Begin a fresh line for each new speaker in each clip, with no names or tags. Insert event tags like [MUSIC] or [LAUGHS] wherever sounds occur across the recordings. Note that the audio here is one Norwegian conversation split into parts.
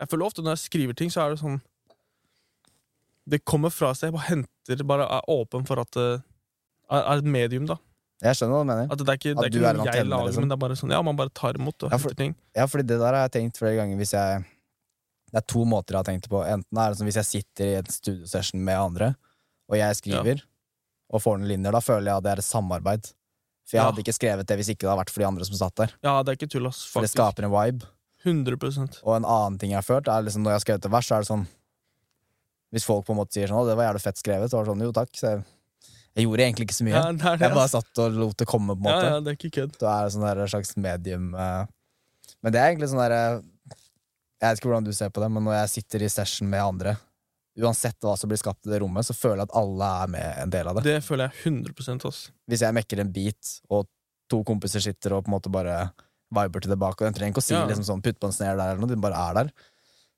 Jeg føler ofte når jeg skriver ting, så er det sånn Det kommer fra seg. Jeg bare henter Bare er åpen for at det er er et medium, da.
Jeg skjønner hva du mener.
At det er ikke, det
At
er
du
ikke
er en
noe jeg
antenne,
lager,
liksom.
men det er bare sånn Ja, man bare tar imot og
Ja, for-
henter ting.
Ja, fordi det der har jeg tenkt flere ganger hvis jeg Det er to måter jeg har tenkt det på. Enten er det som hvis jeg sitter i en studiosession med andre, og jeg skriver, og får noen linjer, da føler jeg at det er et samarbeid. For jeg
Ja.
hadde ikke skrevet det hvis ikke det hadde vært for de andre som satt der.
Ja, det er ikke tull, ass.
For det
Faktisk.
skaper en vibe.
100
Og en annen ting jeg har følt, er liksom når jeg har skrevet et vers, så er det sånn Hvis folk på en måte sier sånn 'Å, det var jævlig fett skrevet', så var det sånn 'Jo, takk'. Så jeg, jeg gjorde egentlig ikke så mye.
Ja, det er det,
jeg bare
ass.
satt og lot det komme, på en måte.
Ja, ja, det er ikke kødd.
Du er sånn der slags medium eh. Men det er egentlig sånn der eh, Jeg vet ikke hvordan du ser på det, men når jeg sitter i session med andre, uansett hva som blir skapt i det rommet, så føler jeg at alle er med en del av det.
Det føler jeg 100 ass.
Hvis jeg mekker en beat, og to kompiser sitter og på en måte bare viber til det bak, og den trenger ikke å si
Ja.
liksom sånn 'putt på en snare der', eller noe, den bare er der,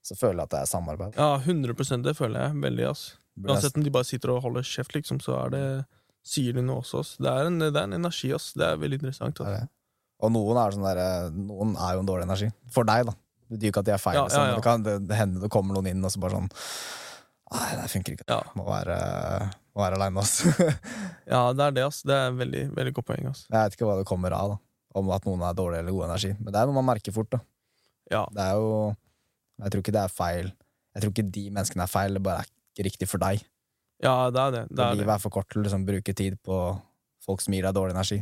så føler jeg at det er samarbeid.
Ja, 100 det føler jeg veldig, ass. Uansett om de bare sitter og holder kjeft, liksom, så er det Sier de noe også, ass. Det er en, det er en energi, ass. Det er veldig interessant.
Det
Ass.
er det. Og noen er, sånn der, eh, noen er jo en dårlig energi. For deg, da. Det betyr jo ikke at de er feil.
Ja,
liksom,
ja, ja.
men Det kan det, det hender det kommer noen inn og så bare sånn Nei, det funker ikke.
Ja.
Må være, må være aleine, ass. [LAUGHS] jeg
ja, det er det, ass. Det er veldig, veldig godt poeng, ass.
vet ikke hva det kommer av, da. Om at noen er dårlig eller god energi. Men det er noe man merker fort, da.
Ja.
Det er jo Jeg tror ikke det er feil. Jeg tror ikke de menneskene er feil, det bare er ikke riktig for deg.
Ja, det er det. det,
For
er det.
livet er for kort til å liksom, bruke tid på folk som gir deg dårlig energi.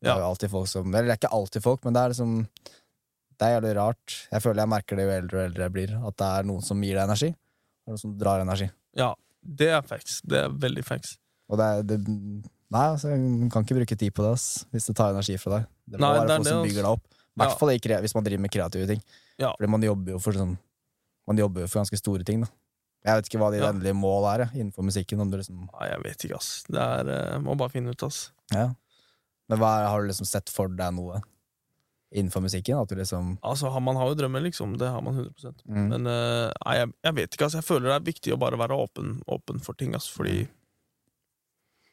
Det
Ja.
er jo alltid folk som Eller det er ikke alltid folk, men det er liksom Det er jævlig rart. Jeg føler jeg merker det jo eldre og eldre jeg blir, at det er noen som gir deg energi, og noen som drar energi.
Ja, det er facts. Det er veldig facts.
Og det er det, Nei, altså, man kan ikke bruke tid på det ass, hvis det tar energi fra deg. Det må
Nei,
være
det er
folk
det,
som
ass.
bygger deg opp. I
Ja.
hvert fall i kre- hvis man driver med kreative ting.
Ja.
Fordi man jobber jo for sånn Man jobber jo for ganske store ting, da. Jeg vet ikke hva de
Ja.
endelige mål er jeg, innenfor musikken. Om du liksom,
Nei, jeg vet ikke, ass. Det er, eh, Må bare finne ut, ass.
ja. Men hva er, har du liksom sett for deg noe innenfor musikken? At du liksom
Altså, har- Man har jo drømmer, liksom. Det har man 100
mm.
Men eh, nei, jeg, jeg vet ikke, ass. Jeg føler det er viktig å bare være åpen, åpen for ting, ass. Fordi
Mm.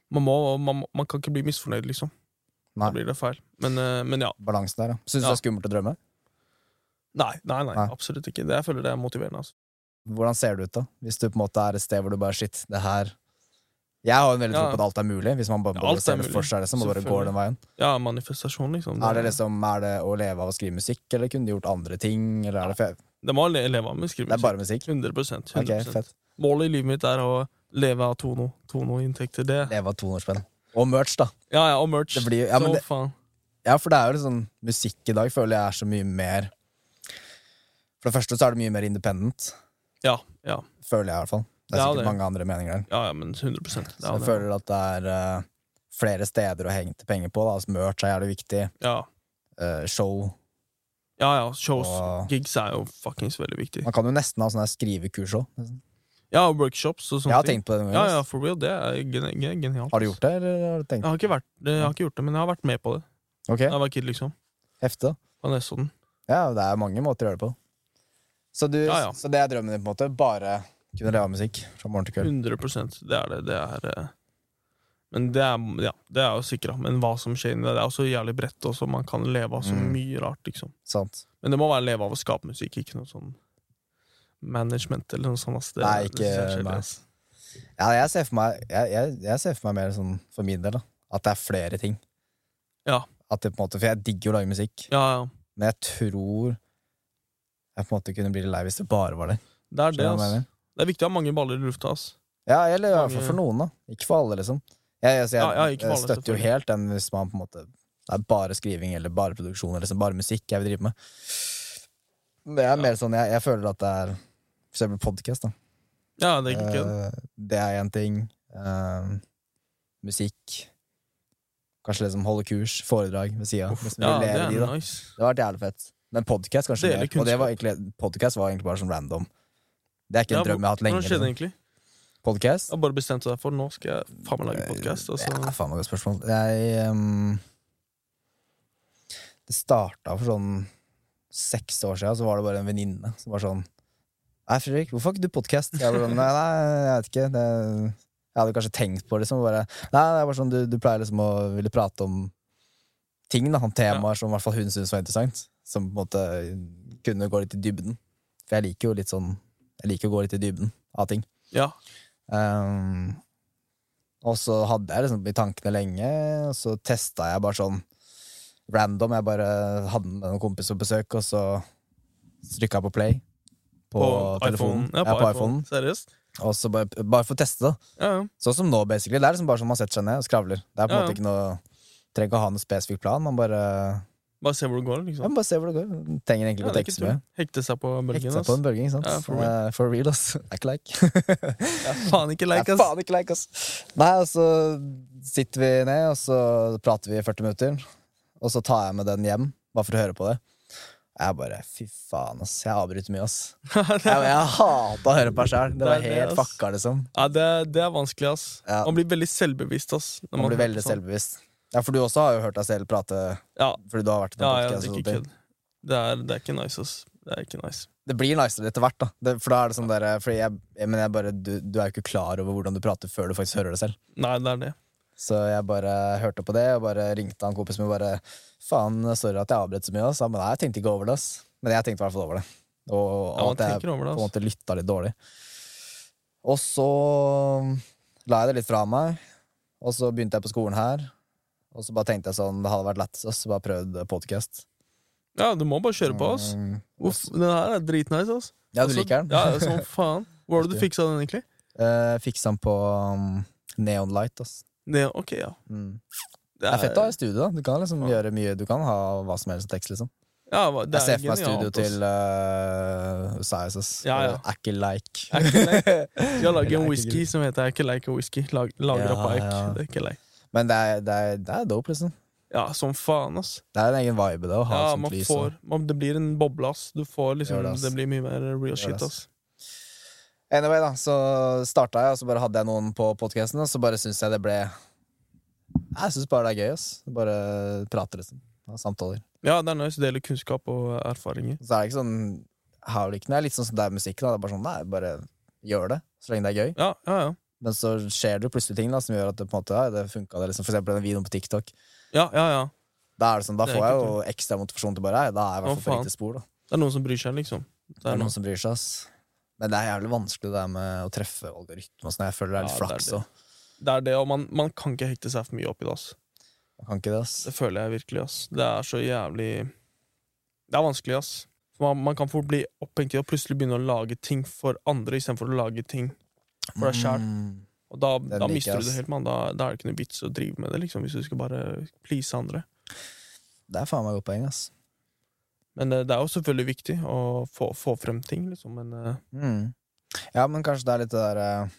man, må, man, man kan ikke bli misfornøyd, liksom.
Nei.
Da blir det feil. Men, eh, men ja.
balansen der, ja. Syns du
Ja.
det er skummelt å drømme?
Nei, nei, nei,
Nei.
absolutt ikke. Det, jeg føler det er motiverende. ass.
Hvordan ser det ut, da? Hvis du på en måte er et sted hvor du bare Shit, det her Jeg har jo en veldig tro
Ja.
på at alt er mulig, hvis man bare,
Ja,
bare
alt er
ser det
mulig.
for seg, liksom, og bare går
Selvfølgelig.
den veien.
Ja, manifestasjon, liksom.
Er det, liksom, er det å leve av å skrive musikk, eller kunne du gjort andre ting? Eller er det, fe-
det må le- leve av med skriving.
det er bare musikk?
100, 100%.
Ok, fett.
Målet i livet mitt er å leve av Tono. Tono-inntekter. Det
Leve av 200 spenn. Og merch, da.
Ja, ja, og merch.
Det blir- ja, men
så
det-
faen.
Ja, for det er jo liksom Musikk i dag føler jeg er så mye mer For det første så er det mye mer independent,
Ja, ja,
føler jeg i hvert fall. Det er
Ja,
sikkert
det.
mange andre meninger der.
ja, ja, men 100 ja,
Så jeg
det-
føler at det er eh, flere steder å henge til penger på. Da. Altså, merch er jævlig viktig.
ja.
eh, show.
ja, ja, shows,
Og-
gigs er jo fuckings veldig viktig.
Man kan jo nesten ha sånne her skrivekurs òg. Jeg
Ja, og workshops og sånne
har
ting.
tenkt på det noen
Ja,
ganger.
ja,
ass.
for real, det er gen- gen- genialt.
Har du gjort det, eller har du
Jeg
tenkt?
har, ikke vært, jeg har ikke gjort det, men jeg har vært med på det.
Ok,
Da jeg var kid, liksom.
heftig. da.
På Nesodden.
Ja, det er mange måter å gjøre det på. Så, du,
Ja, ja.
så det er drømmen din, på en måte? Bare kunne leve av musikk fra morgen til kveld?
100 det er det. Det er eh, men det er, ja, det er jo sikra. Men hva som skjer inni det, det er også jævlig bredt. Også. Man kan leve av så
Mm.
mye rart, liksom.
Sant.
Men det må være leve av å skape musikk, ikke noe sånn management eller noe sånt. ass. Det,
Nei,
det synes jeg er
ikke-
kjedelig,
nei.
ass.
Ja, jeg ser for meg, jeg, jeg, jeg ser for meg mer sånn for min del, da. At det er flere ting.
Ja.
At det på en måte, For jeg digger jo å lage musikk,
Ja, ja.
men jeg tror jeg på en måte kunne bli lei hvis det bare var det.
Det er det,
Skjønner du hva jeg
ass.
mener?
Det er viktig å ha mange baller i lufta, ass.
Ja, eller i hvert fall for noen, da. Ikke for alle, liksom. Jeg, altså, jeg,
Ja, ja, ikke for alle,
jeg støtter jo
selvfølgelig.
helt den hvis man på en måte Det er bare skriving eller bare produksjon eller liksom bare musikk jeg vil drive med. Det er mer sånn jeg, jeg føler at det er For eksempel podkast, da.
Ja, det er ikke kødd.
Eh, det er én ting. Eh, musikk. Kanskje liksom holde kurs, foredrag ved sida. Liksom,
Ja, det
leve
er
de, da.
nice.
Det har vært jævlig fett. Men podkast kanskje
Dele
mer. Og det var egentlig, podcast var egentlig bare sånn random. Det er ikke en
Ja,
drøm jeg har hatt
Hvordan
lenge.
skjedde det
Liksom.
egentlig?
Podcast?
Jeg har bare bestemt meg for nå skal jeg faen meg lage podkast. Altså.
Ja, faen meg godt spørsmål. Jeg ehm, Det starta for sånn seks år siden, så var det bare en venninne som var sånn Nei, Fredrik, hvorfor har ikke du podkast? Jeg var sånn, nei, nei, jeg vet ikke. Det, jeg hadde kanskje tenkt på det, liksom. og Bare, nei, det er bare sånn, du, du pleier liksom å ville prate om ting, da, om temaer som i hvert fall hun syntes var interessant. Som på en måte kunne gå litt i dybden. For jeg liker jo litt sånn Jeg liker å gå litt i dybden av ting.
Ja.
Ehm, og så hadde jeg liksom i tankene lenge, og så testa jeg bare sånn random. Jeg bare hadde med noen kompiser på besøk, og så trykka jeg på play på,
iPhone.
telefonen.
Ja, på, iPhone. Seriøst?
iPhone. Og så bare, bare for å teste, da.
Ja, ja.
Sånn som nå, basically. Det er liksom bare sånn man setter seg ned og skravler. Det er på en
Ja, ja.
måte ikke noe Trenger ikke å ha noen spesifikk plan. Man bare,
Bare se hvor det går,
ja,
liksom.
man bare ser hvor det går. Trenger egentlig
Ja,
ikke å
det er
tenke
ikke
så mye.
tull. Hekte seg på
Hekte
bølgen.
seg på en bølge, ikke sant?
Ja, for real.
Eh, for real, ass. [LAUGHS] Det er ikke like.
ass. Ja, faen ikke
Det
like,
er
ass.
faen ikke like, ass. Nei, og så sitter vi ned, og så prater vi i 40 minutter. Og så tar jeg med den hjem, bare for å høre på det. Jeg bare fy faen, ass. Jeg avbryter mye,
[LAUGHS]
ass. Jeg, jeg hata å høre på meg sjæl. Det
Det
var
er det, ass.
helt fucka, liksom.
Ja, det, er- det er vanskelig, ass.
Ja.
Man blir veldig selvbevisst, ass. når
Man blir
hører på
veldig
sånn.
selvbevisst. Ja, for du også har jo hørt deg selv prate
Ja,
fordi du har vært i
ja,
en
ja det
podcast
er
og sånne
ikke
ting.
kødd. Det er, det er ikke nice, ass. Det er ikke nice.
det blir nicere etter hvert, da. Det, for da er det sånn der, fordi jeg, jeg, men jeg bare, du, du er jo ikke klar over hvordan du prater før du faktisk hører det selv.
Nei, det er det.
Så jeg bare hørte på det, og bare ringte han kompisen min og bare Faen, sorry at jeg avbrøt så mye, ass. Han bare, Nei, jeg tenkte ikke over det, ass. Men jeg tenkte i hvert fall over det. Og, og
Ja, man
at jeg
tenker over det,
på en
ass.
måte lytta litt dårlig. Og så um, la jeg det litt fra meg, og så begynte jeg på skolen her. Og så bare tenkte jeg sånn, det hadde vært lættis, ass. Bare prøvd podkast.
Ja, du må bare kjøre på, ass. Uff, den her er dritnice, ass.
Mm. Ja, du
Altså,
liker den?
Ja, som faen. Hvor var det du
Riktig.
fiksa den, egentlig?
Eh, fiksa han på um, Neon Light. Ass.
Det, ok, ja.
Mm.
Det
Det er fett å ha i studio. da Du kan liksom
Ja.
gjøre mye Du kan ha hva som helst som tekst. liksom
Ja, hva- det
Jeg ser
er
for meg studio
genialt, ass.
til uh, Osias. ass.
Ja, ja.
Eh, Akke like. [LAUGHS]
Skal lage
Eller
en
Akke
whisky
Gru.
som heter Ikke like a whisky. Lag, lager
Ja,
opp Eik.
ja.
Det er ikke like.
Men det er, det, er, det er dope, liksom.
Ja, som faen, ass.
Det er en egen vibe da, å ha
Ja,
et sånt
man
lys. og-
får, man, det blir en boble, ass. Du får liksom,
Gjør det,
det,
ass.
blir mye mer real
det,
shit,
ass.
ass.
Anyway, da, så starta jeg, og så bare hadde jeg noen på podkasten, og så bare syns jeg det ble Jeg syns bare det er gøy, ass. Bare prate, liksom. Ha samtaler.
Ja, det er nice å dele kunnskap og erfaringer.
Så er det ikke sånn Har det ikke noe det er litt sånn som det er musikken. Da. Det er bare sånn, nei, bare gjør det, så lenge det er gøy.
Ja, ja, ja.
Men så skjer det jo plutselig ting da, som gjør at det på en måte ja, det funka. Det, liksom. For eksempel den videoen på TikTok.
ja, ja, ja.
Da, er det sånn, da
Det er
får jeg
ikke
jo ekstra motivasjon til bare ja, Da er jeg i
Å,
hvert fall på
faen.
riktig spor. Da.
Det er noen som bryr seg, liksom. Det
Det
er
er
noen
noen som bryr seg, ass. Men det er jævlig vanskelig det der med å treffe algoritme og sånn. Jeg føler det er litt
Ja, det er
flaks
det.
òg.
Det er det, og man, man kan ikke hekte seg for mye opp i det, ass.
Jeg Kan ikke det, ass.
Det føler jeg virkelig, ass. Det er så jævlig Det er vanskelig, ass. Man, man kan fort bli opphengt i å plutselig begynne å lage ting for andre istedenfor å lage ting for deg sjæl.
Mm.
Og da,
Den
da
liker
mister
jeg,
du det
ass.
helt, mann. Da, da er det ikke noe vits å drive med det, liksom, hvis du skal bare please andre.
Det er faen meg godt poeng, ass.
Men eh, det er jo selvfølgelig viktig å få, få frem ting, liksom, men eh,
Mm. Ja, men kanskje det er litt det der eh,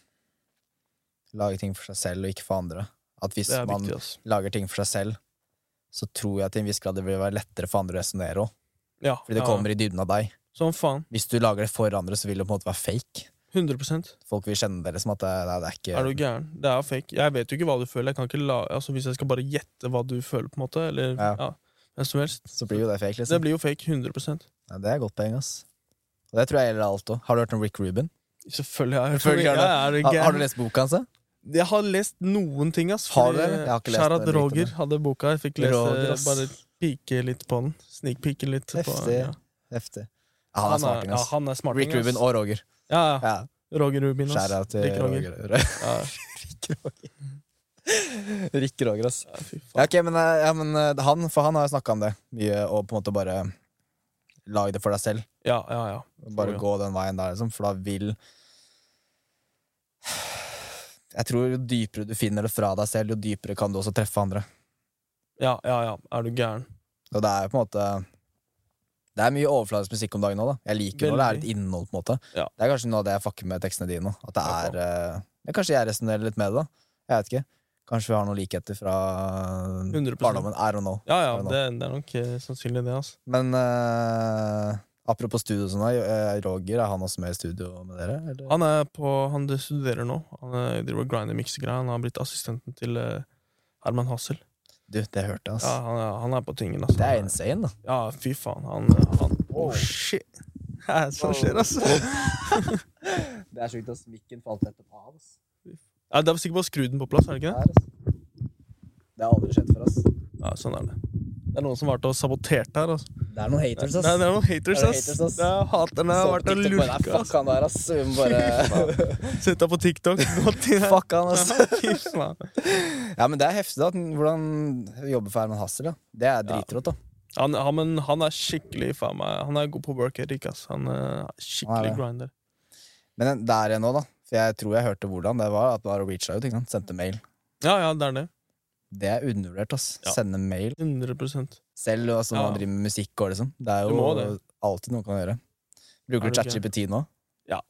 Lage ting for seg selv og ikke for andre. At hvis
det er
man
viktig, ass.
lager ting for seg selv, så tror jeg til en viss grad det vil være lettere for andre å resonnere òg.
Ja,
Fordi det
ja.
kommer i dybden av deg.
Sånn faen.
Hvis du lager det for andre, så vil det på en måte være fake.
100
Folk vil kjenne det som at det, nei, det er ikke
Er du gæren? Det er fake. Jeg vet jo ikke hva du føler. Jeg kan ikke la, altså, hvis jeg skal bare gjette hva du føler, på en måte, eller ja.
Ja.
hvem som helst
Så blir jo det fake,
Det
liksom. Det,
blir jo fake. 100
ja, det er godt poeng, ass. Og det tror jeg gjelder alt òg. Har du hørt om Rick Ruben?
Selvfølgelig har jeg
Selvfølgelig har du-
Jeg er
Har,
gæren.
har du lest boka hans? da?
Jeg har lest noen ting, ass.
Har du
fordi
det? Jeg har ikke lest
Sharad
den biten,
Roger
men.
hadde boka. Jeg fikk lese
Roger, ass.
Bare pike litt på den. Snikpike litt. På,
Heftig.
ja.
Heftig. Ja, han er smarting,
ja,
ass.
han er smarting,
Rick
ass.
Ruben og Roger.
Ja, ja.
Ja,
Roger Rubin, ass.
Skjæra til
Rick Roger.
Roger. Roger.
Ja.
Rick Roger. Rick Roger, [LAUGHS] ass.
Ja, fy faen.
Ja, ok, men, eh, ja, men eh, han, for han har jo snakka om det mye, og på en måte bare lag det for deg selv.
ja, ja, ja.
Bare
Tror jeg.
gå den veien der, liksom, for da vil [SIGHS] Jeg tror jo dypere du finner det fra deg selv, jo dypere kan du også treffe andre.
Ja, ja, ja. Er du gæren?
Og det er jo på en måte Det er mye overfladisk musikk om dagen nå, da. Jeg liker når det er litt innhold, på en måte.
Ja.
Det er kanskje noe av det jeg fucker med tekstene dine nå. At det
Ja,
er eh, ja, Kanskje jeg resonnerer litt med det, da. Jeg vet ikke. Kanskje vi har noen likheter fra
100%.
barndommen. I don't know.
Ja, ja.
Er det nå?
Det, det er nok eh, sannsynlig, det, ass.
Men eh, apropos studio og sånn, eh, Roger, er han også med i studio med dere? Eller?
Han er på Han studerer nå. Han eh, driver og grinder miksegreier. Han har blitt assistenten til eh, Herman Hassel.
Du, det hørte jeg, altså.
Ja, han, er- han er på tingen, ass.
Det er insane, da.
Ja, fy faen. Han, han
Wow.
Oh, shit. Hva er det som
Wow.
skjer, altså?
Det er sjukt, ass. Mikken falt etterpå av. ass.
Ja, det er sikkert bare å skru den på plass, er det ikke det?
Der, ass. Det har aldri skjedd for oss.
Ja, sånn er det. Det er noen som har vært og sabotert her, altså.
Det er noen haters, ass.
Nei, det er noen haters,
Det er
ass.
haters, ass.
Det er haterne
Så
har
på
vært og
TikTok bare,
lurka.
Nei, fuck han der, ass. Vi
[LAUGHS]
må bare
ass. Sett deg på TikTok. Gått i
Fuck han, ass.
Fy faen.
Ja, men det er heftig, da. at den- Hvordan jobbe for Herman Hassel, da. Det er dritrått, da.
Han, han, men han er skikkelig faen meg Han er god på work ethic, ass. Han er
Han er
skikkelig
det.
grinder.
Men den- der igjen nå, da. For jeg tror jeg hørte hvordan det var. At det var å reach out, ikke sant. Sendte mail.
Ja, ja, det er det.
Det er undervurdert, ass.
Ja.
Sende mail.
100
Selv altså, når
Ja.
man driver med musikk og liksom. Det er
Du
jo
må det.
alltid noe man kan gjøre. Bruker
Er
du
det ikke?
ChatGPT nå?
Ja.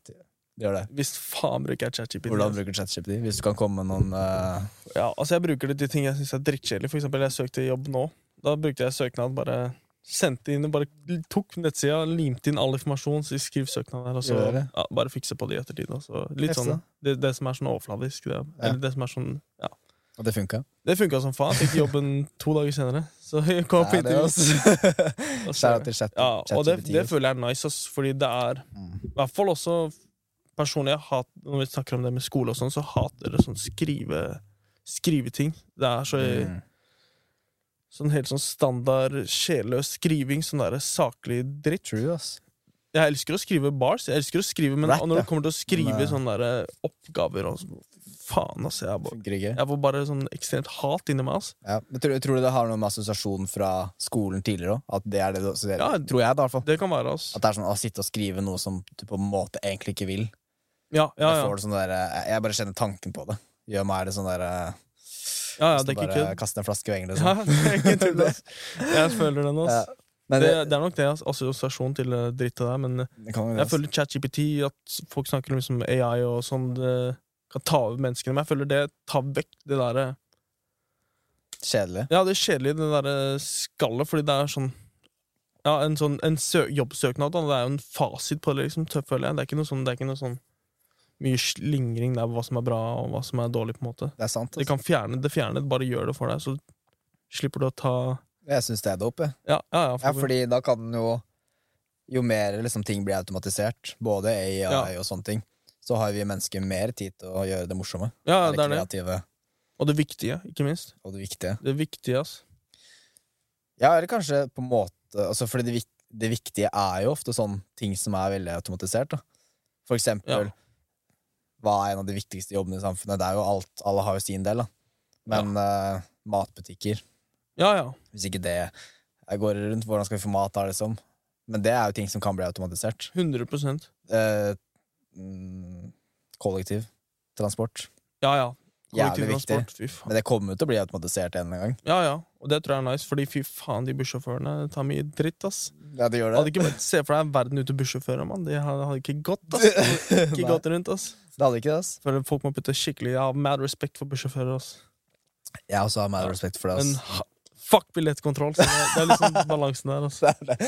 Du gjør det.
Hvis faen bruker jeg ChatGPT.
Hvordan
ass.
bruker du ChatGPT? Hvis du kan komme med noen eh,
Ja, altså jeg bruker det til ting jeg syns er drittkjedelig. For eksempel, jeg søkte jobb nå. Da brukte jeg søknad, bare sendte inn, bare tok nettsida, limte inn all informasjon, så skriv søknad her, og så
Gjør det.
ja, bare fikse på det i ettertid. og så Litt
Heftig,
sånn,
da.
det, det som er sånn overfladisk. Det, Eller det som er sånn, ja.
Og det funka?
Det funka som faen. Fikk jobben to dager senere. Så [LAUGHS] jeg kom på
Det er det,
intervju.
ass.
og så-
Shout out til Chat-
Ja, og det,
ChatGPT.
det føler jeg er nice, ass, fordi det er
Mm.
I hvert fall også personlig jeg hat, Når vi snakker om det med skole og sånn, så hater det sånn skrive skriveting. Det er så
Mm.
sånn helt sånn standard sjelløs skriving, sånn derre saklig dritt.
True, ass.
Jeg elsker å skrive bars, jeg elsker å skrive, men
Rap,
når
ja.
det kommer til å skrive
Men, eh,
sånne derre oppgaver og sånn, Faen, ass. Jeg, bare,
Funker ikke.
jeg får bare sånn ekstremt hat inni meg, altså. ass.
Ja. Men tror, tror du det har noe med assosiasjon fra skolen tidligere òg? At det er det du så det,
Ja.
Tror jeg, da, i hvert fall.
Det kan være, altså. ass.
At det er sånn å sitte og skrive noe som du på en måte egentlig ikke vil.
Ja, ja, ja.
Jeg får det sånn der, eh, jeg bare kjenner tanken på det. Gjør meg det sånn der eh,
ja, ja
Hvis
det
du
er ikke
bare
kødd. [LAUGHS]
kaster en flaske i vengene.
Ja,
Sånn.
det er ikke tull,
[LAUGHS]
ass. Jeg føler den, ass.
Ja. Men
Det,
det,
det er nok det, ass. assosiasjon til det drittet der, men
det kan jo
Jeg føler ChatGPT, at folk snakker om liksom AI og sånn, det kan ta over menneskene. Men jeg føler det tar vekk det derre
kjedelig.
Ja, det kjedelige, det derre skallet, fordi det er sånn Ja, en sånn en sø jobbsøknad, da. Det er jo en fasit på det, liksom, tø- føler jeg. Det er ikke noe sånn, det er ikke noe sånn mye slingring der på hva som er bra, og hva som er dårlig, på en måte.
Det er sant.
Det
Altså.
kan fjerne det, fjerne det, bare gjør det for deg, så slipper du å ta
Jeg syns det er dope. jeg.
Ja, ja, ja.
Ja, fordi da kan den jo Jo mer liksom, ting blir automatisert, både AI
Ja.
og sånne ting, så har vi mennesker mer tid til å gjøre det morsomme.
ja,
Være
det er det.
kreative
Og det viktige, ikke minst.
og det viktige.
Det viktige, ass.
Ja, eller kanskje på en måte altså, Fordi det, vik det viktige er jo ofte sånn ting som er veldig automatisert. Da. For eksempel
Ja.
Hva er en av de viktigste jobbene i samfunnet? Det er jo alt, Alle har jo sin del, da. Men eh, matbutikker
Ja, ja.
Hvis ikke det jeg går rundt, hvordan skal vi få mat da, liksom? Men det er jo ting som kan bli automatisert.
100
Eh, mm, kollektiv transport.
Ja, ja.
Jævlig
Kollektivtransport, Fy faen.
Men det kommer jo til å bli automatisert en eller annen gang.
Ja, ja. Og det tror jeg er nice, fordi fy faen, de bussjåførene tar mye dritt, ass.
Ja, det gjør
Hadde ikke vært, Se for deg verden uten bussjåfører, mann. Det hadde hadde ikke gått,
[LAUGHS]
ass. Ikke
Nei,
gått rundt, ass.
det hadde ikke det, ass.
Føler folk må putte skikkelig Jeg har mad respect for bussjåfører, ass.
Jeg også har mer respekt for det,
Men
ass.
ha- fuck billettkontroll. Så det, det er
[LAUGHS]
liksom balansen der, ass.
Det er det.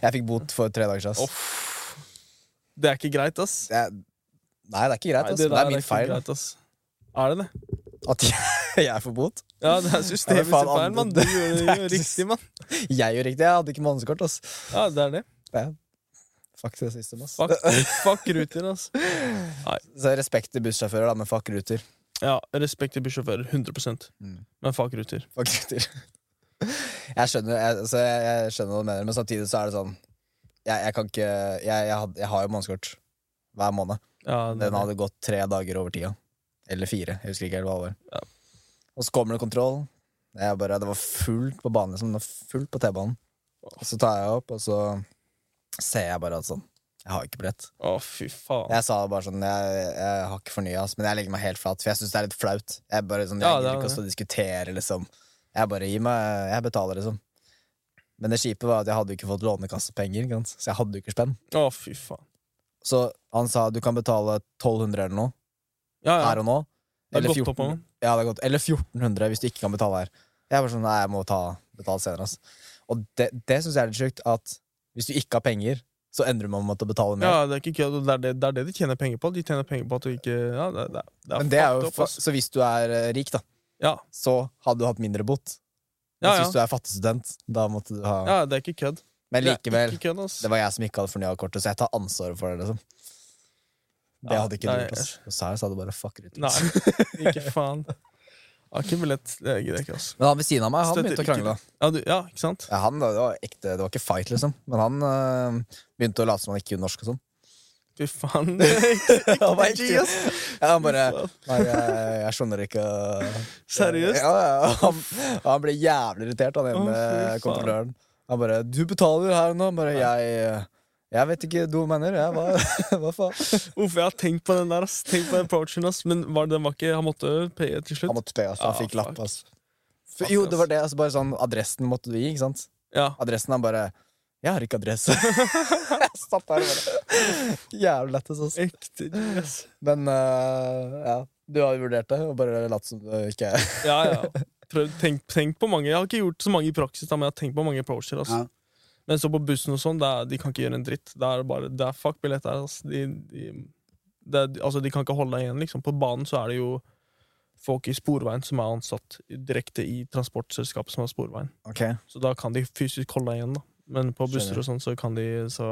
[LAUGHS] Jeg fikk bot for tre dager siden. ass.
Uff. Det er ikke greit, ass.
Det er- Nei, det er ikke greit.
Nei,
Ass. Det,
der
er min
ikke
feil da.
greit, ass. Er det det?
at jeg, [LAUGHS] jeg får bot.
Ja, det er
Ja,
systemet
men
sin
faen,
feil,
andre-
mann. Du gjør det jo
Det er-
riktig, mann.
Jeg gjør riktig. Jeg hadde ikke månedskort. Ass.
Ja, det er det.
Fuck det siste. Ass.
Fuck, fuck ruter, ass.
Så respekt til bussjåfører, da, men fuck ruter.
Ja, respekt til bussjåfører. 100
Mm.
Men fuck ruter.
Fuck ruter. [LAUGHS] Jeg skjønner, jeg, altså, jeg, jeg skjønner hva du mener, men samtidig så er det sånn Jeg, jeg kan ikke jeg, jeg, had- jeg har jo månedskort hver måned.
Ja, det,
Den hadde gått tre dager over tida. Eller fire. Jeg husker ikke helt hva det var.
Ja.
Og så kommer det kontroll. Jeg bare, det var fullt på banen. Liksom. Det var fullt på T-banen. Og så tar jeg opp, og så ser jeg bare at sånn Jeg har ikke billett.
Å, fy faen.
Jeg sa bare sånn Jeg, jeg har ikke fornya, ass, men jeg legger meg helt flat, for jeg syns det er litt flaut. Jeg bare sånn, jeg
Ja, det
gidder
er
ikke å
det.
stå og diskutere, liksom. Jeg bare gir meg Jeg betaler, liksom. Men det kjipe var at jeg hadde jo ikke fått lånekassepenger, ikke sant? så jeg hadde jo ikke spenn.
Å, fy faen.
Så han sa du kan betale 1200 eller noe
Ja, ja.
her og nå.
Det har
Eller
gått opp
14
av den.
Ja, det er godt. Eller 1400 hvis du ikke kan betale her. Jeg er bare sånn, nei, jeg må ta, betale senere. Ass. Og det, det syns jeg er litt sjukt, at hvis du ikke har penger, så endrer man med å betale
Ja,
mer.
det er ikke kødd. og Det, er det, det er det de tjener penger på. De tjener penger på at du ikke Ja, det, det, det er
Men det er
fucked
jo,
up,
fa-
ass.
så hvis du er eh, rik, da,
Ja.
så hadde du hatt mindre bot.
Ja,
Mens
ja.
hvis du er fattig student, da måtte du ha
ja, det er ikke kødd.
Men
Det er
likevel,
ikke kødd, ass.
det var jeg som ikke hadde fornya kortet, så jeg tar ansvaret for det, liksom. Det
Ja,
hadde ikke du
nei,
gjort, ass. Og så her sa du bare fuck ut.
Nei, ikke faen. Ja, ikke billett, det gidder jeg ikke. ass.
Men han ved siden av meg, han
Støtter
begynte å
ikke
krangle.
Ja, du, ja, ikke sant?
Ja, han, da, det var ekte, det var ikke fight, liksom. Men han øh, begynte å late som han ikke kunne
[LAUGHS]
norsk og sånn.
Fy faen. [LAUGHS]
Han var
G, ass.
ekte. Ja, han bare Nei, jeg, jeg skjønner ikke øh,
Seriøst?
Ja, ja, han, han ble jævlig irritert, han ene
Å, fy faen.
kontrolløren. Han bare 'Du betaler her nå.' Han Bare jeg Jeg vet ikke du mener. Jeg, hva, [LAUGHS] hva faen?
Uff, jeg har tenkt på den der, ass. Tenkt på den approachen, ass. Men var det den var ikke Han måtte paye til
Han
slutt?
måtte pe, altså. Han
Ja,
fikk lapp,
Ah, fuck.
altså. For, jo, det var det. Altså, bare sånn, adressen måtte du gi, ikke sant?
Ja.
Adressen han bare 'Jeg har ikke adresse'. [LAUGHS] jeg satt der og bare Jævlig lættis, altså.
Ekte G, ass.
Men eh, ja, du har jo vurdert det, og bare latt som det ikke
[LAUGHS]
er
Ja, ja. Prøv, tenk, tenk på mange. Jeg har ikke gjort så mange i praksis, da, men jeg har tenkt på mange approacher. ass.
Ja.
Men så på bussen og sånn, det er- de kan ikke gjøre en dritt. Det er bare, det er fuck billett der. ass. De, de, det, er- altså, de kan ikke holde deg igjen. liksom. På banen så er det jo folk i Sporveien som er ansatt direkte i transportselskapet som har Sporveien. Så da kan de fysisk holde deg igjen, da. Men på busser
Skjønner.
og sånn så kan de så,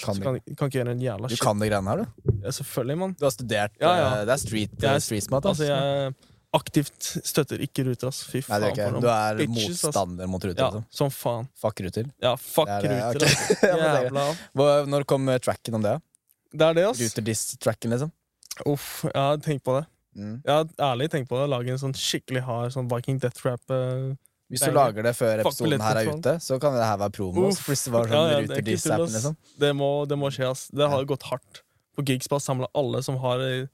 Kan
så
du,
kan, kan ikke gjøre en jævla
du
shit.
kan de greiene her, du?
Ja, selvfølgelig, mann.
Du har studert
Ja, ja.
eh, Det er street,
Jeg er-
street smart, ass.
Altså, jeg aktivt støtter ikke Ruter, ass. Fy
Nei,
faen.
det gjør ikke
for
jeg.
noen
Du er
bitches, ass.
motstander mot ruter,
Ja,
liksom.
som faen.
Fuck ruter.
Ja, fuck
Det er det,
ruter.
ok.
altså.
Ja, men [LAUGHS] det er greit.
Jævla.
Hva- Når kom eh, tracken om det?
Det er det, ass.
Ruter-diss-tracken, liksom?
Uff, jeg har tenkt på det. Jeg har ærlig tenkt på det. Lage en sånn skikkelig hard sånn Viking death rap. eh,
Hvis
Det er
du lager det før
Fuck
episoden her er
billetter,
ute, så kan det her være promo.
Uff.
Så plutselig var det
Ja,
sånn
ja, det er ikke
ruter-diss-appen,
tull, ass.
liksom.
Det må, det må skje, ass. Det har gått hardt. På Gigspad samla alle som har eh,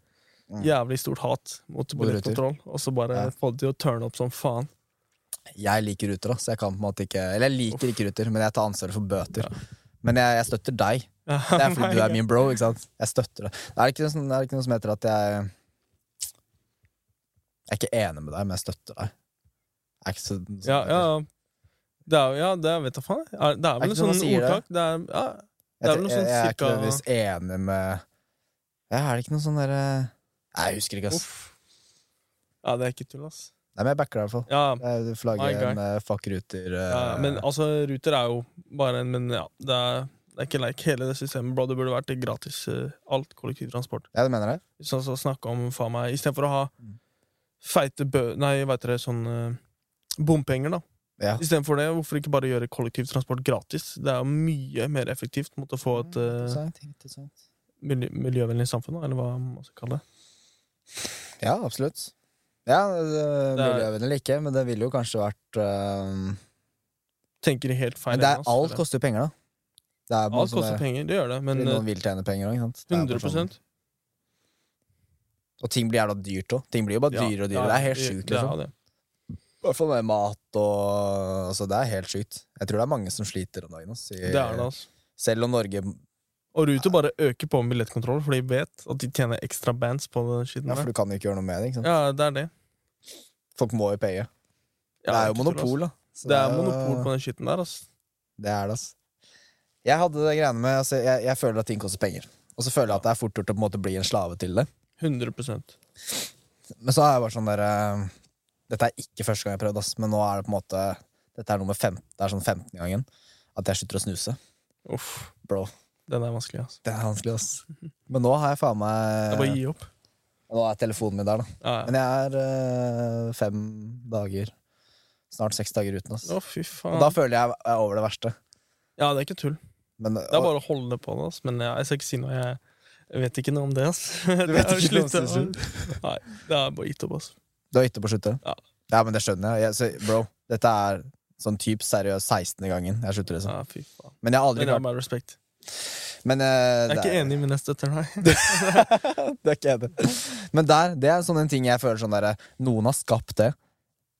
jævlig stort hat mot
Mot
billettkontroll, og så bare
Mm. Ja.
få det til å turne opp som faen.
Jeg liker ruter, da, så jeg kan på en måte ikke Eller jeg liker ikke ruter, men jeg tar ansvaret for bøter. Men jeg, jeg støtter
[LAUGHS]
deg. Det er fordi du er min bro, ikke sant? Jeg støtter deg. Det er ikke noe, som- det er ikke noe som heter at jeg Jeg er ikke enig med deg, men jeg støtter deg. Det er ikke så,
Ja, ja. ja. Det er, ja, det er, vet jeg faen. Er- Det er vel et
ikke noe man
sånt
sier det.
ordtak. Det er, ja, Det er
Jeg,
vel noe
jeg,
sånn
jeg er ikke
cirka-
nødvendigvis enig med ja, Er det ikke noe sånn derre Nei, Jeg husker ikke, ass.
uff. Ja, det er ikke tull, ass.
Nei, men jeg backer deg i hvert fall.
Ja,
Jeg vil flagge
My guy.
en eh, fuck ruter. eh,
Ja, men altså, Ruter er jo bare en Men ja, det er, det er ikke like hele det systemet, bro. Det burde vært gratis eh, alt kollektivtransport.
ja, du mener det?
Sånn som å snakke om, faen meg Istedenfor å ha
Mm.
feite bø... Nei, hva heter det, sånn eh, bompenger, da.
Ja.
Istedenfor det, hvorfor ikke bare gjøre kollektivtransport gratis? Det er jo mye mer effektivt mot å få et eh,
Mm, Interessant, interessant.
miljø miljøvennlig samfunn, da, eller hva man skal kalle det.
Ja, absolutt. Ja, det er
Det er-
miljøvennlig ikke, men det ville jo kanskje vært eh,
Tenker i helt feil
Men det
ende,
er,
altså.
alt koster jo penger, da. Det er
Alt
alt
koster penger, det gjør det, men eh,
Noen vil tjene penger òg, ikke sant? Det er bare
100
sånn- Og ting blir jævla dyrt òg. Ting blir jo bare
ja,
dyrere og
ja,
dyrere. det er helt sjukt,
det er
liksom.
det.
I hvert fall med mat og Altså, det er helt sjukt. Jeg tror det er mange som sliter om dagen. ass, i-
Det er det, altså.
Selv om Norge Ja,
Og Ruter bare øker på med billettkontroll, for de vet at de tjener ekstra bands på den skitten
for
der.
du kan jo ikke gjøre noe med det. ikke sant?
Ja, det er det.
Folk må jo paye.
Ja,
det er
ikke
jo
tull, ass.
monopol, da. Så
altså. Det er
jo-
monopol på den skitten der, altså.
Det er det, ass. Jeg hadde det greiene med altså, jeg, jeg føler at ting koster penger. Og så føler jeg at det er fort gjort å på en måte bli en slave til det.
100
Men så er jeg bare sånn der eh, Dette er ikke første gang jeg har prøvd, ass, men nå er det på en måte Dette er nummer fem, det er sånn 15. gangen at jeg slutter å snuse.
Uff,
Bro,
den er vanskelig, altså.
det er vanskelig, ass. [LAUGHS] Men nå har jeg faen
Det er bare å
meg
gi opp.
Nå er telefonen min der, da.
Ja, ja.
Eh, Men jeg er eh, fem dager Snart seks dager uten, ass.
Å, fy faen.
Og da føler jeg jeg er over det verste.
Ja, det er ikke tull.
Men,
Det er bare å holde på det, ass. Men jeg, jeg skal ikke si noe. Jeg, jeg vet ikke noe om det, ass.
[LAUGHS] Du
Det
vet
er
ikke noe om
sluttet, ass.
snusing?
Nei, det er bare gitt opp, altså. ass.
Du har hytte på sluttet?
Ja.
men det skjønner jeg. jeg så, bro, dette er sånn typ seriøst 16. gangen jeg slutter, liksom.
Ja, fy faen.
Men jeg har aldri
Men det er
klart
bare respekt.
Men eh,
Jeg er
det
ikke enig med neste etter, nei.
[LAUGHS] det er ikke enig. Men der, det er sånn en ting jeg føler sånn derre Noen har skapt det.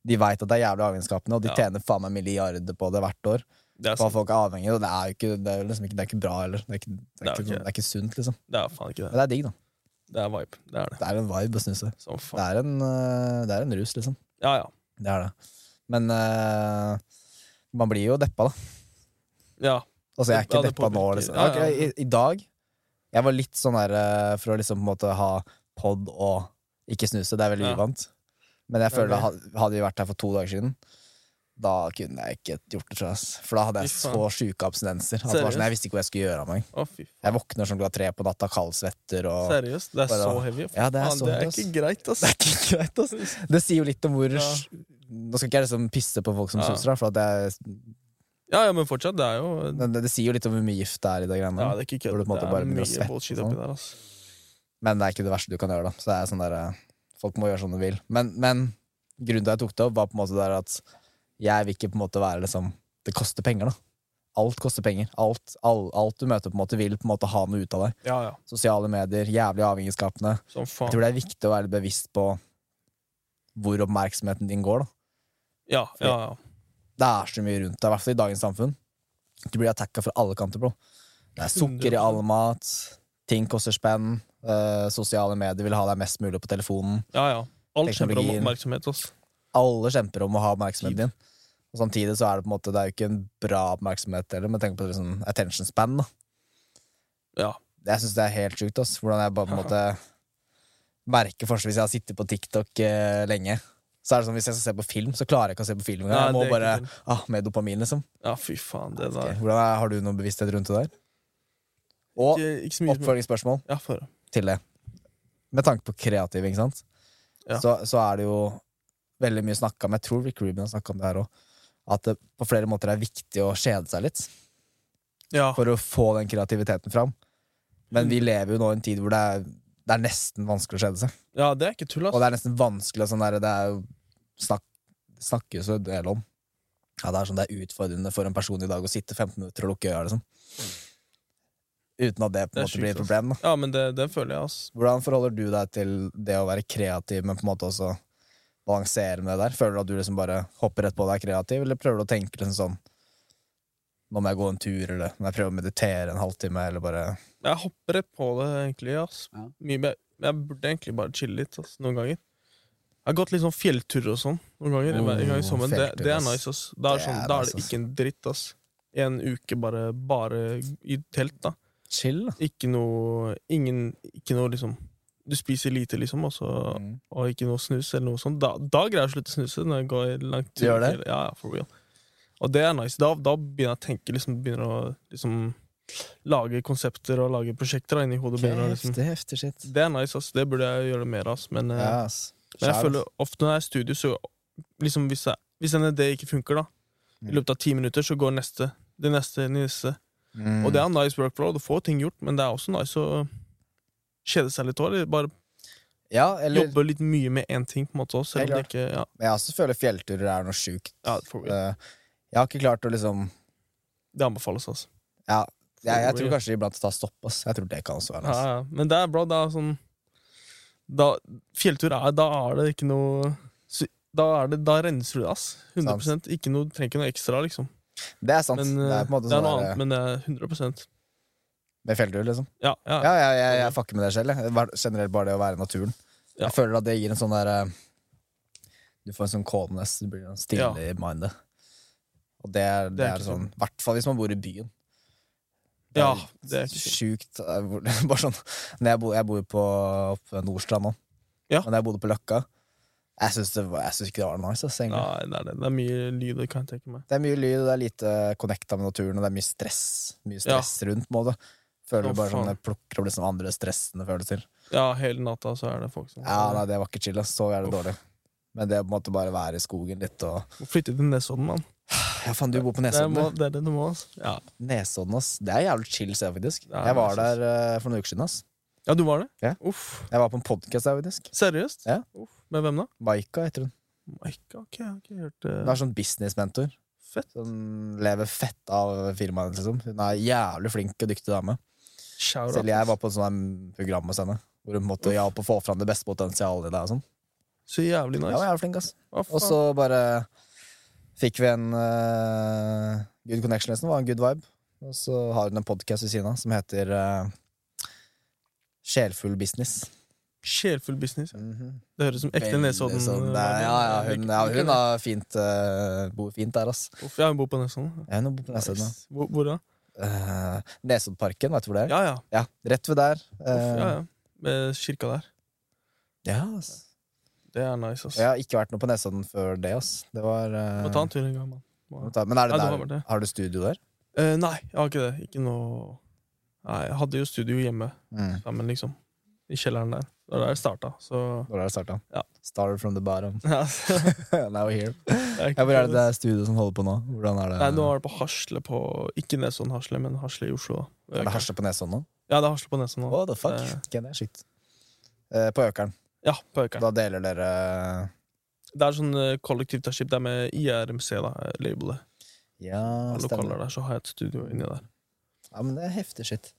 De veit at det er jævlig avhengighetsskapende, og de
Ja.
tjener faen meg milliarder på det hvert år.
[LAUGHS] Det er, sånn-
På at
sant.
folk er avhengige, og det er jo ikke, det er jo liksom ikke, det er ikke bra heller. Det er ikke, det er
Det er
ikke,
ikke-
det er ikke sunt, liksom.
det er faen ikke det.
Men det er digg, da.
Det er vibe. Det er det.
Det er en vibe å snuse.
Som
Det
faen.
er en, eh, det er en rus, liksom.
Ja, ja.
Det er det. Men eh, man blir jo deppa, da.
Ja,
Altså, jeg er
Ja,
ikke
det
deppa nå,
påvirker.
liksom.
Ja, ja, ja.
Ok, I, I dag Jeg var litt sånn der eh, for å liksom på en måte ha pod og ikke snuse. Det er veldig
Ja.
uvant. Men jeg
Det er
føler ha- hadde vi vært her for to dager siden, Da kunne jeg ikke gjort det, tror jeg. ass. For da hadde jeg
Fy
så
faen.
sjuke abstinenser. At det var
Seriøst?
sånn, jeg visste ikke hva jeg skulle gjøre av meg.
Å, fy faen.
Jeg våkner sånn klokka tre på natta, kaldsvetter og
Seriøst, det er
Bare-
så heavy.
Ja, det er
Faen,
så
det er
ass.
ikke greit, ass.
Det er ikke [LAUGHS] greit, ass. Det sier jo litt om hvor
Ja.
Nå skal ikke jeg liksom pisse på folk som
Ja.
soser, da, for at det,
Ja, ja, men fortsatt, det er jo
er- det, det sier jo litt om hvor mye gift det er i de greiene.
Ja, det er ikke kødd.
Hvor du på en måte
Det
bare
er
begynner å
mye
svette
bullshit
og
oppi
sånn.
der, ass.
Men det er ikke det verste du kan gjøre, da. Så det er sånn der, eh, folk må gjøre sånn de vil. Men, men grunnen til at jeg tok det opp, var på en måte der at jeg vil ikke på en måte være liksom Det koster penger, da. Alt koster penger. Alt, all, alt du møter, på en måte vil på en måte ha noe ut av deg.
Ja, ja.
Sosiale medier, jævlig avhengighetsskapende.
Som
Jeg
faen.
tror det er viktig å være bevisst på hvor oppmerksomheten din går. da
Ja, ja, ja.
Det er så mye rundt deg, i hvert fall i dagens samfunn. Du blir attacka fra alle kanter, bro. Det er sukker
100%.
i all mat, ting koster spenn, eh, sosiale medier vil ha deg mest mulig på telefonen.
ja, ja. Alt kjemper om
Teknologien.
oppmerksomhet, ass.
Alle kjemper om å ha oppmerksomheten
Tid.
din. Og samtidig så er det på en måte Det er jo ikke en bra oppmerksomhet heller, men tenk på det sånn attention span. da
Ja.
Jeg syns det er helt sjukt. ass Hvordan jeg bare på en måte [LAUGHS] merker forskjell hvis jeg har sittet på TikTok eh, lenge. Så er det sånn Hvis jeg skal se på film, så klarer jeg ikke å se på film
Nei,
engang. Jeg må
det er
bare
ikke sant.
ah, Med dopamin, liksom.
Ja, fy faen, det der.
Ok, Hvordan er, Har du noen bevissthet rundt det der? Og
Ikke, ikke så mye som-
oppfølgingsspørsmål
Ja, for
til det. Med tanke på kreativ, ikke sant?
Ja.
Så, så er det jo veldig mye snakka om, jeg tror Rick Rubin har snakka om det her òg, at det på flere måter er viktig å kjede seg litt
Ja,
for å få den kreativiteten fram. Men
Mm.
vi lever jo nå i en tid hvor det er, det er nesten vanskelig å kjede seg.
ja det er ikke tull,
Og
ass.
det er nesten vanskelig å sånn der, Det er jo snakk, snakkes jo en del om. Ja, det er sånn det er utfordrende for en person i dag å sitte 15 minutter og lukke øya, liksom. Uten at det på
Mm. Det er
en måte
sjukt,
blir et
ass.
problem. da
Ja, men det, det føler jeg, ass.
Hvordan forholder du deg til det å være kreativ, men på en måte også balansere med det der? Føler du at du liksom bare hopper rett på og er kreativ, eller prøver du å tenke liksom sånn Nå må jeg gå en tur, eller må jeg prøve å meditere en halvtime, eller bare
Jeg hopper rett på det, egentlig, ass.
Ja.
Mye mer. Jeg burde egentlig bare chille litt, ass, noen ganger. Jeg har gått litt sånn fjellturer og sånn noen ganger.
Oh,
en gang i sommeren. Det,
fjelltur,
det er
ass.
nice, ass. Da er,
Det
det sånn,
er
da er
nice,
det
ass.
ikke en dritt, ass. En uke bare, bare i telt, da.
Chill, da.
Ikke noe Ingen Ikke noe, liksom Du spiser lite, liksom, og så
Mm.
og ikke noe snus eller noe sånt. Da, da greier jeg å slutte å snuse når jeg går langt
Du gjør det?
Ja, ja, for real. Og det er nice. Da, da begynner jeg å tenke, liksom, begynner å liksom, lage konsepter og lage prosjekter da, inni hodet. Begynner, å liksom.
Heftig, heftig shit.
Det er nice, ass. Det burde jeg gjøre mer av. ass. Men, eh,
Ja, ass.
men jeg
Skjær,
føler ofte når jeg er i studio, så liksom, hvis, jeg, hvis en idé ikke funker, da, i løpet av ti minutter, så går neste. Det neste, neste.
Mm.
Og det er nice workflow. Du får ting gjort, men det er også nice å kjede seg litt òg. Eller bare
ja, eller
jobbe litt mye med én ting, på en måte. Også, selv om det
Helt
ikke ja,
Men jeg også føler fjellturer er noe sjukt.
ja, for real.
Eh, Jeg har ikke klart å liksom
Det anbefales, altså.
Ja, jeg, jeg
For
tror
real.
kanskje iblant ta stopp. Ass. Jeg tror det kan også være
Ja,
ass.
ja. Men det er bra. Det er sånn da, Fjelltur er Da er det ikke noe sy- Da, er det, da renser du det, ass. 100 ikke noe, Trenger ikke noe ekstra, liksom.
Det er sant.
Men, eh,
det er på en måte
det er
sånn
noe
der,
annet, men det er 100
med fjelltur, liksom.
Ja, ja.
Ja, jeg, jeg, jeg fucker med det selv. Jeg. Bare- Generelt bare det å være i naturen.
Ja.
Jeg føler at det gir en sånn der eh, Du får en sånn calmness. Du blir sånn
Ja.
stille i mindet. Og det er, det er
ikke
sånn I hvert fall hvis man bor i byen. Det
ja
er
det er ikke sykt.
sjukt eh, hvor- [LAUGHS] Bare sånn når jeg, bor, jeg bor jo på, på Nordstrand nå,
Ja.
men da jeg bodde på Løkka Jeg syns det var- jeg syns ikke det var nice. ass, egentlig.
Nei, det er det. Det er mye lyd, det kan jeg tenke meg.
Det er mye lyd, og det er lite connecta med naturen, og det er mye stress Mye stress rundt. på en måte Føler
Å,
du bare sånn
faen.
jeg plukker opp liksom andre stressende følelser.
Ja, hele natta så er det folk som
Ja, nei, det var ikke chill. ass. Så er det
Uff.
dårlig. Men det å på en måtte bare være i skogen litt og
Må flytte til Nesodden, mann.
Ja, faen, du bor på
Det,
Nesodden.
må,
du.
det er det du må, ass. Ja.
Nesodden, ass. Det er jævlig chill sted, faktisk.
Ja,
jeg var
jeg synes-
der eh, for noen uker siden, ass.
ja, du var det?
Ja.
Uff.
Jeg var på en podkast der, faktisk.
Seriøst?
Ja.
Uff. Med hvem da?
Maika heter hun.
Mike, ok, jeg har ikke hørt
Hun
det.
er sånn businessmentor.
Fett.
Hun lever fett av firmaet, hennes, liksom. Hun er jævlig flink og dyktig dame.
Shout out,
Selv jeg
ass.
var på et sånt der program hos henne, hvor hun på en måte hjalp å få fram det beste potensialet i deg og sånn.
Så jævlig
Ja, hun
nice.
er jævlig flink, ass.
Hva faen?
Og så bare fikk vi en eh, good connection, liksom. Det var en good vibe. Og så har hun en podkast ved siden av som heter eh, Sjelfull business.
Sjelfull business.
Mhm.
Det høres ut som ekte
Veldig
Nesodden.
sånn,
eh,
det er- ja, ja, hun, ja,
Liker- liker
hun
det.
har fint, eh, bor fint der, ass.
Uff, ja, hun bor på Nesodden.
Ja, hun bor på Nesodden. da.
Nice. Hvor, hvor da?
Eh, Nesoddparken, vet du hvor det er? Ja,
Ja, ja.
rett ved der.
Uff, ja,
Eh,
ja. Med kirka der.
ja, ass.
Det er nice, ass.
Jeg har ikke vært noe på Nesodden før det, ass. Det var eh,
Må ta en tur en gang, mann. Må-
må ta- Men er det
Ja,
der,
det var det.
har du studio der?
Eh, nei, jeg har ikke det. Ikke noe Nei, jeg hadde jo studio hjemme,
Mm.
sammen, liksom. I kjelleren der. Det var der jeg starta, så [LAUGHS]
Det var der det starta?
Ja.
Started from the bottom.
ja, det
[LAUGHS] Now we're here.
er ikke-
Ja, hvor er det det er studio som holder på nå? Hvordan er det?
Nei, nå er det på Hasle på Ikke Nesodden-Hasle, men Hasle i Oslo. da.
er det Hasle på Nesodden nå?
Ja, det er Hasle på Nesodden nå.
What the fuck?
Eh.
Ok, det er sykt. Eh, på Økeren.
Ja, på Økeren.
Da deler dere eh,
Det er sånn eh, kollektivt der, skip, Det er med IRMC, da, eh, labelet.
Ja,
Lokaler
stemmer.
der, så har jeg et studio inni der.
Ja, men det er heftig shit.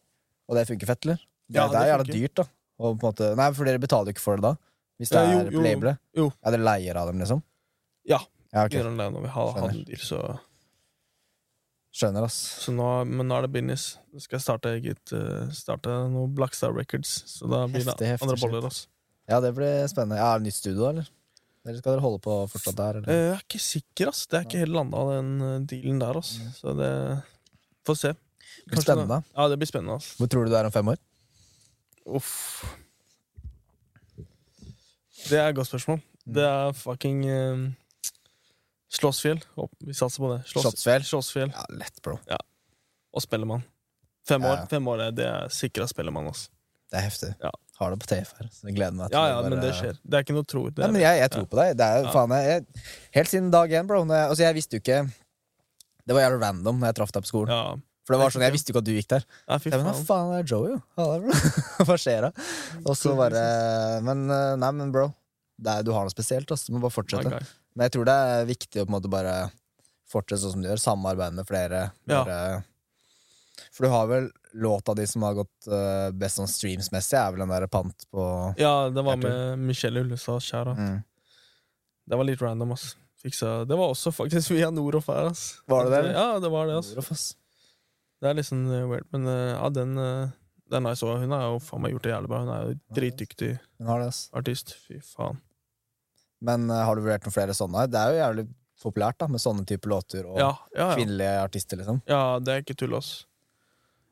Og det funker fett, eller? Det,
Ja,
det er
det
jævla
funker.
dyrt, da. Og på en måte, nei, for dere betaler jo ikke for det da? Hvis det
Eh, jo,
er
jo,
på labelet?
jo.
Ja, dere leier av dem, liksom?
Ja.
Ja, ok.
Gjør en det når vi har
Skjønner.
handel, så,
Skjønner, ass.
så nå, Men nå er det business. Nå skal jeg starte eget eh, Starte noe Blackstar Records. Så da blir
Heftig, heftig
det andre
shit.
boller, altså.
Ja, det blir spennende. Ja, er det nytt studio, da, eller? Eller skal dere holde på fortsatt der?
Eh,
Eller?
Jeg er ikke sikker, ass. Det er ikke helt landa, den eh, dealen der, ass.
Mm.
Så det Får se.
Det blir spennende.
Det, ja, det blir spennende, ass.
Hvor tror du det er om fem år?
Uff. Det er et godt spørsmål.
Mm.
Det er fucking eh, Slåssfjell. Opp, Vi satser på det. Slåss-
Slottsfjell?
Slåssfjell
Ja, lett, bro.
og Spellemann. Fem
Ja,
år,
ja.
fem år er det er sikra Spellemann. ass.
Det er heftig.
Ja.
Har det på TF her, så jeg gleder meg til
Ja,
å
ja, men
bare-
det skjer. Det er ikke noe tro. Det
Ja,
er,
men jeg, jeg tror på deg. Det er, jo
Ja.
faen, jeg, jeg, helt siden dag én, bro. Når jeg, altså, jeg visste jo ikke Det var jævlig random når jeg traff deg på skolen.
ja.
For det var sånn, Jeg visste jo ikke at du gikk der.
Nei, fy
Jeg, men,
faen.
hva faen det er Joey, jo? Halla, bro. [LAUGHS] Hva skjer da? Og så bare Men eh, nei, men bro. Det er, du har noe spesielt. ass. Du må bare
Nei,
fortsette.
guy.
Men jeg tror det er viktig å på en måte bare fortsette sånn som du gjør. Samarbeide med flere.
Ja.
Bare- For du har vel låta di som har gått eh, best sånn streams-messig, er vel den der pant på
Ja, det var med Michelle Ullestad Skjæra.
mm.
Det var litt random, ass. Fiksa. Det var også faktisk [LAUGHS] via Noroff her, ass.
Var det det, eller?
Ja, det var det, ass.
Noroff, ass.
Det er litt sånn eh, weird, men eh, ja, den, eh, den jeg så, hun har jo faen meg gjort det jævlig bra. Hun er jo dritdyktig
Hun har det, ass.
artist. Fy faen.
Men eh, har du vurdert noen flere sånne? Det er jo jævlig populært da, med sånne type låter og
Ja, ja, ja.
kvinnelige artister, liksom.
ja det er ikke tull, ass.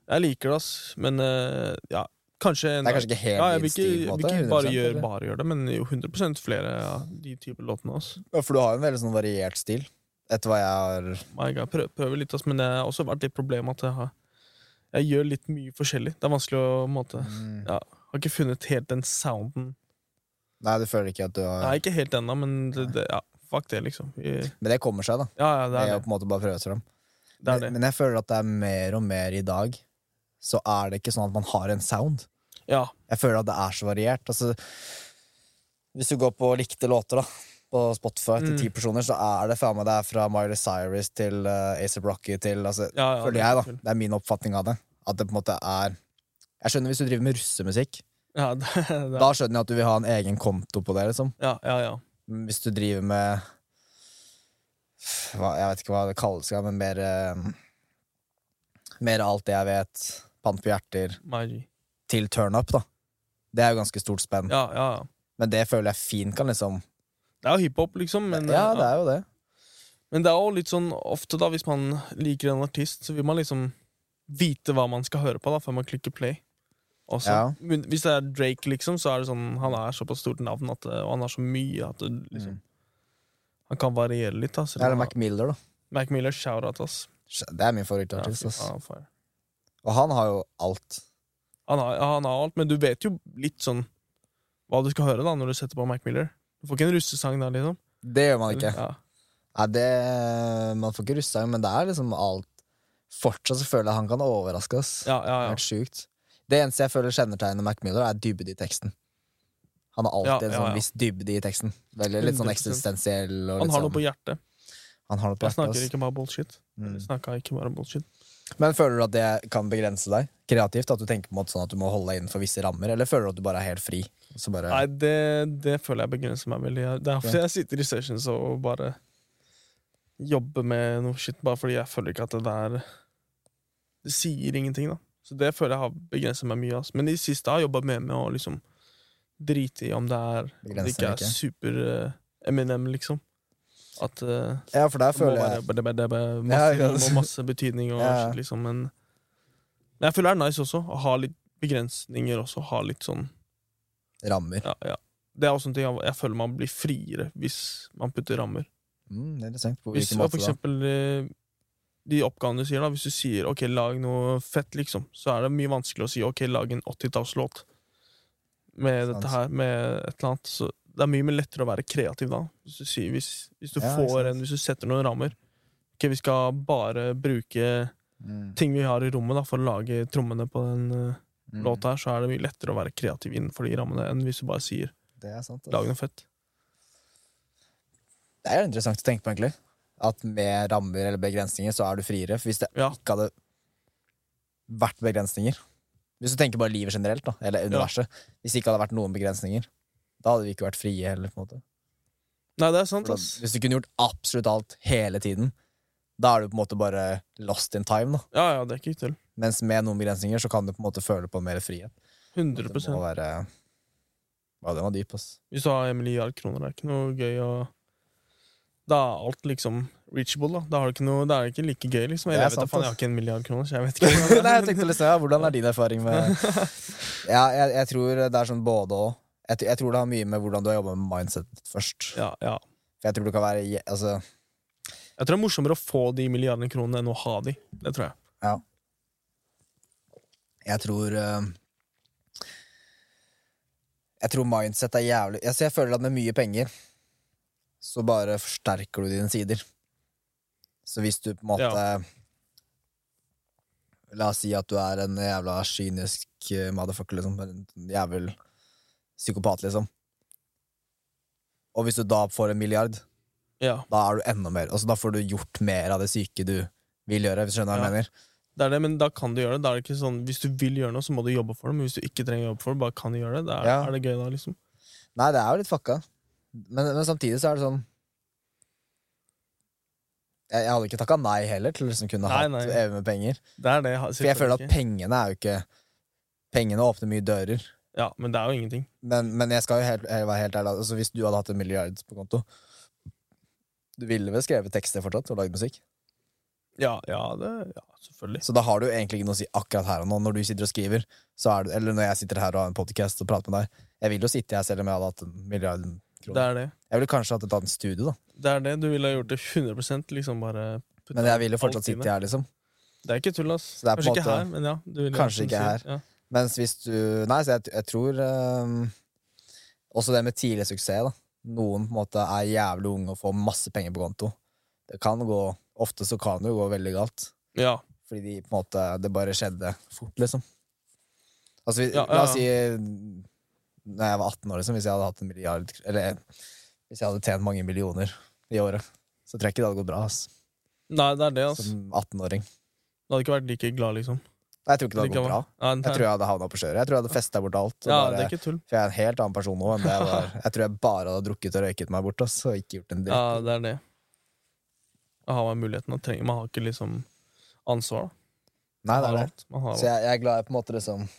Jeg liker det, ass, men eh, ja, kanskje en
Det er kanskje ikke helt
ja, jeg
din
vil ikke,
stil, på en måte?
vil ikke bare
100%,
gjøre
eller?
bare gjør det, men jo 100 flere av de typer låtene. altså. ass.
Ja, For du har jo en veldig sånn variert stil, etter hva jeg har
My God, prø- prøver litt, ass, men det har også vært litt problem at jeg har Jeg gjør litt mye forskjellig. Det er vanskelig å på en måte,
Mm.
Har ikke funnet helt den sounden.
Nei, du føler ikke at du har
Nei, ikke helt ennå, men det, det, ja, fuck det, liksom. Vi,
Men det kommer seg, da.
ja, ja, det
Jeg
er
har
det.
på en måte bare prøvd frem.
det, er det.
Men, men jeg føler at det er mer og mer i dag, så er det ikke sånn at man har en sound.
Ja,
Jeg føler at det er så variert. Altså, hvis du går på likte låter, da, på Spotify til
Mm.
ti personer, så er det faen meg det er fra Miley Cyrus til uh, A$AP Rocky til altså,
ja, ja
Føler jeg, da. Det er min oppfatning av det. At det på en måte er Jeg skjønner hvis du driver med russemusikk.
Ja, [LAUGHS] det, det,
Da skjønner jeg at du vil ha en egen konto på det, liksom.
ja, ja, ja.
Men Hvis du driver med hva, Jeg vet ikke hva det kalles, ja, men mer eh, Mer alt det jeg vet. Pant på hjerter.
My G.
Til turnup, da. Det er jo ganske stort spenn.
Ja, ja, ja.
Men det føler jeg fint kan liksom
Det er jo hiphop, liksom, men
Ja,
ja.
det er jo det.
men det er jo litt sånn ofte, da, hvis man liker en artist, så vil man liksom vite hva man skal høre på, da, før man klikker play. Også.
Ja.
Men Hvis det er Drake, liksom, så er det sånn Han er såpass stort navn, at, det- og han har så mye at det, liksom,
Mm.
han kan variere litt. Da, selv
Det er
om
Mac
han-
Miller, da.
Mac Miller, shout-out, ass.
Det er min
Ja,
favorittartist.
fy
ass.
faen, fire.
Og han har jo alt.
Han har, ja, han har alt, men du vet jo litt sånn hva du skal høre da når du setter på Mac Miller. Du får ikke en russesang der, liksom.
Det gjør man ikke.
Ja.
Nei, det Man får ikke russa inn, men det er liksom alt Fortsatt så føler jeg han kan overraske oss.
Ja, ja,
Det er
ja.
Helt sjukt. Det eneste jeg føler kjennetegner Mac Miller, er dybde i teksten. Han har
Ja,
alltid en
ja,
sånn
ja.
viss dybde i teksten. Veldig litt sånn
100%.
eksistensiell. Og
Han
litt
har noe
sånn,
på hjertet.
han har noe på
Han
hjertet.
snakker
ass.
ikke bare bullshit.
Mm.
Snakka ikke bare bullshit.
Men føler du at det kan begrense deg kreativt? At du tenker på en måte sånn at du må holde deg innenfor visse rammer? Eller føler du at du bare er helt fri? og Så bare,
Nei, det, det føler jeg begrenser meg veldig. Jeg- Det er derfor jeg sitter i sessions og bare jobber med noe shit, bare fordi jeg føler ikke at det der Det sier ingenting, da. Så det føler jeg har begrenset meg mye. Ass. Men i det siste har jeg jobba mer med å liksom drite i om det er Om det
Begrenser
ikke er
ikke.
super eh, Eminem, liksom. At eh,
ja, for der
det må
føler
være
jeg
bare, bare, bare,
Ja,
masse,
ikke
rom og
sant?
masse betydning og
Ja.
shit, liksom. Men, men jeg føler det er nice også å ha litt begrensninger også. Ha litt sånn
rammer.
ja, ja. Det er også en ting jeg, jeg føler man blir friere hvis man putter rammer.
Mm, det er interessant. På
Hvis
hvilken
for
måte da?
eksempel eh, de oppgavene du sier, da, hvis du sier ok, lag noe fett, liksom, så er det mye vanskelig å si ok, lag en 80-tallslåt med
Sant.
dette her, med et eller annet. Så det er mye mer lettere å være kreativ da, hvis du, sier, hvis, hvis du
Ja, ikke sant.
får en, hvis du setter noen rammer. Ok, vi skal bare bruke
Mm,
ting vi har i rommet da, for å lage trommene på den eh,
mm.
låta her, så er det mye lettere å være kreativ innenfor de rammene enn hvis du bare sier
Det er sant. ass.
lag noe fett.
Det er jo interessant å tenke på, egentlig. At med rammer eller begrensninger så er du friere. For hvis det
Ja.
ikke hadde vært begrensninger Hvis du tenker bare livet generelt, da, eller universet. Hvis det ikke hadde vært noen begrensninger, da hadde vi ikke vært frie heller. på en måte.
Nei, det er sant,
For da,
ass.
hvis du kunne gjort absolutt alt hele tiden, da er du på en måte bare lost in time. da.
Ja, ja, det er ikke til.
Mens med noen begrensninger så kan du på en måte føle på mer frihet. Det
100
må være... Ja, den var dyp, ass.
Hvis du har en milliard kroner, det er ikke noe gøy å Da er alt liksom reachable, da. Da har du ikke noe, da er det ikke like gøy, liksom.
Det
Jeg,
er
vet da
sant,
faen, jeg
ass.
har ikke en milliard kroner, så jeg vet ikke. hvordan det
[LAUGHS] Nei,
er.
jeg tenkte liksom, ja, Hvordan er din erfaring med Ja, jeg, jeg tror det er sånn både og. Jeg, t- jeg tror det har mye med hvordan du har jobba med mindsetet ditt først.
ja, ja.
For jeg tror du kan være je- altså,
Jeg tror det er morsommere å få de milliardene kronene enn å ha de. Det tror jeg.
Jeg tror eh, Jeg tror mindset er jævlig altså, Jeg føler at med mye penger så bare forsterker du dine sider. Så hvis du på en måte La oss si at du er en jævla kynisk eh, motherfucker, liksom. En jævel psykopat, liksom. Og hvis du da får en milliard,
Ja.
da er du enda mer altså, Da får du gjort mer av det syke du vil gjøre, hvis du skjønner hva
Ja.
jeg mener.
Det er det, men da kan du gjøre det. Da er det ikke sånn, Hvis du vil gjøre noe, så må du jobbe for det, men hvis du ikke trenger å jobbe for det, bare kan du gjøre det. Da er,
Ja.
er det gøy, da, liksom.
Nei, det er jo litt fucka. Men, men samtidig så er det sånn Jeg, jeg hadde ikke takka nei heller til å liksom kunne
Nei,
hatt
nei.
evig med penger.
Det er det. ha-
For jeg føler at
selvfølgelig.
pengene er jo ikke Pengene åpner mye dører.
Ja, men det er jo ingenting.
Men, men jeg skal jo helt, jeg være helt ærlig altså, Hvis du hadde hatt en milliard på konto Du ville vel skrevet tekster fortsatt og lagd musikk?
Ja, ja, det, ja selvfølgelig.
Så da har du jo egentlig ikke noe å si akkurat her og nå. Når du sitter og skriver, så er du, eller når jeg sitter her og har en podcast og prater med deg Jeg vil jo sitte her selv om jeg hadde hatt en milliard
Det
kroner.
er det.
Jeg ville kanskje hatt et annet studio, da.
Det er det. Du ville ha gjort det 100 liksom bare putte
Men jeg vil jo
alt
fortsatt
i det.
sitte her, liksom.
Det er ikke tull, ass.
Så det er på
Kanskje
en
ikke
måte-
her, men ja. Du liksom vil,
Kanskje ikke her.
Ja.
Mens hvis du Nei, så jeg, jeg tror eh, Også det med tidlig suksess, da. Noen på en måte er jævlig unge og får masse penger på konto. Det kan gå Ofte så kan det jo gå veldig galt.
ja.
Fordi de på en måte Det bare skjedde fort, liksom. Altså, vi,
Ja, ja,
la oss si Når jeg var 18 år, liksom, hvis jeg hadde hatt en milliard Eller hvis jeg hadde tjent mange millioner i året, så tror jeg ikke det hadde gått bra, ass.
Nei, det er det, ass.
Som 18-åring.
Du hadde ikke vært like glad, liksom.
Nei, Jeg tror ikke det hadde
Likevel.
gått bra.
Ja, den
Jeg
her-
tror jeg hadde havna på skjøret. Jeg tror jeg hadde festa bort alt. og
ja,
bare-
det er ikke tull.
For jeg er en helt annen person nå enn det
[LAUGHS]
jeg var. Jeg tror jeg bare hadde drukket og røyket meg bort. Ass, og ikke gjort en dritt.
Ja, det er det. Da har man muligheten. og trenger- Man har ikke liksom ansvar. da.
Nei,
Man
det
har
er det.
alt. Man har
Så
alt.
jeg, jeg er glad jeg på en måte liksom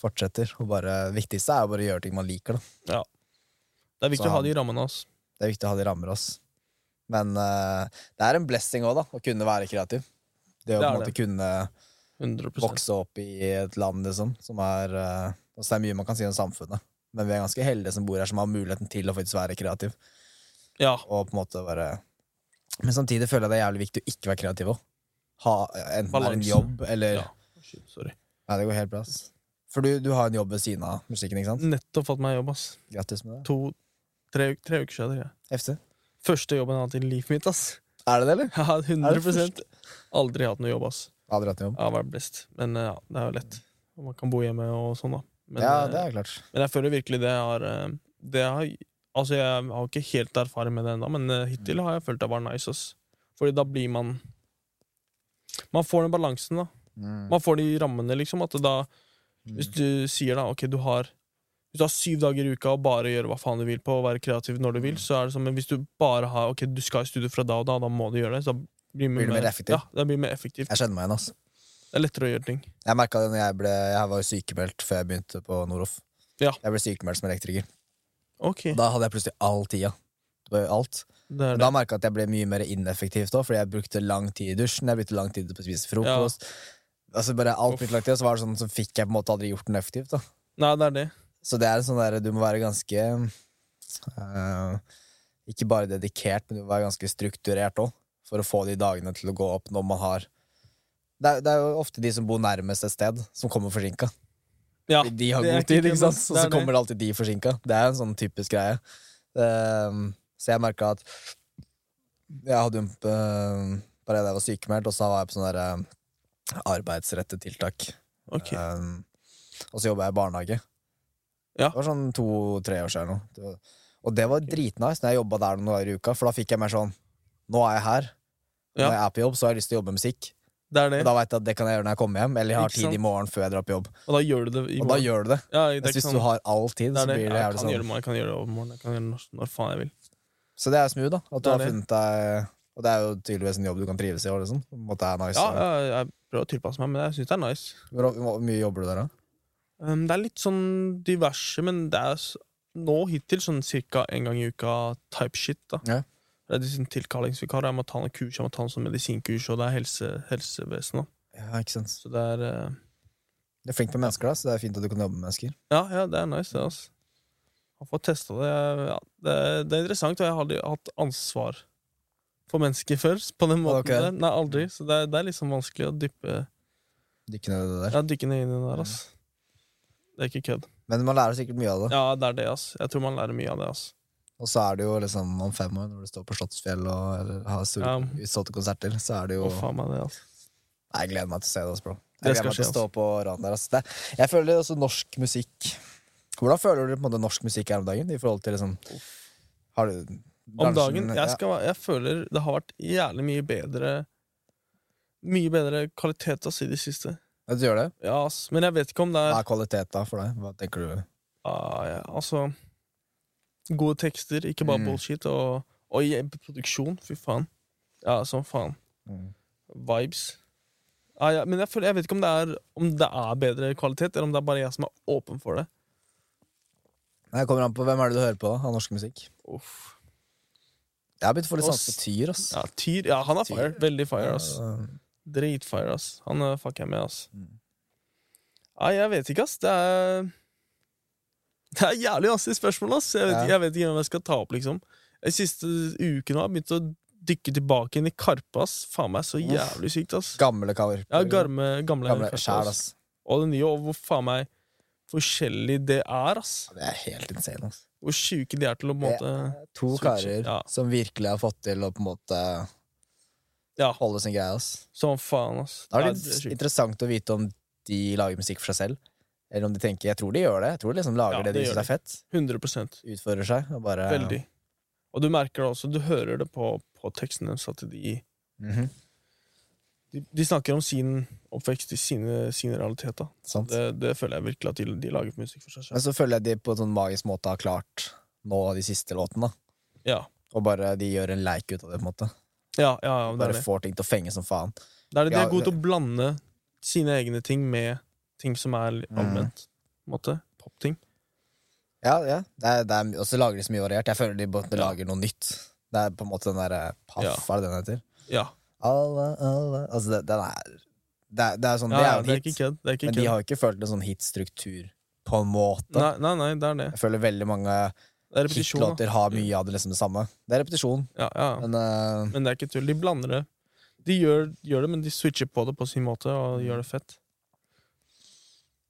fortsetter. Og bare, det viktigste er jo bare å gjøre ting man liker. Da.
Det er viktig
så
å ha
han-
de rammene, ass.
Det er viktig å ha de rammer. Ass. Men eh, det er en blessing òg, da, å kunne være kreativ. Det
Det
å på
er
en måte kunne
100
vokse opp i et land liksom, som er eh, altså, Det er mye man kan si om samfunnet, men vi er ganske heldige som bor her, som har muligheten til å faktisk være kreativ.
Ja,
Og på en måte bare Men samtidig føler jeg det er jævlig viktig å ikke være kreativ òg. Enten det er en
Balansen.
jobb eller
Ja. Oh, shit, sorry.
Nei, det går helt bra. ass. For du, du har en jobb ved siden av musikken, ikke sant?
Nettopp fått meg jobb, ass.
Grattis med det.
To, tre, tre uker siden. tror jeg.
Heftig.
Første jobben jeg har hatt i livet mitt, ass. [LAUGHS]
Er det det, eller?
Ja, 100
første?
Aldri hatt noe jobb, ass.
Aldri hatt en jobb.
Ja, være best. Men eh, ja, det er jo lett. Og man kan bo hjemme og sånn, da. Men,
ja,
eh,
det er klart.
men jeg føler virkelig det har, eh, det har Altså, jeg har ikke helt erfaring med det ennå, men eh, hittil har jeg følt det var nice, ass. Fordi da blir man Man får den balansen, da.
Mm.
Man får de rammene, liksom. At da, hvis du sier da, ok, du har hvis du har syv dager i uka og bare gjør hva faen du vil på og være kreativ når du vil, så er det sånn, men hvis du bare har ok, du skal i studio fra da og da, da må du gjøre det, så blir det
Blir det mer effektiv?
Ja, det blir mer effektivt.
Jeg kjenner meg igjen, ass.
Det er lettere å gjøre ting.
Jeg merka det når jeg ble Jeg var jo sykemeldt før jeg begynte på Noroff.
Ja.
Jeg ble sykemeldt som elektriker.
Ok,
Da hadde jeg plutselig all tida. Det var jo Alt.
det er
Men
det.
da merka jeg at jeg ble mye mer ineffektivt òg, fordi jeg brukte lang tid i dusjen, jeg brukte lang tid på å spise frokost. Altså bare alt
Uff.
brukte lang tid, og så var det sånn, så fikk jeg på en måte aldri gjort den effektivt. da
Nei, det er det.
Så det er en sånn derre Du må være ganske eh, Ikke bare dedikert, men du må være ganske strukturert òg, for å få de dagene til å gå opp når man har det er, det er jo ofte de som bor nærmest et sted, som kommer forsinka.
Ja,
De har
det er
god tid,
ikke
ikke
kødd,
sant? Og
det
så
er det.
kommer alltid de forsinka. Det er en sånn typisk greie. Ehm, så jeg merka at jeg hadde jo en eh, periode jeg var sykemeldt, og så var jeg på sånn der, eh, arbeidsrettet tiltak.
ok.
Um, og så jobba jeg i barnehage.
Ja.
Det var sånn to-tre år siden. nå. Det var- Og det var dritnice når jeg jobba der noen dager i uka, for da fikk jeg mer sånn Nå er jeg her.
Ja.
Når jeg er på jobb, så har jeg lyst til å jobbe med musikk.
Det er det.
Og da veit jeg at det kan jeg gjøre når jeg kommer hjem, eller jeg har
Ikke
tid i
sant?
morgen før jeg drar på jobb.
Og da gjør du det i
Og da gjør du det.
Ja, det er
Mens
ikke
hvis
sånn-
du har all
det
tid, så
er det.
blir det
Jeg
jævlig
kan gjøre
sånn.
det, jeg kan gjøre det overmorgen, jeg kan gjøre det når, når faen jeg vil.
Så det er smooth, da. At
Det er
du har
det.
funnet deg Og det er jo tydeligvis en jobb du kan trives i. og Liksom. På en måte er nice.
Ja, jeg, jeg prøver å tilpasse meg, men jeg syns det er nice.
Hvor hvor mye jobber du der, da?
Um, det er litt sånn diverse, men det er s- nå hittil sånn cirka en gang i uka type shit. da.
Ja.
Det er de sånn tilkallingsvikarer. Jeg må ta noen kurs, jeg må ta noen sånn medisinkurs, og det er helse, helsevesen. da.
Ja, ikke sant.
Så det er eh,
Du er flink med mennesker, da, så det er fint at du kan jobbe med mennesker.
Ja, ja, det er nice, det, altså. Å få testa det, ja, det Det er interessant, og jeg har aldri hatt ansvar for mennesker før. På den måten
Ok.
der. Nei, aldri. Så det er, det er liksom vanskelig å dyppe
Dykke ned i det der.
Ja, dykke ned inn i det der, ass. Det er ikke kødd.
Men man lærer sikkert mye av det.
Ja, det er det, ass. Jeg tror man lærer mye av det, ass.
Og så er det jo liksom om fem år, når du står på Slottsfjell og eller, har store,
Ja.
utsolgte konserter, så er det jo
Å, faen meg det, ass.
Nei, Jeg gleder meg til å se det, ass, bro.
Det
Jeg gleder
skal
meg til
skje, altså.
å stå på raden der. Ass. Det, jeg føler også norsk musikk Hvordan føler du på en måte norsk musikk her om dagen? I forhold til liksom Har du
Om dagen. Jeg,
ja,
skal, være- jeg føler det har vært jævlig mye bedre Mye bedre kvalitet ass, i det siste.
Du gjør det?
Ja, ass. Men jeg vet ikke om det
Hva
er
er kvalitet da for deg? Hva tenker du?
ah, ja, Altså Gode tekster, ikke bare
Mm.
bullshit. Og, og i- produksjon. Fy faen. Ja, som faen.
Mm.
Vibes. Ah, ja, men jeg, føler, jeg vet ikke om det, er, om det er bedre kvalitet, eller om det er bare jeg som er åpen for det.
Nei, jeg kommer an på Hvem er det du hører på da, av norsk musikk?
Uff.
Jeg har begynt å få litt
Oss.
sans for Tyr, ass. Eh,
Ja, Tyr. Ja, han er
Tyr.
fire. Veldig fire, ass.
Ja,
Dritfire, ass. Han eh, fucker jeg med, ass.
Mm.
Nei, jeg vet ikke, ass. Det er [LAUGHS] Det er jævlig vanskelige spørsmål, ass. Jeg vet,
Ja.
ikke- jeg vet ikke hvem jeg skal ta opp, liksom. De siste ukene har jeg begynt å dykke tilbake inn i Karpe, ass. Faen meg, så
Uff.
jævlig sykt, ass.
Gamle kaver.
Ja, garme, gamle,
Gamle
Karpe, ass.
sjæl, ass.
Og det nye, og hvor faen meg forskjellig det er, ass.
Ja, Det er helt insane, ass.
Hvor sjuke de er til å på en
Det
måte
er To
switche,
karer
ja.
som virkelig har fått til å på en måte
Ja.
holde sin greie. Ass.
Sånn faen, ass.
Da er
Nei,
det
det er sjukt.
interessant å vite om de lager musikk for seg selv. Eller om de tenker Jeg tror de gjør det. Jeg tror de liksom lager
Ja,
det de
det gjør
syns er fett.
100
Utfører seg. Og bare
Veldig. Og du merker det også, du hører det på, på teksten deres at de,
Mhm,
de, de snakker om sin oppvekst i sine, sin realitet. da.
sant.
Det, det føler jeg virkelig at de, de lager musikk for seg
Men
selv.
så føler jeg de på en sånn magisk måte har klart nå de siste låtene. da.
Ja,
Og bare de gjør en leik ut av det. på en måte
ja, ja, ja det,
Bare
er det.
får ting til å fenge som faen.
det er det. De
Ja,
er gode til å blande sine egne ting med ting som er litt
Mm.
allment. på en måte. Popting.
Ja, ja. Det er, det er, og så lager de så mye variert. Jeg føler de både
Ja.
lager noe nytt. Det er på en måte den derre Paff,
Ja.
hva er det den heter?
Ja.
Alla, alla. Altså, det, den er det, er- det er sånn,
ja,
det
ja
er
det
jo
er
en
ikke
hit,
kødd. Det er ikke
men de
kødd.
har jo ikke følt en sånn hitstruktur på en måte.
Nei, nei, nei, det er det.
Jeg føler veldig mange
Det er repetisjon. da.
hitlåter har mye av det liksom det samme. Det er repetisjon,
Ja, ja.
men eh,
Men det er ikke tull. De blander det. De gjør, gjør det, men de switcher på det på sin måte, og gjør det fett.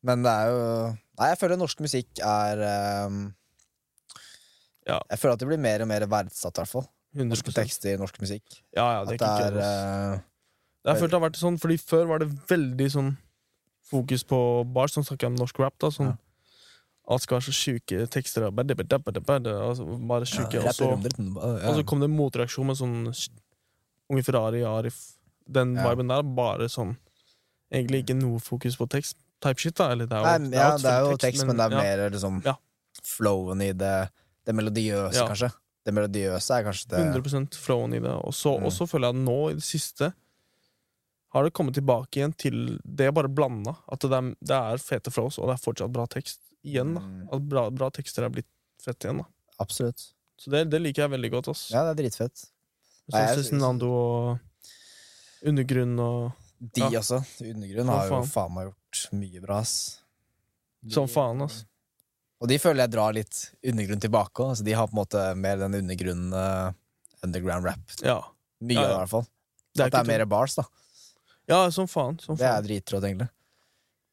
Men det er jo Nei, jeg føler norsk musikk er eh,
Ja.
Jeg føler at det blir mer og mer verdsatt, i hvert fall.
100
Norske tekster, norsk musikk.
Ja, ja, det er
At
ikke
det
kødd. ass.
er eh,
Jeg har følt det har vært sånn, fordi Før var det veldig sånn fokus på bars, sånn snakker jeg om norsk rap. da sånn, Alt skal være så sjuke tekster, og bare, bare, bare, bare, og så bare sjuke.
ja,
og, så,
rapper om det, liksom. ja.
og så kom det en motreaksjon med sånn s- Unge Ferrari, Arif, den
Ja.
viben der. Bare sånn Egentlig ikke noe fokus på tekst. Type shit, da. Eller det er jo,
Nei,
det er
ja,
jo et
det er jo
full
tekst, men det er
ja,
mer liksom
Ja.
flowen i det Det melodiøse,
Ja.
kanskje. Det melodiøse er kanskje det
100 flowen i det. Og så
Mm.
og så føler jeg at nå, i det siste, har det kommet tilbake igjen til det er bare blanda. At det er, det er fete flows, og det er fortsatt bra tekst igjen. da
Mm,
At bra, bra tekster er blitt fett igjen. da
Absolutt.
Så det, det liker jeg veldig godt. ass
Ja, det er dritfett.
Sånn
jeg-
Cezinando og Undergrunn og
De
Ja.
også. Undergrunn
Som
har jo
faen.
faen meg gjort mye bra, ass.
Som faen, ass.
Og de føler jeg drar litt undergrunn tilbake òg. Altså, de har på en måte mer den undergrunnen eh, underground rap.
Ja.
Mye
Ja, ja.
av det, i hvert fall.
Det
At
ikke
det er mer bars, da.
tull. Ja, som faen. Som
Det er
faen.
dritrått, egentlig.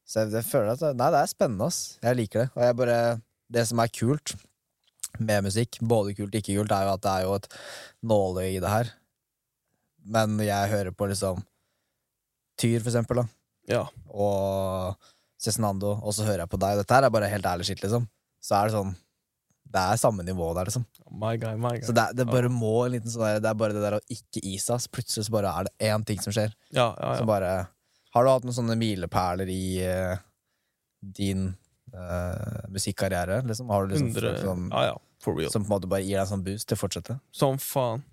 Så jeg, jeg føler at det- Nei, det er spennende, ass. Jeg liker det. Og jeg bare Det som er kult med musikk, både kult og ikke kult, er jo at det er jo et nåløye i det her. Men jeg hører på liksom Tyr, for eksempel, da.
Ja.
Og Cezinando. Og så hører jeg på deg. Dette her er bare helt ærlig skitt, liksom. Så er det sånn Det er samme nivå der, liksom.
My guy, my guy.
Så det, er- det bare må en liten sånn der, Det er bare det der å ikke gi seg. ass. Plutselig så bare er det én ting som skjer.
Ja, Ah, ja,
Så
ja.
bare Har du hatt noen sånne milepæler i eh, din eh, musikkarriere? Liksom? Har du liksom
Hundre-
folk som,
ja, ja. For real.
som på en måte bare gir deg en sånn boost til å fortsette?
Som faen.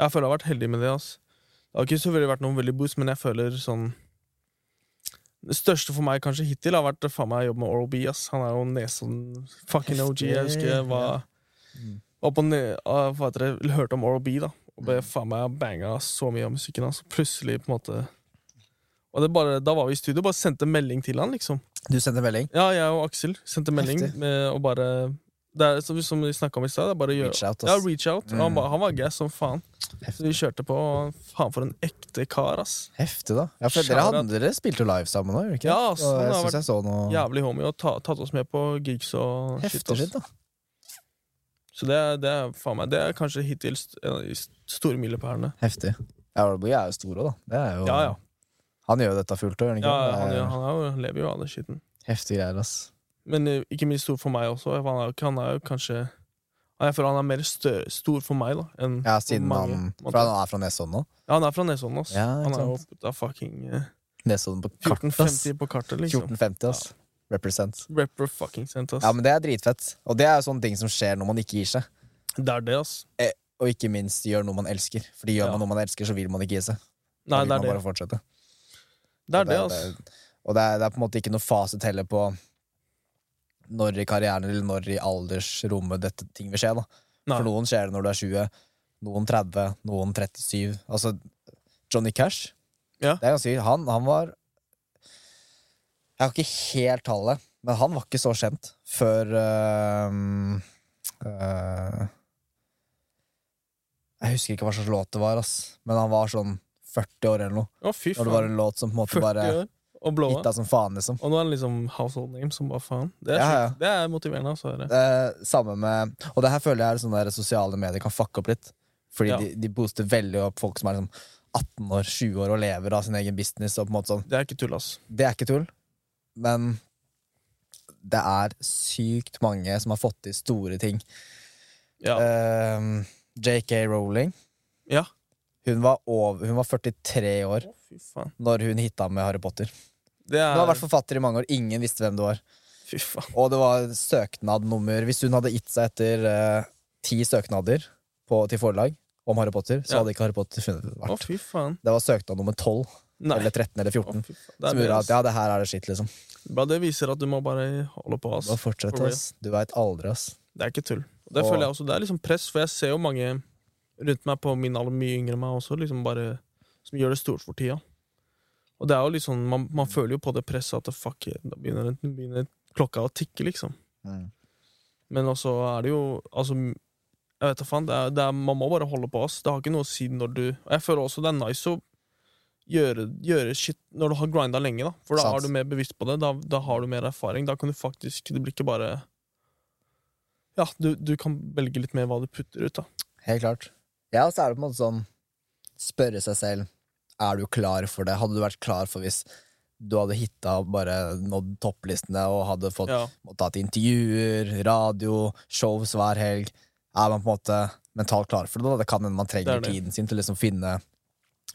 Jeg føler jeg har vært heldig med det. ass. Det har ikke så veldig vært noen veldig boost, men jeg føler sånn Det største for meg kanskje hittil har vært faen meg jobb med Oral B. ass. Han er jo nesen fucking OG. Jeg husker jeg var,
Mm.
var på ne ah, hva heter det, hørte om Oral B, da. Og ble faen meg banga så mye av musikken hans. og Plutselig, på en måte og det bare, Da var vi i studio bare sendte melding til han, liksom.
Du sendte melding?
Ja, jeg og Aksel sendte melding
Heftig.
med, og bare Det er som, som vi snakka om i stad, det er bare å gjøre
Reach out,
ja,
ass.
reach out. Og han,
Mm.
ba, han var gass som faen. Så vi
Heftig,
kjørte på. og Faen, for en ekte kar, ass.
Heftig da. Ja, for dere,
Shout out.
hadde, dere spilte jo live sammen òg, gjorde dere ikke?
Ja, ass,
Og
han
jeg
har
syns jeg så noe
Jævlig homie, og ta, tatt oss med på gigs og shit.
heftig
ass.
shit, da.
Så det, er- det er faen meg Det er kanskje hittil st- en av de st- store milepælene.
Heftig. Ja, Robbie er jo stor òg, da. Det er jo,
Ja, ja.
Han gjør jo dette fullt òg, gjør han
ja
ikke?
han,
Det er
gjør- han, er jo, han lever jo av det skitten.
Heftige greier, ass.
Men eh, ikke minst stor for meg også. for Han er, jo ikke- han er jo kanskje Jeg føler han er mer stø, stor for meg, da. Enn
Ja,
for
siden
mange.
han
måtte-
For han er fra Nesodden nå?
Ja, han er fra Nesodden, ass.
Ja,
han
ikke
er jo
sant.
da fucking eh,
Nesodden på kartet, ass.
1450 på kartet, liksom.
1450, ass. Represent.
Rapper fucking sent, ass.
Ja, men det er dritfett. Og det er jo sånne ting som skjer når man ikke gir seg.
Det er det, ass.
Og ikke minst gjør noe man elsker. Fordi gjør
Ja.
man noe man elsker, så vil man ikke gi seg.
Nei,
Da
det
vil
er
man
det.
bare fortsette.
Det er
Og
det, ass.
og det er, det er på en måte ikke noe fasit heller på når i karrieren eller når i aldersrommet dette ting vil skje. da.
Nei.
For noen skjer det når du er 20, noen 30, noen 37. Altså, Johnny Cash
Ja.
Det er ganske han, han var Jeg har ikke helt tallet, men han var ikke så kjent før eh, øhm, øh, Jeg husker ikke hva slags låt det var, ass. men han var sånn 40 år eller noe.
Å, fy
Når det var
faen.
en låt som på en måte
40
bare
år og blåa.
hitta som faen, liksom.
Og nå er det liksom household name som bare faen. Det er,
Ja, ja.
sjukt. Det er motiverende. Altså, er det.
Eh, samme med Og det her føler jeg er sånn der sosiale medier kan fucke opp litt. Fordi
Ja.
de, de booster veldig opp folk som er liksom 18 år, 20 år og lever av sin egen business. Og på en måte sånn.
det er ikke tull, ass.
Det er ikke tull, men det er sykt mange som har fått til store ting.
Ja.
Eh, JK Rowling.
Ja.
Hun var, over, hun var 43 år
Å, fy faen.
når hun hitta med Harry Potter.
Det
Hun har
er
vært forfatter i mange år. Ingen visste hvem det var.
Fy faen.
Og det var søknadnummer Hvis hun hadde gitt seg etter eh, ti søknader på, til forlag om Harry Potter, så
Ja.
hadde ikke Harry Potter funnet det
Å,
vært.
fy faen.
Det var søknad nummer 12,
Nei.
eller 13 eller
Å,
14.
fy faen. Det,
Som
er det,
gjorde at
ass.
ja, det her er det skitt, liksom.
Bra, det viser at du må bare holde på,
Bare
ass.
fortsett,
for real.
ass. Du veit aldri, ass.
Det er ikke tull. Og det
Og-
føler jeg også, det er liksom press, for jeg ser jo mange rundt meg på min alder, mye yngre enn meg også, liksom bare, som gjør det stort for tida. Og det er jo liksom, man, man føler jo på det presset at fuck, da begynner, da begynner klokka å tikke, liksom.
Mm.
Men også er det jo Altså, jeg vet da faen. Det er, det er, man må bare holde på oss. Det har ikke noe å si når du Og jeg føler også det er nice å gjøre, gjøre shit når du har grinda lenge, da. For da
Sant.
er du mer bevisst på det. Da, da har du mer erfaring. Da kan du faktisk Det blir ikke bare Ja, du, du kan velge litt mer hva du putter ut, da.
Helt klart. Ja, og så er det på en måte sånn Spørre seg selv Er du klar for det. Hadde du vært klar for hvis du hadde hitta og bare nådd topplistene og hadde fått
Ja.
måtte ha til intervjuer, radio, shows hver helg. Er man på en måte mentalt klar for det? da? Det kan hende man trenger
Det er det.
tiden sin til å liksom finne,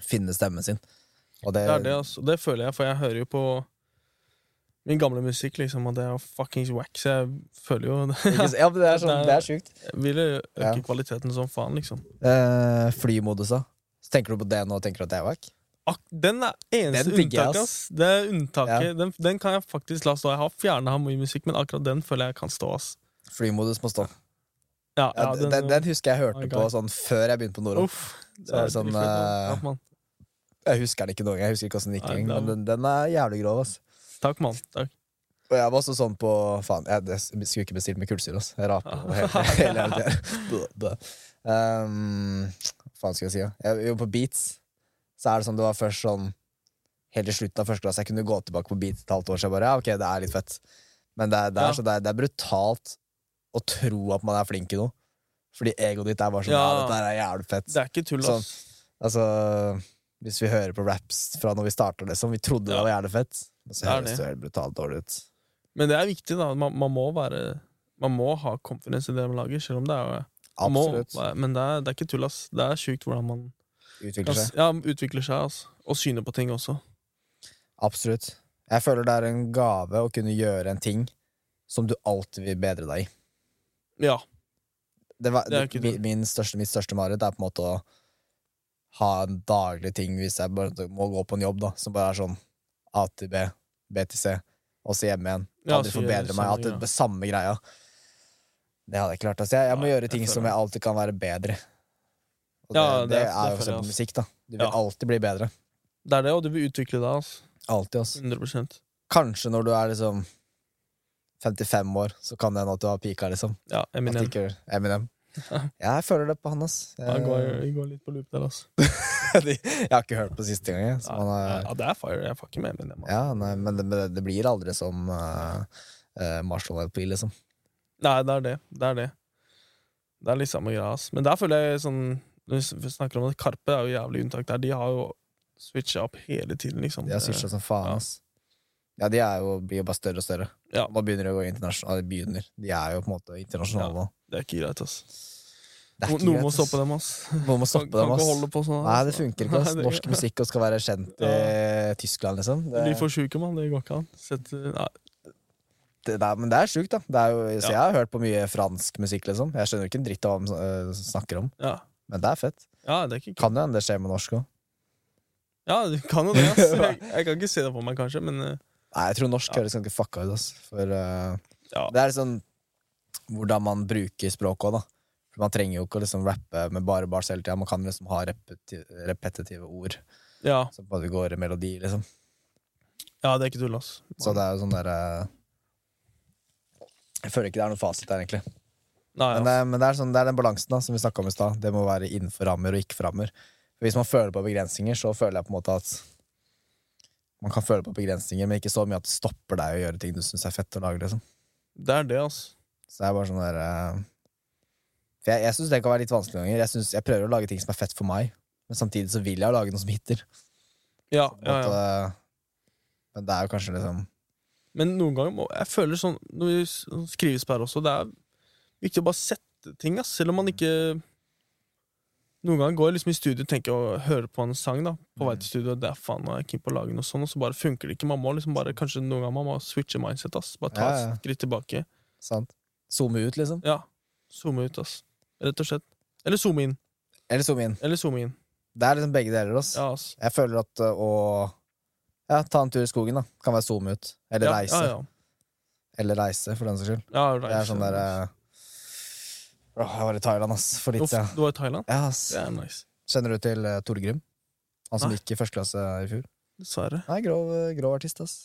finne stemmen sin. Og det,
Det er det, altså. Det føler jeg, for jeg hører jo på min gamle musikk, liksom, og det er jo fuckings wack, så jeg føler jo [LAUGHS]
[LAUGHS] ikke s- Ja, men det er, sånn,
Det er-
det er sjukt.
Jeg ville øke
Ja.
kvaliteten som faen, liksom.
Eh, Flymodusa. Så tenker du på det nå og tenker at det er wack?
Ak den er eneste
Den digger jeg,
unntaket. Ass. Det er unntaket.
Ja.
Den, den kan jeg faktisk la stå. Jeg har fjerna mye musikk, men akkurat den føler jeg kan stå. Ass.
Flymodus må stå.
Ja,
Ja,
ja,
den, den, husker jeg hørte
my
på
God.
sånn før jeg begynte på Nordom.
Uff.
Så er det sånn,
dritfett, da.
eh,
Takk, mann.
Jeg husker den ikke noen gang. Jeg husker ikke hvordan den gikk
Nei,
engang,
den-
men den, den er jævlig grov. ass
Takk, mann. Takk.
Og jeg var også sånn på Faen, jeg det skulle ikke bestilt med kullsyre, ass. Jeg raper
[LAUGHS]
jo hele, hele jævla tida. Um, Hva faen skal jeg si, da? Jeg- Jo, på beats så er det sånn det var først sånn Helt til slutten av første klasse. Jeg kunne gå tilbake på beats et halvt år siden. Bare, ja, ok, det er litt fett. Men det er, det er,
Ja.
så det er, det er brutalt å tro at man er flink i noe. Fordi egoet ditt er bare sånn ja.
Ja.
dette her er jævlig fett.
Det er ikke tull, ass.
Altså, hvis vi hører på raps fra når vi starter, liksom. Vi trodde det
Ja.
var jævlig fett, men så
Det er
høres
det.
det helt brutalt dårlig ut.
Men det er viktig, da. Man, man må være Man må ha confidence i det man lager, selv om det er man må,
Absolutt.
Men det er, det er ikke tull, ass. Det er sjukt hvordan man
Utvikler seg.
ja, utvikler seg, ass. Og syner på ting også.
Absolutt. Jeg føler det er en gave å kunne gjøre en ting som du alltid vil bedre deg i.
Ja.
Det var,
Det er ikke
min, min største, mitt største mareritt er på en måte å ha en daglig ting hvis jeg bare må gå på en jobb, da, som bare er sånn A til B, B til C, og så hjemme igjen.
Ja,
Aldri
så gjør
forbedre
det
meg.
samme
At det
greia.
er samme greia. Det hadde jeg klart. Altså, jeg, jeg må
Nei,
gjøre
jeg
ting
føler
som
det.
jeg alltid kan være bedre. Og det,
Ja,
det,
det- det
er
føler
jo
jeg
sånn på
også.
musikk, da. Du vil
Ja.
alltid bli bedre.
Det er det, og du vil utvikle deg, ass.
Alltid, altså.
100
Kanskje når du er liksom 55 år, så kan det hende at du har pika, liksom.
Ja,
At
Eminem.
Ikke, Eminem. Ja, jeg føler det på han, ass. Jeg,
Han går, jeg går litt på loop der, ass.
[LAUGHS] jeg har ikke hørt på siste gang, jeg. Så han er,
Ja, det er fire. Jeg fucker med Eminem. ass.
ja, nei, men det, men det blir aldri som eh, eh, Marshall LP, liksom.
Nei, det er det. Det er det. Det er litt samme greia, ass. Men der føler jeg sånn Når vi snakker om det, Karpe er jo jævlig unntak der. De har jo switcha opp hele tiden, liksom.
De har switcha som
ja.
faen, ass. Ja, de er jo, blir jo bare større og større.
Ja.
Nå begynner de å gå internasjonalt. De begynner. De er jo på en måte internasjonale nå.
Det er ikke greit, ass.
Det er
No-
ikke
Noen
greit,
må
ass.
stoppe
[LAUGHS]
dem, ass.
Noen må stoppe
kan
dem,
ikke
ass.
holde på sånn.
Nei, det
ass.
funker ikke. ass.
Nei, det-
Norsk musikk og skal være kjent i Tyskland, liksom. Det-
De får sjuke, mann. Det går ikke an. Sett, eh, nei.
det, det, er- men det er sjukt, da. Det er jo, så
Ja.
jeg har hørt på mye fransk musikk, liksom. Jeg skjønner ikke en dritt av hva de øh, snakker om,
Ja.
men det er fett.
ja, det er ikke
Kan jo hende det skjer med norsk òg.
Ja, du kan jo det,
[LAUGHS]
ass. Jeg, jeg kan ikke se det for meg, kanskje, men eh,
Nei, jeg tror norsk
Ja.
høres ganske fucka ut, ass. For øh,
ja.
det er sånn hvordan man bruker språket òg, da. For man trenger jo ikke å liksom rappe med bare bars hele tida. Man kan liksom ha repeti repetitive ord
ja.
som bare går i melodi, liksom.
Ja, det er ikke tull, ass.
Så det er jo sånn derre Jeg føler ikke det er noen fasit der, egentlig.
Nei,
Men,
ass.
det, men det, er sånn, det er den balansen da, som vi snakka om i stad. Det må være innenfor rammer og ikke rammer. For hvis man føler på begrensninger, så føler jeg på en måte at man kan føle på begrensninger, men ikke så mye at det stopper deg å gjøre ting du syns er fett å lage. Liksom.
Det er det, ass.
Så det er bare sånn der eh, For jeg, jeg syns det kan være litt vanskelig noen ganger. Jeg, synes, jeg prøver å lage ting som er fett for meg, men samtidig så vil jeg jo lage noe som hitter.
Ja,
På en
ja, ja.
måte, Men det er jo kanskje liksom
Men noen ganger må Jeg føler sånn Når vi s- skrivesperre også, det er viktig å bare sette ting, ass. Selv om man ikke Noen ganger går jeg liksom i studio og tenker og hører på en sang da på vei
Mm.
til studio. og Det er faen, nå er jeg keen på å lage noe sånn, og så bare funker det ikke. Man må liksom bare kanskje noen ganger man må switche mindset. ass Bare ta
Ja, ja.
et skritt tilbake.
sant? Zoome ut, liksom.
Ja. Zoome ut, ass. Rett og slett. Eller zoome inn.
Eller zoome inn.
Eller zoome inn.
Det er liksom begge deler. Ass.
Ja, ass.
Jeg føler at øh, å ja, ta en tur i skogen da kan være zoome ut. Eller
ja,
reise.
Ja, ja.
Eller reise, for den saks skyld.
ja reise.
Det er sånn der øh, åh, Jeg var i Thailand, ass, for litt
Uff,
siden.
du var i Thailand?
Ja, ass.
Det er nice.
Kjenner du til uh, Tore Grym? Han som
Nei.
gikk i første klasse i fjor.
Dessverre.
Nei, grov, øh, grov artist, ass.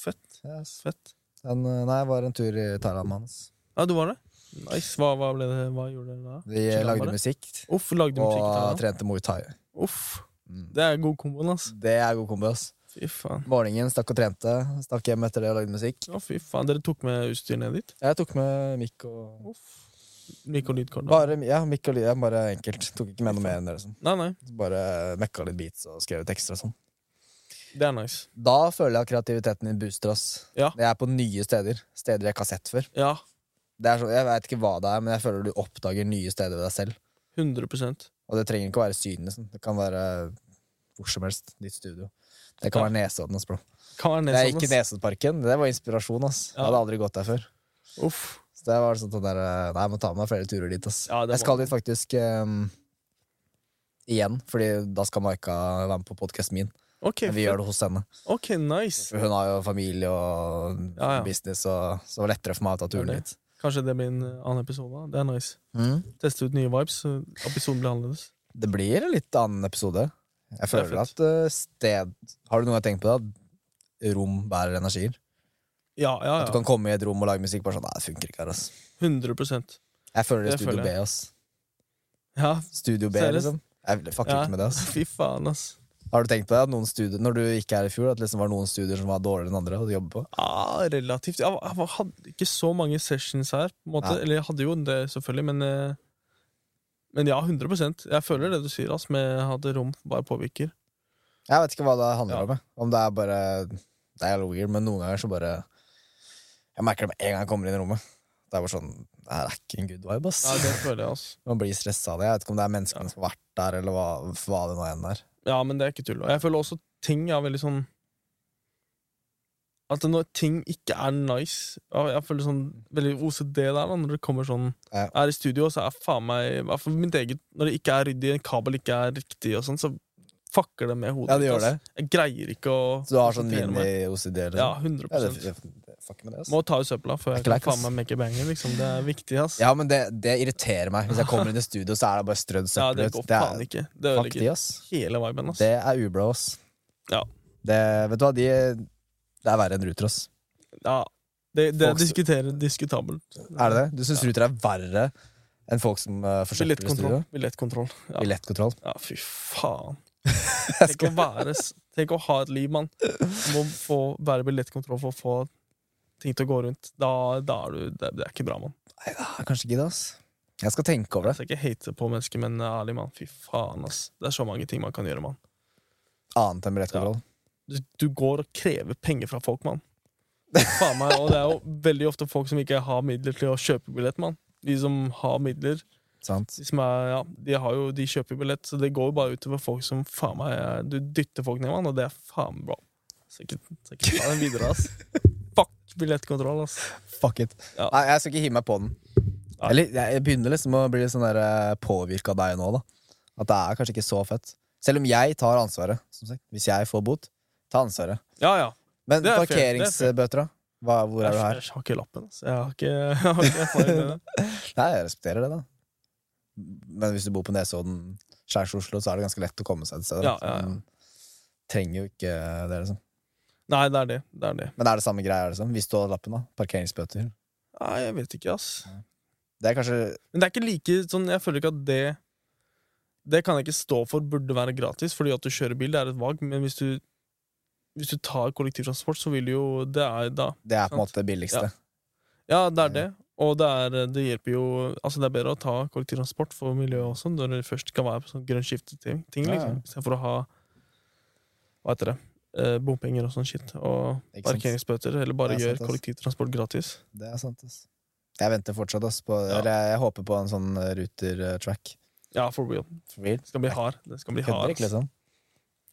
Fett.
Ja, ass.
Fett.
Han, øh, nei, jeg var en tur i Thailand med han. ass.
Ja, du var det? Nice. Hva, hva, ble det, hva gjorde dere da?
Vi øh,
Chillan
lagde
bare?
musikk
Uff, lagde
og
musikk der da?
trente muay thai.
Uff.
Mm.
Det er god komboen, ass.
Det er god kombo, ass.
Fy faen.
Morgenen stakk og trente, stakk hjem etter det og lagde musikk.
Ja, fy faen. Dere tok med utstyret ned dit?
Jeg tok med mikk og
Uff. Mikk og lydkort? da.
Bare, ja, Mikk og Lydia, bare enkelt. Tok ikke med noe mer enn det. liksom.
Nei, nei.
Så Bare mekka litt beats og skrev tekster og sånn.
Det er nice.
Da føler jeg at kreativiteten min booster oss.
Ja.
Jeg er på nye steder. Steder jeg ikke har sett før.
Ja.
Det er sånn, jeg vet ikke hva det er, men jeg føler du oppdager nye steder ved deg selv.
100
Og det trenger ikke å være Syden. Liksom. Det kan være hvor som helst. Ditt studio. Det kan
Ja.
være Nesodden. Ass, bro.
Kan være
Jeg gikk
nedsatt,
i
ass.
Nesoddparken. Det var inspirasjon. ass. Jeg
Ja.
hadde aldri gått der før.
Uff.
Så det var sånn sånn der, eh, Nei, jeg må ta med meg flere turer dit. Ass.
Ja, det må
jeg skal dit faktisk eh, igjen, Fordi da skal Maika være med på podkasten min.
Ok,
Men vi gjør det hos henne.
fett. Ok, nice.
For hun har jo familie og
Ja, ja.
business, og så det var lettere for meg å ta turen
Det er
dit. Mm.
Kanskje det blir en eh, annen episode. da. Det er nice. Teste ut nye vibes. så Episoden blir annerledes.
Det blir en litt annen episode. Jeg
Det er
føler at eh, sted Har du noen gang tenkt på det? At rom bærer energier?
Ja, ja,
At du
ja.
kan komme i et rom og lage musikk. Bare sånn, nei, det funker ikke her, ass.
100
Jeg føler det er
Det
Studio
føler
B,
jeg.
ass.
Ja,
Studio B,
Seriøst?
liksom. Jeg fucker
Ja.
ikke med det, ass.
fy faen, ass.
Har du tenkt på det? At noen studier, når du gikk her i fjor, at det liksom var noen studier som var dårligere enn andre å jobbe på?
Ja, Ah, relativt. Jeg var- jeg hadde ikke så mange sessions her. På en måte.
Nei.
Eller jeg hadde jo det, selvfølgelig, men eh, Men ja, 100 Jeg føler det du sier, ass, med at rom bare påvirker.
Jeg vet ikke hva det handler
Ja.
om. jeg. Om det er bare Det er jævlig weird, men noen ganger så bare Jeg merker det med en gang jeg kommer inn i rommet. Det er bare sånn Det her er ikke en good vibe, ass.
Ja, det føler jeg, ass.
Man blir stressa av det. Jeg vet ikke om det er menneskene
Ja.
som har vært der, eller hva, hva det nå enn er.
Ja, men det er ikke tull. Og jeg føler også ting er veldig sånn At når ting ikke er nice ja, Jeg føler sånn veldig OCD der, da, når det kommer sånn
Ja.
Er i studio, så er faen meg i hvert fall mitt eget Når det ikke er ryddig, en kabel ikke er riktig, og sånn, så fucker det med hodet.
Ja,
mitt,
det gjør det.
ass. Jeg greier ikke å
Så du har sånn
konsentrere meg.
mini-OCD?
Ja, 100
Liksom. Ja, det, det, det, fuck med det, ass.
Må ta ut søpla før jeg
Det er
kan
ikke
faen
leit, ass.
meg make a banger. Liksom. Det er viktig, ass.
Ja, men det, det irriterer meg. Hvis jeg kommer inn i studio, så er det bare strødd
Ja,
søppel
det
ut.
går
Det
faen
er
ikke. Det
fuck de,
ødelegger
ass.
hele viben, ass.
Det er ubra, ass.
Ja.
Det, vet du hva, de Det er verre enn ruter, ass.
Ja, det, det
Folk-
er diskutere- diskutabelt.
Er det det? Du syns ruter er verre enn folk som uh, forsøker i studio?
Billettkontroll. Billettkontroll. Ja.
Billettkontroll.
ja, fy faen. Tenk å være s- Tenk å ha et liv, mann. Du Må få være billettkontroll for å få ting til å gå rundt. Da, da er du det, det er ikke bra, mann.
Nei, da, kanskje ikke det, ass. Jeg skal tenke over
Jeg
det.
skal ikke hate på mennesker, men ærlig, mann. Fy faen, ass. Det er så mange ting man kan gjøre, mann.
Annet enn billettkontroll.
Du, du går og krever penger fra folk, mann. Faen meg. Og det er jo veldig ofte folk som ikke har midler til å kjøpe billett, mann. De som har midler,
Sant?
de, som er, ja, de, har jo, de kjøper jo billett, så det går jo bare utover folk som faen meg er- Du dytter folk ned, mann, og det er faen bra. Så ikke, så ikke
[LAUGHS]
ta den videre, ass. Fuck billettkontroll, ass.
Fuck it.
Ja.
Nei, jeg skal ikke hive meg på den.
Nei.
Eller jeg jeg begynner liksom å bli litt sånn påvirka av deg nå, da. At det er kanskje ikke så fett. Selv om jeg tar ansvaret, som sagt. Hvis jeg får bot, ta ansvaret.
Ja, ja.
Men
Det er fair, det er
parkeringsbøter, da? Hva, hvor er
Jeg,
du
jeg,
her?
har ikke lappen, ass. Jeg har ikke, jeg har ikke erfaring med det.
Nei, jeg respekterer det, da. Men hvis du bor på Nesodden, Skjærs-Oslo, så er det ganske lett å komme seg et sted.
Ja,
da.
ja, ja.
Men Trenger jo ikke det, liksom.
Nei, det er det. Det er det.
Men er det samme greia, liksom? Hvis du har lappen, da. Parkeringsbøter.
Nei, jeg vet ikke, ass.
Det er kanskje
Men det er ikke like sånn Jeg føler ikke at det Det kan jeg ikke stå for burde være gratis, fordi at du kjører bil, det er et valg, men hvis du hvis du tar kollektivtransport, så vil du jo Det er da
Det er på
Sant.
en måte det billigste.
Ja, det er
Ja.
det. Og det, er, eh, det hjelper jo Altså det er bedre å ta kollektivtransport for miljøet også, når det først kan være på sånn grønn skifte-ting, ting,
Ja, ja.
liksom. Istedenfor å ha Hva heter det? Eh, bompenger og sånn shit. Og
Ikke sant?
parkeringsbøter. Eller bare
Det er
gjør
sant, ass.
kollektivtransport gratis.
Det er sant, ass. Jeg venter fortsatt, ass. På,
Ja.
eller jeg, jeg håper på en sånn eh, ruter-track.
Ja, for real.
For real.
Det skal bli hard. Det skal bli
Kødder
hard.
ikke, liksom.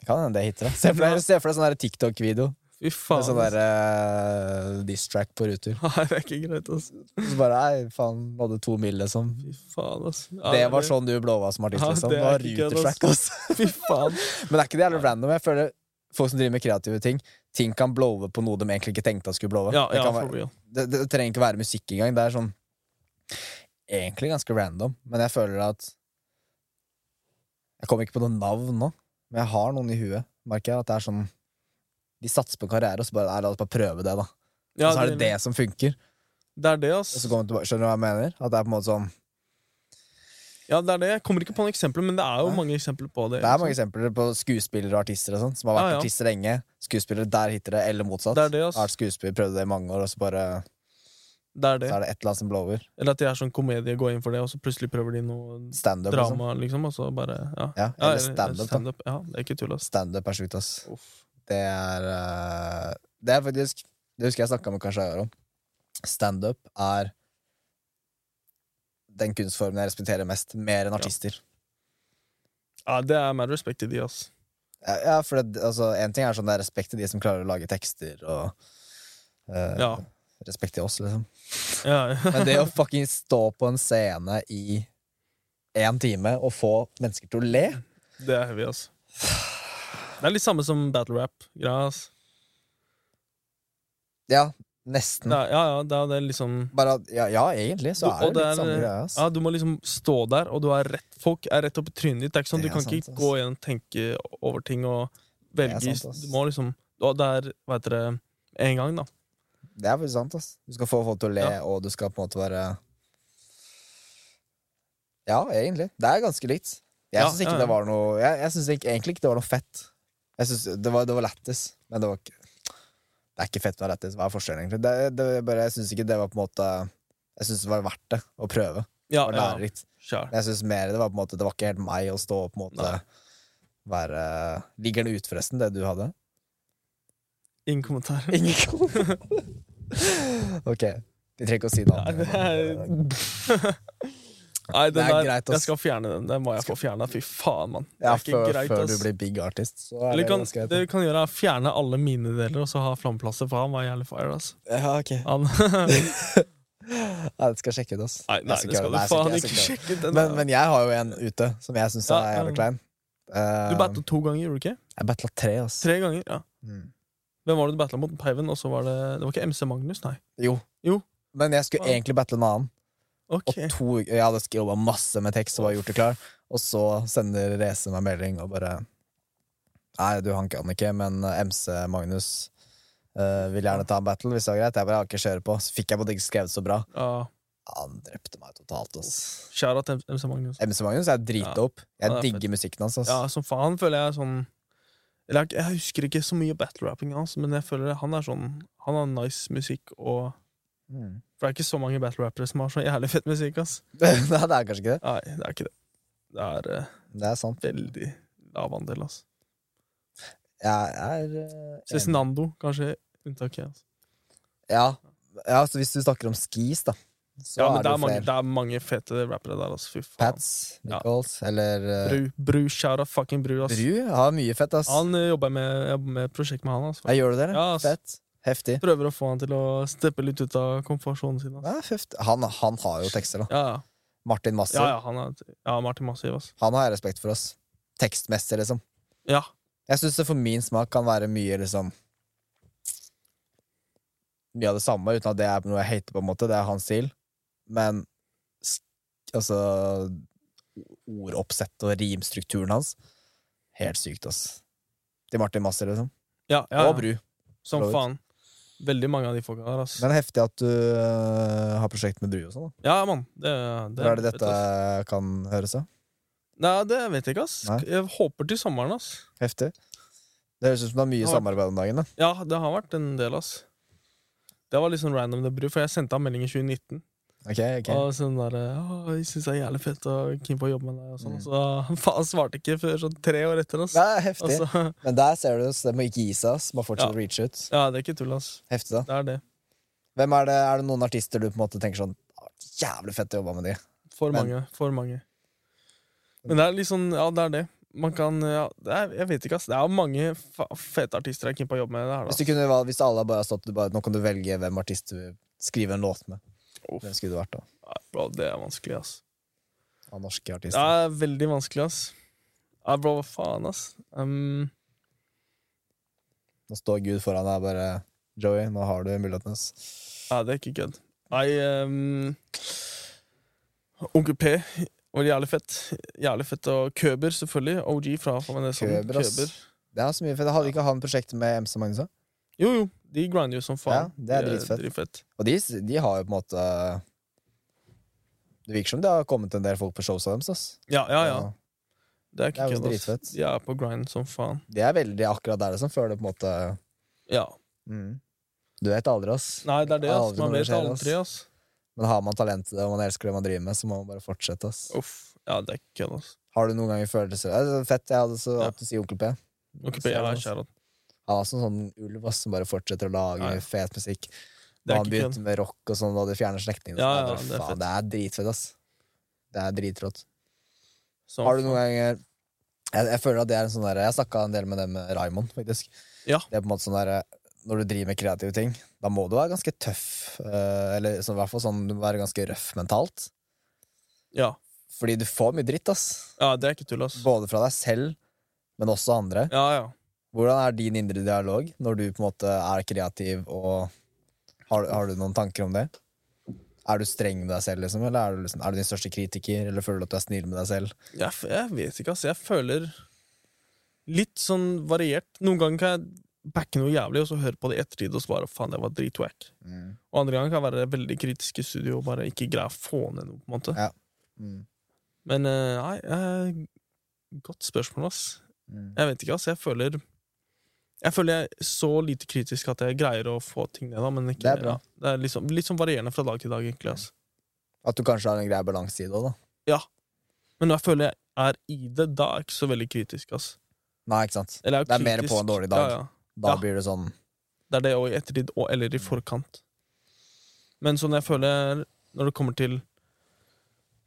Det kan hende det hitter. da. Se for deg, se for deg sånn der TikTok-video
ass. Fy
med sånn
faen. ass.
der uh, diss-track på ruter.
[LAUGHS] Nei, det er ikke greit, ass.
Så bare nei, faen, hadde to mil, liksom.
Fy faen, ass. Ja,
Det var sånn du blåva som artist,
Ja,
liksom.
det
Det
er
var
ikke kødd,
ruter-track, ass. [LAUGHS]
Fy faen.
Men er ikke det jævlig random? Jeg føler folk som driver med kreative ting, ting kan blowe på noe de egentlig ikke tenkte at skulle blowe.
Ja,
det,
ja,
kan
for
være,
real.
det, det trenger ikke være musikk engang. Det er sånn egentlig ganske random, men jeg føler at Jeg kommer ikke på noe navn nå, men jeg har noen i huet, merker jeg. At det er sånn De satser på karriere, og så bare Nei, la oss bare prøve det, da.
Ja,
og så er det det som funker.
Det er det, ass.
Og så kommer jeg tilbake, skjønner du hva jeg mener? At det er på en måte sånn
Ja, det er det. Jeg kommer ikke på noen eksempler, men det er jo
Nei.
mange eksempler på det.
Det er mange eksempler på skuespillere og artister og sånn, som har vært
sånn. Ja, ja.
artister lenge. Skuespillere, der hitter det, eller motsatt.
Det er det, ass.
Har vært skuespiller, prøvde det i mange år, og så bare
Det er det.
så er det et eller annet som blower.
Eller at de er sånn komedie, går inn for det, og så plutselig prøver de noe
Standup, liksom.
drama, liksom. Og så bare Ja,
Ja,
ja
eller standup. da.
Ja, det er ikke tull, ass.
Standup er sjukt, ass.
Uff.
Det er eh, Det er faktisk Det husker jeg snakka med Kashayar om. Standup er den kunstformen jeg respekterer mest, mer enn artister.
Ja, det er mer respekt til de, ass.
Ja, ja for det, altså, En ting er sånn det er respekt til de som klarer å lage tekster, og eh,
Ja.
respekt til oss, liksom.
ja. [LAUGHS]
Men det å fucking stå på en scene i én time og få mennesker til å le
Det er heavy, ass. Det er litt samme som battle rap-greia, ass.
Ja,
Det
nesten.
er, ja, ja, det er det liksom
Bare at, ja, ja, egentlig så
Du-
er
og
det
det
litt
er-
samme greia. ass.
Ja, Du må liksom stå der, og du er rett, folk er rett opp i trynet ditt. Det er ikke sånn,
Det
Du
er
kan ikke
sant, ass.
gå igjen og tenke over ting og
er
velge
sant, ass.
Du må liksom og Det er, hva heter det, en gang, da.
Det er faktisk sant. ass Du skal få folk til å le,
Ja.
og du skal på en måte være Ja, egentlig. Det er ganske likt. Jeg
Ja,
syns
ja,
ikke
ja.
det var noe Jeg, jeg synes ikke, egentlig ikke det var noe fett. Jeg synes Det var, det var lættis, men det var ikke Det er ikke fett, men lættis. Hva er forskjellen, egentlig? Det, det, er bare, jeg syns ikke det var på en måte Jeg syns det var verdt det å prøve. Det
Ja,
var
ja.
lærerikt.
Sure.
Men jeg synes mer det var på en måte Det var ikke helt meg å stå og på en måte
Nei.
være Ligger den ut, forresten, det du hadde?
Ingen kommentar.
Ingen kom. [LAUGHS] ok. Vi trenger ikke å si det
Nei,
andre.
det er [LAUGHS] Nei, den
Det er
der,
greit, ass.
jeg skal fjerne den. Den må jeg få fjerna. Fy faen, mann. Det
ja,
er ikke
før,
greit,
før du
ass.
blir big artist, så er
Eller
det
kan,
ganske greit.
det vi kan gjøre, er å fjerne alle mine deler og så ha flammeplasser, for han var jævlig fire, ass.
Ja, ok.
Han, [LAUGHS]
Nei, det skal sjekke ut, ass.
nei, nei,
Jeg skal
det skal
gjøre
du
jeg
faen
jeg
ikke
gjøre det.
sjekke. Den
Men,
der.
men jeg har jo en ute som jeg syns
Ja,
er
ja.
jævlig klein. Eh,
du batta to ganger, gjorde du ikke?
jeg battla tre, ass.
Tre ganger, ja.
Mm.
Hvem var det du battla mot? Peiven, og så var det Det var ikke MC Magnus, nei.
Jo.
Jo.
Men jeg skulle
Wow.
egentlig battle en annen.
Ok.
Og to, uker- jeg hadde jobba masse med tekst og var gjort det klar. Og så sender Reze meg melding og bare Nei, du han kan ikke, men eh, MC Magnus eh, vil gjerne ta en battle, hvis det var greit. Jeg bare jeg har ikke kjøre på. Så fikk jeg på at det ikke skrevet så bra.
Ja,
Han drepte meg totalt, ass.
Kjære til MC Magnus.
MC Magnus er dritdope. Jeg
Ja, det er
digger musikken hans, ass.
Ja, som faen føler jeg sånn Eller jeg, jeg husker ikke så mye battle-rapping hans, men jeg føler han er sånn Han har nice musikk og
Mm. [LAUGHS]
For det er ikke så mange battle-rappere som har så jævlig fett musikk, ass.
Nei, det er kanskje ikke det.
Nei, det er ikke det. Det er eh,
Det er sant.
veldig lav andel, ass.
Jeg er eh, enig.
Cezinando, kanskje unntaket. ass.
Ja. ja, så hvis du snakker om skis, da, så
Ja,
er
men det
det
er,
jo
mange,
flere.
det er mange fete rappere der, ass. Fy faen.
Pats,
Ja.
Nichols, eller eh,
Bru, bru, shout out fucking Bru, ass.
Bru har mye fett, ass.
Han eh, jobber med, jeg jobber med et prosjekt med han, ass.
Ja, gjør du det? eller?
Ja, ass.
Fett. Heftig.
Prøver å få han til å steppe litt ut av komfortsonen sin, ass.
Ja, feft. Han, han har jo tekster, da.
Ja, ja.
Martin Massiv.
Ja, ja, han er, ja, Martin Massiv, ass.
Han har jeg respekt for, ass. Tekstmessig, liksom.
Ja.
Jeg syns det for min smak kan være mye, liksom Mye av det samme, uten at det er noe jeg hater, på en måte. Det er hans stil. Men sk- altså Ordoppsettet og rimstrukturen hans Helt sykt, ass. Til Martin Massiv, liksom.
Ja, ja, ja.
Og Bru.
Som
for så vidt.
faen. Veldig mange av de folka der, ass.
Men heftig at du øh, har prosjekt med Bru og sånn, da.
Ja, mann. Det, det,
Hvor er det
fett,
dette
ass.
kan høres, da?
Nei, det vet jeg ikke, ass.
Nei.
Jeg håper til sommeren, ass.
Heftig. Det høres ut som det er mye
Ja.
samarbeid om dagen. da
Ja, det har vært en del, ass. Det var litt sånn random, det, Bru, for jeg sendte han melding i 2019.
Ok, ok
Og sånn der, «Å, jeg synes det er jævlig fett og keen på å jobbe med deg, og sånn.
Mm.
Så [LAUGHS] han faen svarte ikke før sånn tre år etter, ass.
Det er heftig.
Og så- [LAUGHS]
Men der ser du oss, det må ikke gi seg. ass. Bare fortsette
altså. Ja.
å reach ut.
ja, det er ikke tull, ass.
Heftig, da.
Det er det.
Hvem Er det Er det noen artister du på en måte tenker sånn «Ah, Jævlig fett å jobbe med de?
For
Men-
mange. For mange. Men det er litt sånn, ja, det er det. Man kan, ja, det er, jeg vet ikke, ass. Det er mange fa fete artister jeg er keen på å jobbe med. Det her,
Hvis, du
ass.
kunne, valgt- hvis alle bare stått du bare, Nå kan du velge hvem artist du skriver en låt med.
Uff.
Hvem skulle du vært da?
Nei, bro, det er vanskelig, ass.
Av norske
Det
artister.
er veldig vanskelig, ass. Ja, bro, hva faen, ass. Um,
Nå står Gud foran deg og bare Joey, nå har du muligheten. ass.
Ja, det er ikke kødd. Nei ehm, Onkel P var jævlig fett. Jævlig fett. Og Køber, selvfølgelig. OG fra Famanesson.
Køber, ass. Det er så mye fett. Hadde ikke han prosjekt med MC Magnus? da?
Jo, jo. De grinder jo som faen.
Ja, det er dritfett. Og de, de har jo på en måte Det virker som det har kommet en del folk på shows av dem. Ass.
Ja, ja, ja. Det er
Det
ikke
er jo
kødd. ass.
dritfett.
De er på grind som faen.
Det er veldig akkurat der, liksom, før det på en måte
Ja.
Du vet aldri, ass.
Mm. Nei, det er det, ass.
Aldri
Man
når det
vet
skjer, ass.
aldri, ass.
Men har man talent til det, og man elsker det man driver med, så må man bare fortsette, ass.
Uff. Ja, det er ikke kødd, ass.
Har du noen ganger følelser Eh, det er Fett, jeg hadde så
Ja.
alltid si Onkel P.
Onkel P, ja,
Ser det, ass.
kjære.
Han var sånn, sånn ulv ass, som bare fortsetter å lage
Ja, ja.
fet musikk.
Det
Da
er
han
ikke kødd.
begynte med rock og sånn, og de fjerner slektningene
Ja, ja,
det,
det er fett.
det er dritfett, ass. Det er dritrått.
Som
Har du
faen.
noen ganger jeg, jeg føler at det er en sånn der Jeg snakka en del med det med Raymond, faktisk.
Ja.
Det er på en måte sånn der Når du driver med kreative ting, da må du være ganske tøff. eh, Eller sånn, i hvert fall sånn du må være ganske røff mentalt.
Ja.
Fordi du får mye dritt, ass.
ja, det er ikke tull, ass.
Både fra deg selv, men også andre.
Ja, ja.
Hvordan er din indre dialog når du på en måte er kreativ og har, har du noen tanker om det? Er du streng med deg selv, liksom? Eller er du, liksom, er du din største kritiker? Eller føler du at du er snill med deg selv?
Jeg, f- jeg vet ikke, altså. Jeg føler litt sånn variert. Noen ganger kan jeg backe noe jævlig, og så høre på det i ettertid og så bare faen, det var dritwack.
Mm.
Og andre ganger kan jeg være veldig kritisk i studio og bare ikke greie å få ned noe. på en måte
Mm.
Men eh, nei, eh, godt spørsmål, ass.
Mm.
Jeg vet ikke, ass. Jeg føler Jeg føler jeg er så lite kritisk at jeg greier å få ting ned, da. Men ikke,
Det er bra.
Ja, det er liksom, litt sånn varierende fra dag til dag, egentlig. altså. ass
At du kanskje har en grei balanse i det òg, da.
Men når jeg føler jeg er i det, da er jeg ikke så veldig kritisk, ass.
Nei, ikke sant?
Eller jeg
Det er mer
kritisk.
på en dårlig dag.
Ja, ja.
Da
Ja.
blir det sånn
Det er det og i ettertid og eller i forkant. Men sånn jeg føler når det kommer til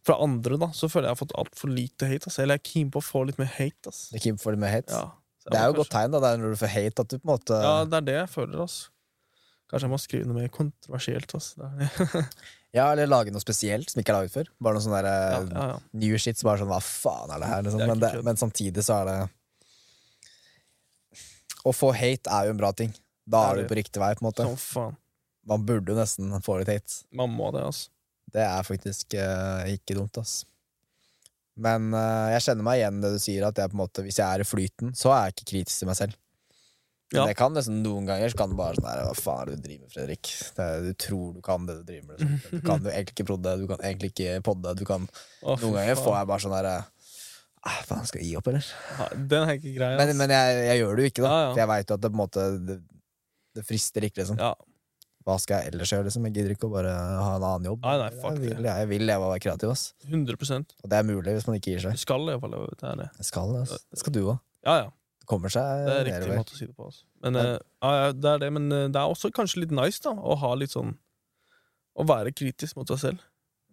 fra andre, da, så føler jeg jeg har fått altfor lite hate. Ass. Eller jeg er keen på å få litt mer hate. Ass.
Det keeper for det med hate.
Ja, Så jeg
Det er
må
jo et godt
kanskje-
tegn, da. Det er når du får hate, at du på en måte
Ja, det er det jeg føler. Ass. Kanskje jeg må skrive noe mer kontroversielt. Ass. Det er det.
Ja, eller lage noe spesielt som ikke er laget før. Bare noe sånn der
Ja,
eh,
ja, ja.
new shit som bare sånn Hva faen er det her? Liksom.
Det er
men,
ikke
det,
kødd.
men samtidig så er det Å få hate er jo en bra ting.
Det
Da
er
er du på riktig vei, på en måte.
Som faen.
Man burde jo nesten få litt hate.
Man må det, altså. ass.
Det er faktisk eh, ikke dumt, ass. Men eh, jeg kjenner meg igjen i det du sier, at jeg på en måte, hvis jeg er i flyten, så er jeg ikke kritisk til meg selv.
Ja.
Men jeg kan liksom noen ganger så kan det bare sånn her Hva faen er det du driver med, Fredrik? Det, er- du tror du kan det du driver med. Liksom. Du kan jo egentlig ikke prodde, du kan egentlig ikke podde. Du kan,
Å, fy
noen ganger
faen.
får jeg bare sånn her eh, ah, Faen, skal jeg gi opp, eller?
Ja, Den er ikke grei, ass.
Men, men jeg, jeg gjør det jo ikke, da.
Ja, ja.
For jeg veit jo at det på en måte det, det frister ikke, liksom.
Ja.
Hva skal jeg ellers gjøre, liksom? Jeg gidder ikke å bare ha en annen jobb.
Nei, nei, fuck
jeg,
det.
vil, jeg vil leve og være kreativ, ass.
100
Og det er mulig hvis man ikke gir
Du
seg.
skal i hvert fall leve ut det. er det.
Det skal, det, altså. det skal du òg.
Ja, ja.
Det kommer seg
Det er riktig
nedover.
måte å si det på. Altså. Men,
Ja.
eh, ja, ja, det er det, men eh, det er også kanskje litt nice da å ha litt sånn Å være kritisk mot seg selv.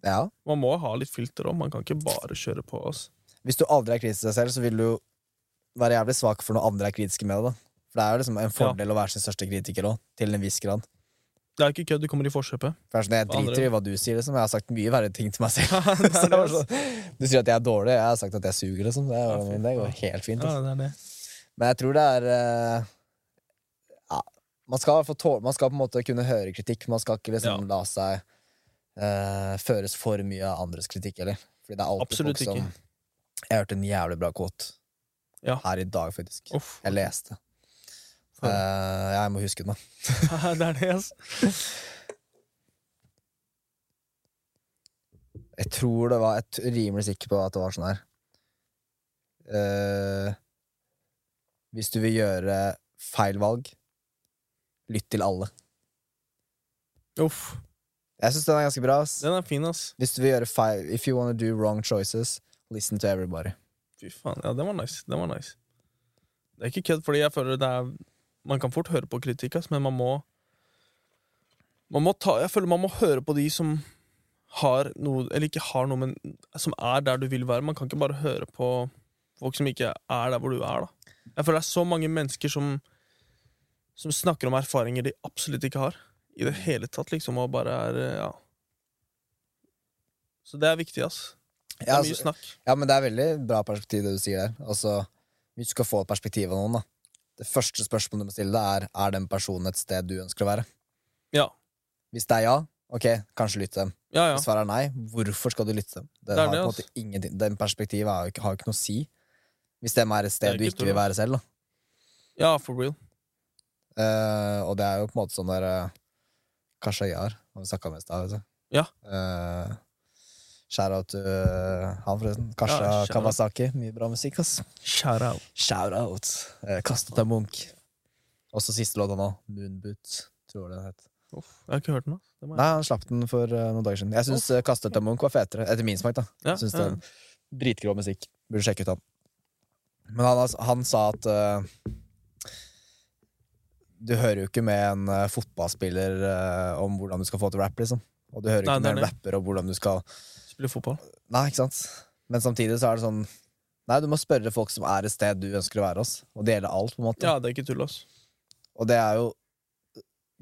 Ja.
Man må ha litt filter òg. Man kan ikke bare kjøre på oss.
Hvis du aldri er kritisk til deg selv, så vil du jo være jævlig svak for når andre er kritiske med deg. da. For det er jo liksom en fordel å være sin største kritiker òg, til en viss grad.
Det er ikke kødd, du kommer i forkjøpet.
For det er sånn, Jeg
Andre-
driter i hva du sier, liksom. Jeg har sagt mye verre ting til
[LAUGHS]
meg selv. [LAUGHS]
Ja, det er
så det var
det,
sånn, du sier at jeg er dårlig, jeg har sagt at jeg suger, liksom. Det,
Ja,
er,
fy
det går
faen.
helt fint.
Ja,
Altså.
det er det.
Men jeg tror det er eh, ja, man, skal i hvert fall tåle, man skal på en måte kunne høre kritikk, man skal ikke liksom la seg eh, føres for mye av andres kritikk, eller? Fordi det er alltid
Absolutt
folk
ikke.
som Jeg hørte en jævlig bra quote
Ja.
her i dag, faktisk.
Uff.
Jeg leste.
Faen.
Eh, jeg må huske den, da.
[LAUGHS] Ja, det er det, altså.
Jeg tror det var Jeg t- rimelig sikker på at det var sånn her. Eh, hvis du vil gjøre feil valg, lytt til alle.
Uff.
Jeg syns den er ganske bra. ass.
Den er fin, ass.
Hvis du vil gjøre feil If you wanna do wrong choices Listen to everybody
Fy faen. Ja, den var nice. Den var nice. Det er ikke kødd, fordi jeg føler det er Man kan fort høre på kritikk, ass, men man må Man må ta Jeg føler man må høre på de som har noe Eller ikke har noe, men som er der du vil være. Man kan ikke bare høre på folk som ikke er der hvor du er, da. Jeg føler det er så mange mennesker som Som snakker om erfaringer de absolutt ikke har. I det hele tatt, liksom, og bare er Ja. Så det er viktig, ass. Det
ja,
er mye
altså,
snakk.
ja, men det er veldig bra perspektiv det du sier der Altså, hvis du skal få et perspektiv av noen da Det første spørsmålet du må stille deg er Er den personen et sted du ønsker å være?
Ja.
Hvis det er ja, ok, kanskje lytte til dem
Ja, ja.
Hvis svaret er nei, hvorfor skal du lytte til dem? Det,
Det er det,
har på en
altså.
måte ingenting Den perspektivet har jo ikke, har jo ikke noe å si Hvis dem er et
Det er
sted du
ikke
ikke vil
tull.
være selv da
Ja, for real.
Eh, og det er jo på en måte sånn der uh, Kashayar, han vi snakka med i stad, vet du.
Ja.
Eh, shout out til eh, han, forresten. Kasha
Ja, shout out.
Kawasaki. Mye bra musikk, ass.
Shout out.
Shout out. Uh, Kastet av Munch. Også siste låta nå, Moonboot, tror jeg den het.
Uff, jeg har ikke hørt den. ass. Det må jeg-
Nei, han slapp den for eh, noen dager siden. Jeg syns Kastet av Munch var fetere, etter min smak, da.
Ja,
Syns det
ja.
er dritgrå musikk. Burde sjekke ut han. Men han, altså, han sa at eh, Du hører jo ikke med en eh, fotballspiller eh, om hvordan du skal få til rap, liksom. Og du hører
Nei,
ikke
det er
med en rapper om hvordan du skal
Spiller fotball.
Nei, ikke sant? Men samtidig så er det sånn Nei, du må spørre folk som er et sted du ønsker å være hos. Og det gjelder alt, på en måte.
Ja, det er ikke tull, ass.
Og det er jo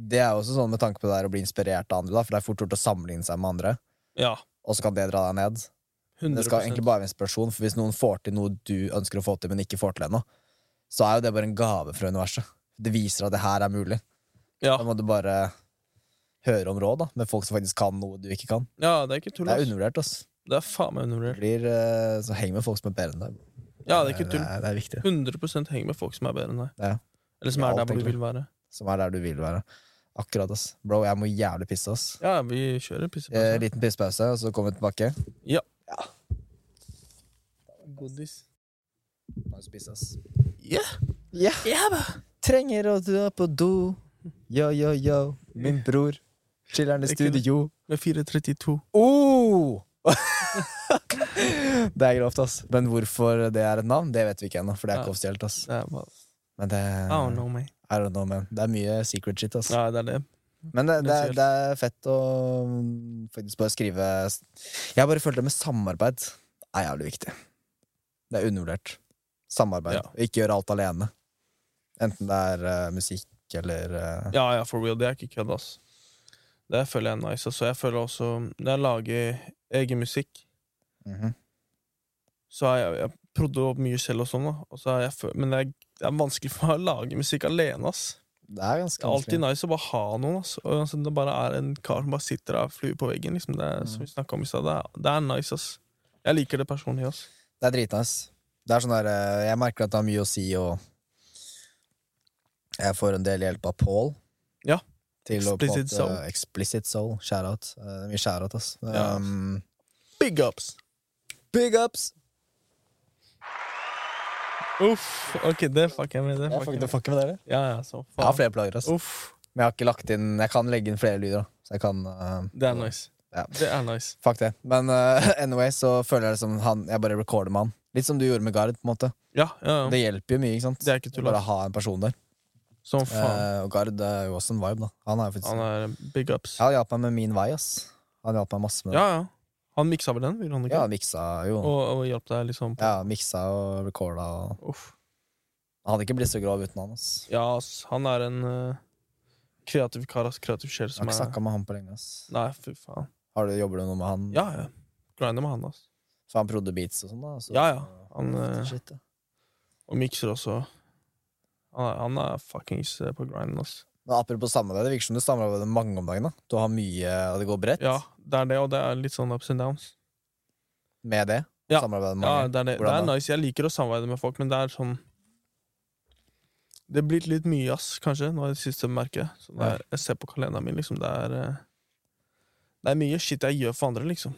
Det er jo også sånn med tanke på det der å bli inspirert av andre, da, for det er fort gjort å sammenligne seg med andre,
Ja,
og så kan det dra deg ned. Men
100
Det skal egentlig bare være inspirasjon, for hvis noen får til noe du ønsker å få til, men ikke får til ennå, så er jo det bare en gave fra universet. Det viser at det her er mulig.
ja.
Da må du bare høre om råd da, med folk som faktisk kan noe du ikke kan.
ja, det er ikke tull,
Det er
ass.
undervurdert. ass.
Det er faen meg
Det
undervurdert.
Blir, eh, så Heng med folk som er bedre enn deg. Eh,
Ja, det er ikke tull.
Det er, det er viktig.
100 henger med folk som er bedre enn deg.
Ja.
Eller Eller som
Ja,
er der
alt
hvor du
egentlig.
vil være.
Som er der du vil være. Akkurat, ass. Bro, jeg må jævlig pisse, ass.
Ja, vi kjører
Eh,
pissepause.
liten pissepause, og så kommer vi tilbake.
Ja.
Ja.
Godis.
Må jo pisse, ass.
Ja.
Ja. Trenger å dra på do. Yo, yo, yo. Min bror. Chiller'n i
Det er ikke det.
studio.
Med 4.32. [LAUGHS]
Oh! det er grovt, ass. Men hvorfor det er et navn, det vet vi ikke ennå. For det er
Ja.
ikke offisielt, ass.
Det er bare
Men det,
I don't know, man.
I don't know, man. det er mye secret shit, ass.
Nei, det er det.
Men det, det, er-
Spesielt.
det er fett å mm, faktisk bare skrive Jeg bare følte det med samarbeid er jævlig viktig. Det er undervurdert. Samarbeid.
Ja.
Ikke gjøre alt alene. Enten det er eh, musikk eller eh,
Ja, ja, for real. Det er ikke kødd, ass. Det føler jeg er nice. ass. Og jeg føler også Når jeg lager egen musikk,
mhm.
så har jeg, jeg prodde opp mye selv og sånn, da. Og så har jeg, fø- men det er, det er vanskelig for meg å lage musikk alene, ass.
Det er ganske
Det er alltid
vanskelig.
nice å bare ha noen, ass. Og altså, det bare er en kar som bare sitter der, flue på veggen, liksom. Det, er-
Mm.
Som vi snakket om i stad. Det, er- det er nice, ass. Jeg liker det personlig, ass.
Det er dritnice. Det er sånn der, eh, jeg merker at det har mye å si, og jeg får en del hjelp av Paul.
Ja.
Til å på en
Explicit
måte-
Soul.
Explicit Soul. Shout-out. Eh, Mye shout-out, ass.
Ja.
Um,
Big ups!
big ups!
Uff! Ok, det fucker jeg med. Det fucker jeg med.
fucker med dere.
Ja, ja, så
Jeg har
faen.
flere plager, ass.
Uff!
Men jeg har ikke lagt inn Jeg kan legge inn flere lyder, da. Så jeg kan eh,
Det er nice.
Ja.
Det er nice.
Fuck det. Men eh, [LAUGHS] anyway, så føler jeg det som han Jeg bare recorder med han. Litt som du gjorde med Gard, på en måte.
Ja, ja, ja.
Det hjelper jo mye, ikke sant?
Det er ikke tull,
Bare
ass.
ha en person der.
Som faen.
Eh, og Gard er jo også en vibe, da. Han er jo faktisk
Han er big ups.
Ja, han hjalp meg med min vei, ass. Han hjalp meg masse med det.
Ja, ja. Han miksa vel den, gjorde han
Ja,
ikke?
han miksa jo.
Og, og hjalp deg, liksom?
Ja, miksa og recorda og
Uff.
Han hadde ikke blitt så grov uten han, ass.
Ja, ass, han er en eh, kreativ kar, ass. Kreativ sjel
Jeg har
som
ikke
er
snakka med han på lenge, ass.
Nei, fy faen.
Har du, jobber du noe med han?
Ja, ja. Grinder med han, ass.
For han prodde beats og sånn, da? Så,
Ja, ja. Han, eh,
Shit, ja.
Og mikser også. Han er, han er fuckings eh, på grinden, ass.
Men apropos samarbeid, det virker som du samarbeider med mange om dagen. da Du har mye, og det går bredt
Ja, det er det, og det er litt sånn ups and downs.
med det?
Ja.
Samarbeider med mange?
Ja, det er, det. det
Hvordan
er
da?
nice. Jeg liker å samarbeide med folk, men det er sånn Det er blitt litt mye, ass, kanskje, nå i det siste merket. Så det er, jeg ser på kalenderen min, liksom. Det er, eh, det er mye shit jeg gjør for andre, liksom.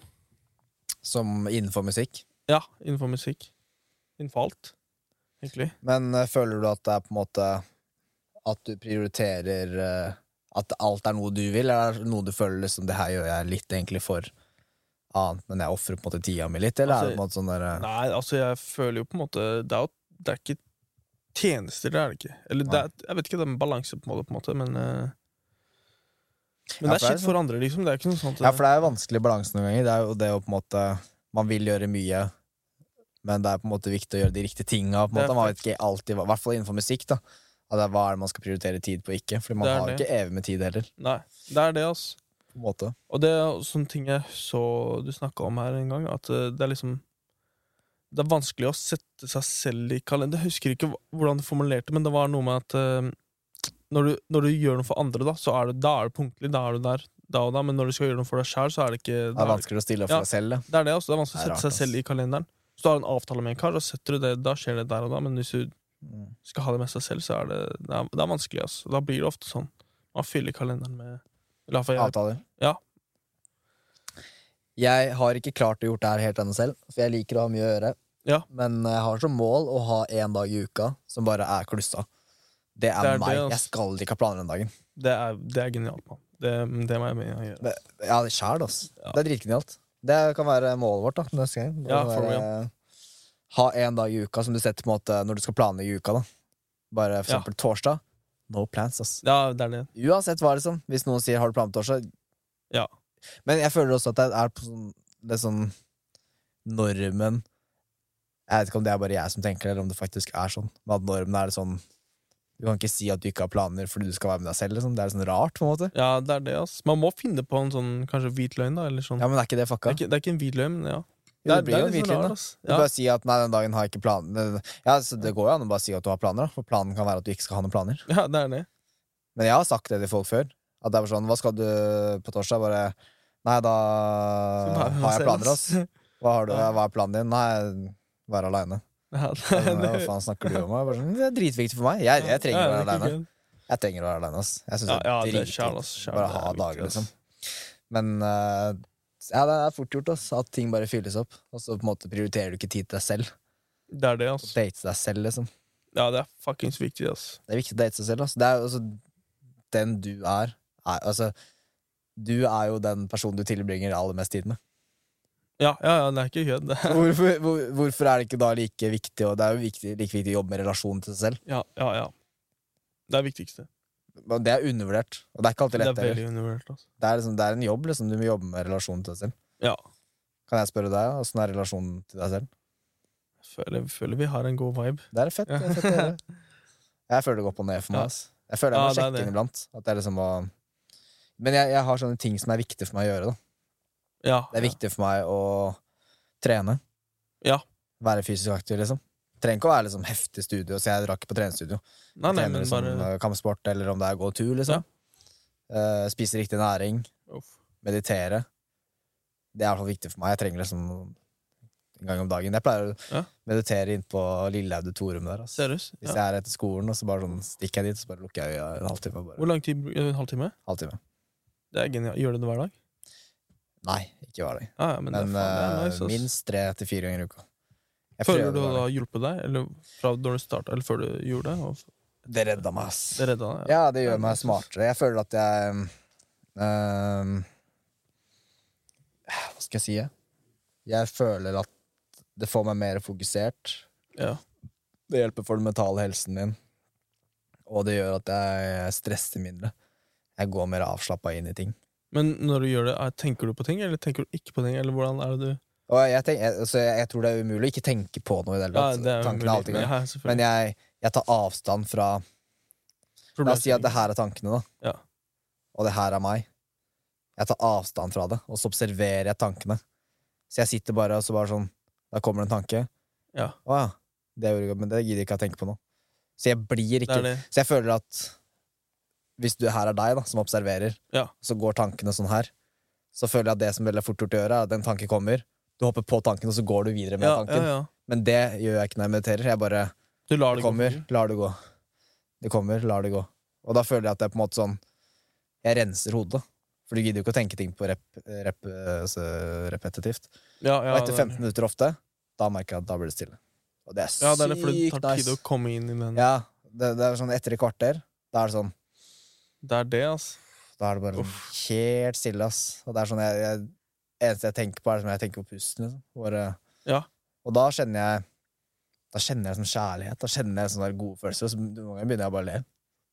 Som innenfor musikk?
Ja, innenfor musikk. Innenfor alt, egentlig.
Men eh, føler du at det er på en måte At du prioriterer eh, at alt er noe du vil, eller er det noe du føler liksom det her gjør jeg litt egentlig for annet, men jeg ofrer på en måte tida mi litt, eller er det på en måte sånn der eh,
Altså, Nei, altså, jeg føler jo på en måte Det er jo det er ikke tjenester, det er det ikke. Eller det er, jeg vet ikke, det er en balanse på en måte, på en måte men eh, Men
Ja,
det er
for det er
shit for andre, liksom. Det er ikke noe sånt
Ja, for det er jo vanskelig balanse noen ganger. Det er jo det å på en måte Man vil gjøre mye, men det er på en måte viktig å gjøre de riktige tinga. På en
Det er
måte. Man vet ikke alltid, hva- i hvert fall innenfor musikk, da. At det er, hva er det man skal prioritere tid på, ikke? Fordi man
Det er
har jo
det.
ikke evig med tid heller.
eh, Nei, det er det, altså.
På en måte.
Og det er sånn ting jeg så du snakka om her en gang, at eh, det er liksom Det er vanskelig å sette seg selv i kalender. Jeg husker ikke hva- hvordan du formulerte det, men det var noe med at eh, når du, når du gjør noe for andre, da, så er du, da er du punktlig. Da er du der da og da, men når du skal gjøre noe for deg sjæl, så er det ikke da
Det er
er det,
vanskeligere å stille opp
Ja.
for deg selv. da.
det, er det, altså, det er vanskelig å
Det er
sette
rart,
seg selv i kalenderen. Så du har en avtale med en kar, så setter du det, da skjer det der og da, men hvis du
Mm.
skal ha det med seg selv, så er det, det, er, det er vanskelig. Altså. Da blir det ofte sånn. Man fyller kalenderen med Eller i hvert fall jeg
Avtaler.
Ja.
Jeg har ikke klart å gjort det her helt ennå selv, for jeg liker å ha mye å gjøre.
Ja.
Men jeg har som mål å ha én dag i uka som bare er klussa. Det er,
Det er det,
meg.
ass.
Jeg skal ikke ha planer den dagen.
Det er, det er genialt, mann. Det, det må jeg mene. jeg gjør.
Det, ja, det sjæl, altså.
Ja.
Det er dritgenialt. Det kan være målet vårt da, neste gang. Det
Ja,
kan
for
være, Ha en dag i uka som du setter på en måte når du skal planlegge uka. da. Bare for
Ja.
eksempel torsdag. No plans, ass.
Ja, det er det.
Uansett hva, liksom. Hvis noen sier 'har du planer på torsdag'?
Ja.
Men jeg føler også at det er på sånn, det er sånn normen Jeg vet ikke om det er bare jeg som tenker det, eller om det faktisk er sånn. Men at normen er det sånn Du kan ikke si at du ikke har planer fordi du skal være med deg selv. Liksom. Det er sånn rart, på en måte.
Ja, det er det, ass. Man må finne på en sånn kanskje hvit løgn, da. Eller sånn.
Ja, Men er ikke
det,
det fucka?
er ikke, det er ikke en hvit løgn, men ja.
Jo, det blir jo en
litt
hvit
sånn
løgn,
rart,
da.
ass.
Du
Ja.
bare si at nei, den dagen har jeg ikke planer Ja, så Det går jo an å bare si at du har planer, da, for planen kan være at du ikke skal ha noen planer.
[LAUGHS] ja, det er det.
Men jeg har sagt det til folk før. At det er bare sånn Hva skal du på torsdag? Bare Nei, da
Så bare-
har jeg planer, ass. Hva, har du,
[LAUGHS] Ja.
hva er planen din? Nei, være aleine.
[LAUGHS] Ja,
Jeg bare sånn, Hva faen snakker du om? Jeg bare sånn, det er dritviktig for meg. Jeg, jeg trenger å
Ja,
være
det er
aleine.
ikke gøy.
Jeg trenger å være alene, ass. Jeg syns
Ja, ja,
det
det
er
er sjæl,
dritdigg.
ass. Sjæl,
Bare
det er
ha
viktig,
dager,
ass.
liksom. Men eh, ja, det er fort gjort, ass. At ting bare fylles opp. Og så på en måte prioriterer du ikke tid til deg selv.
Det er det, ass.
Date til deg selv, liksom.
Ja, det er fuckings viktig, ass.
Det er viktig å date seg selv. Altså. Det er jo altså, den du er, er altså, Du er jo den personen du tilbringer aller mest tid med. [LAUGHS]
Ja, ja, ja, det er ikke kødd. det.
Hvorfor, hvor, hvorfor er det ikke da like viktig og Det er jo viktig, like viktig å jobbe med relasjonen til seg selv.
[LAUGHS] Ja, ja, ja. Det er det viktigste.
Og Det er undervurdert. Og det er ikke alltid
Det er
lett. heller.
veldig undervurdert, ass.
Det er, liksom, det er en jobb. Liksom. Du må jobbe med relasjonen til deg selv.
Ja.
Kan jeg spørre deg, åssen er relasjonen til deg selv?
Jeg føler, jeg føler vi har en god vibe.
Det er fett. Det er fett å
[LAUGHS]
høre. Jeg føler det går opp og ned for
Ja.
meg. Ass. Jeg føler jeg
Ja,
må
det er
sjekke
det.
inniblant. At jeg liksom må... Men jeg, jeg har sånne ting som er viktige for meg å gjøre. Da.
Ja.
Det er viktig for meg å trene.
Ja.
Være fysisk aktiv, liksom. Trenger ikke å være liksom, heftig studio, så jeg drar ikke på treningsstudio.
Nei, nei,
Trener
men
liksom,
bare
eh, kampsport, eller om det er gå tur, liksom. Eh, spise riktig næring.
Uff.
meditere. Det er i hvert fall viktig for meg. Jeg trenger liksom en gang om dagen. Jeg pleier å
Ja.
meditere innpå lille auditorium der. Altså.
Seriøst?
Hvis
Ja.
jeg er etter skolen, og så bare sånn stikker jeg dit, så bare lukker jeg øya en halvtime. Bare.
Hvor lang tid? bru- En halvtime?
halvtime.
Det er genialt. Gjør du det hver dag?
Nei, ikke hver dag.
Ja, ja, men,
Men
det, er, faen, det
eh,
er nice, ass.
minst tre til fire ganger i uka. Jeg
Føler
prøver
du
hver
det
dag.
har hjulpet deg, eller fra da du starta, eller før du gjorde det? Og
Det redda meg, ass.
det redda deg?
Ja, det gjør meg smartere. Jeg føler at jeg ehm, Hva skal jeg si? jeg? Jeg føler at det får meg mer fokusert.
Ja.
Det hjelper for den mentale helsen min. Og det gjør at jeg stresser mindre. Jeg går mer avslappa inn i ting.
Men når du gjør det, er- tenker du på ting, eller tenker du ikke på ting? Eller hvordan er det du
Og jeg, tenk, jeg, så jeg, jeg tror det er umulig å ikke tenke på noe i det hele
Ja,
tatt.
det er
Tankene er
mulig.
alltid i gang.
Ja, selvfølgelig.
Men jeg, jeg tar avstand fra La oss si at det her er tankene, da.
Ja.
Og det her er meg. Jeg tar avstand fra det, og så observerer jeg tankene. Så jeg sitter bare og så bare sånn Da kommer det en tanke.
Ja.
Å ja. Det gjorde jeg godt, men det gidder jeg ikke å tenke på nå. Så jeg blir
Det
ikke
er det.
Så jeg føler at hvis du her er deg, da, som observerer,
Ja.
så går tankene sånn her, så føler jeg at det som veldig er fort gjort å gjøre, er at en tanke kommer, du hopper på tanken, og så går du videre med
Ja, ja,
tanken.
ja.
Men det gjør jeg ikke når jeg mediterer. Jeg bare
Du lar
det
det gå
kommer,
forbi.
lar det gå. Det kommer, lar det gå. Og da føler jeg at det er på en måte sånn Jeg renser hodet. For du gidder jo ikke å tenke ting på rep, rep, altså repetitivt.
Ja, ja,
Og etter
det er-
15 minutter ofte, da merker jeg at da blir det stille. Og det er sykt
Ja, det er det, for det tar tid Mm.
nice.
å komme inn i den.
Ja, det, det er sånn etter et kvarter, da er det sånn
Det er det, altså.
Da er det bare sånn helt stille, ass. Og det er sånn jeg, jeg eneste jeg tenker på, er sånn jeg tenker på pusten. Liksom. Bare,
Ja.
Og da kjenner jeg Da kjenner jeg sånn kjærlighet. Da kjenner jeg sånne der gode følelser. Og så noen ganger begynner jeg bare å le.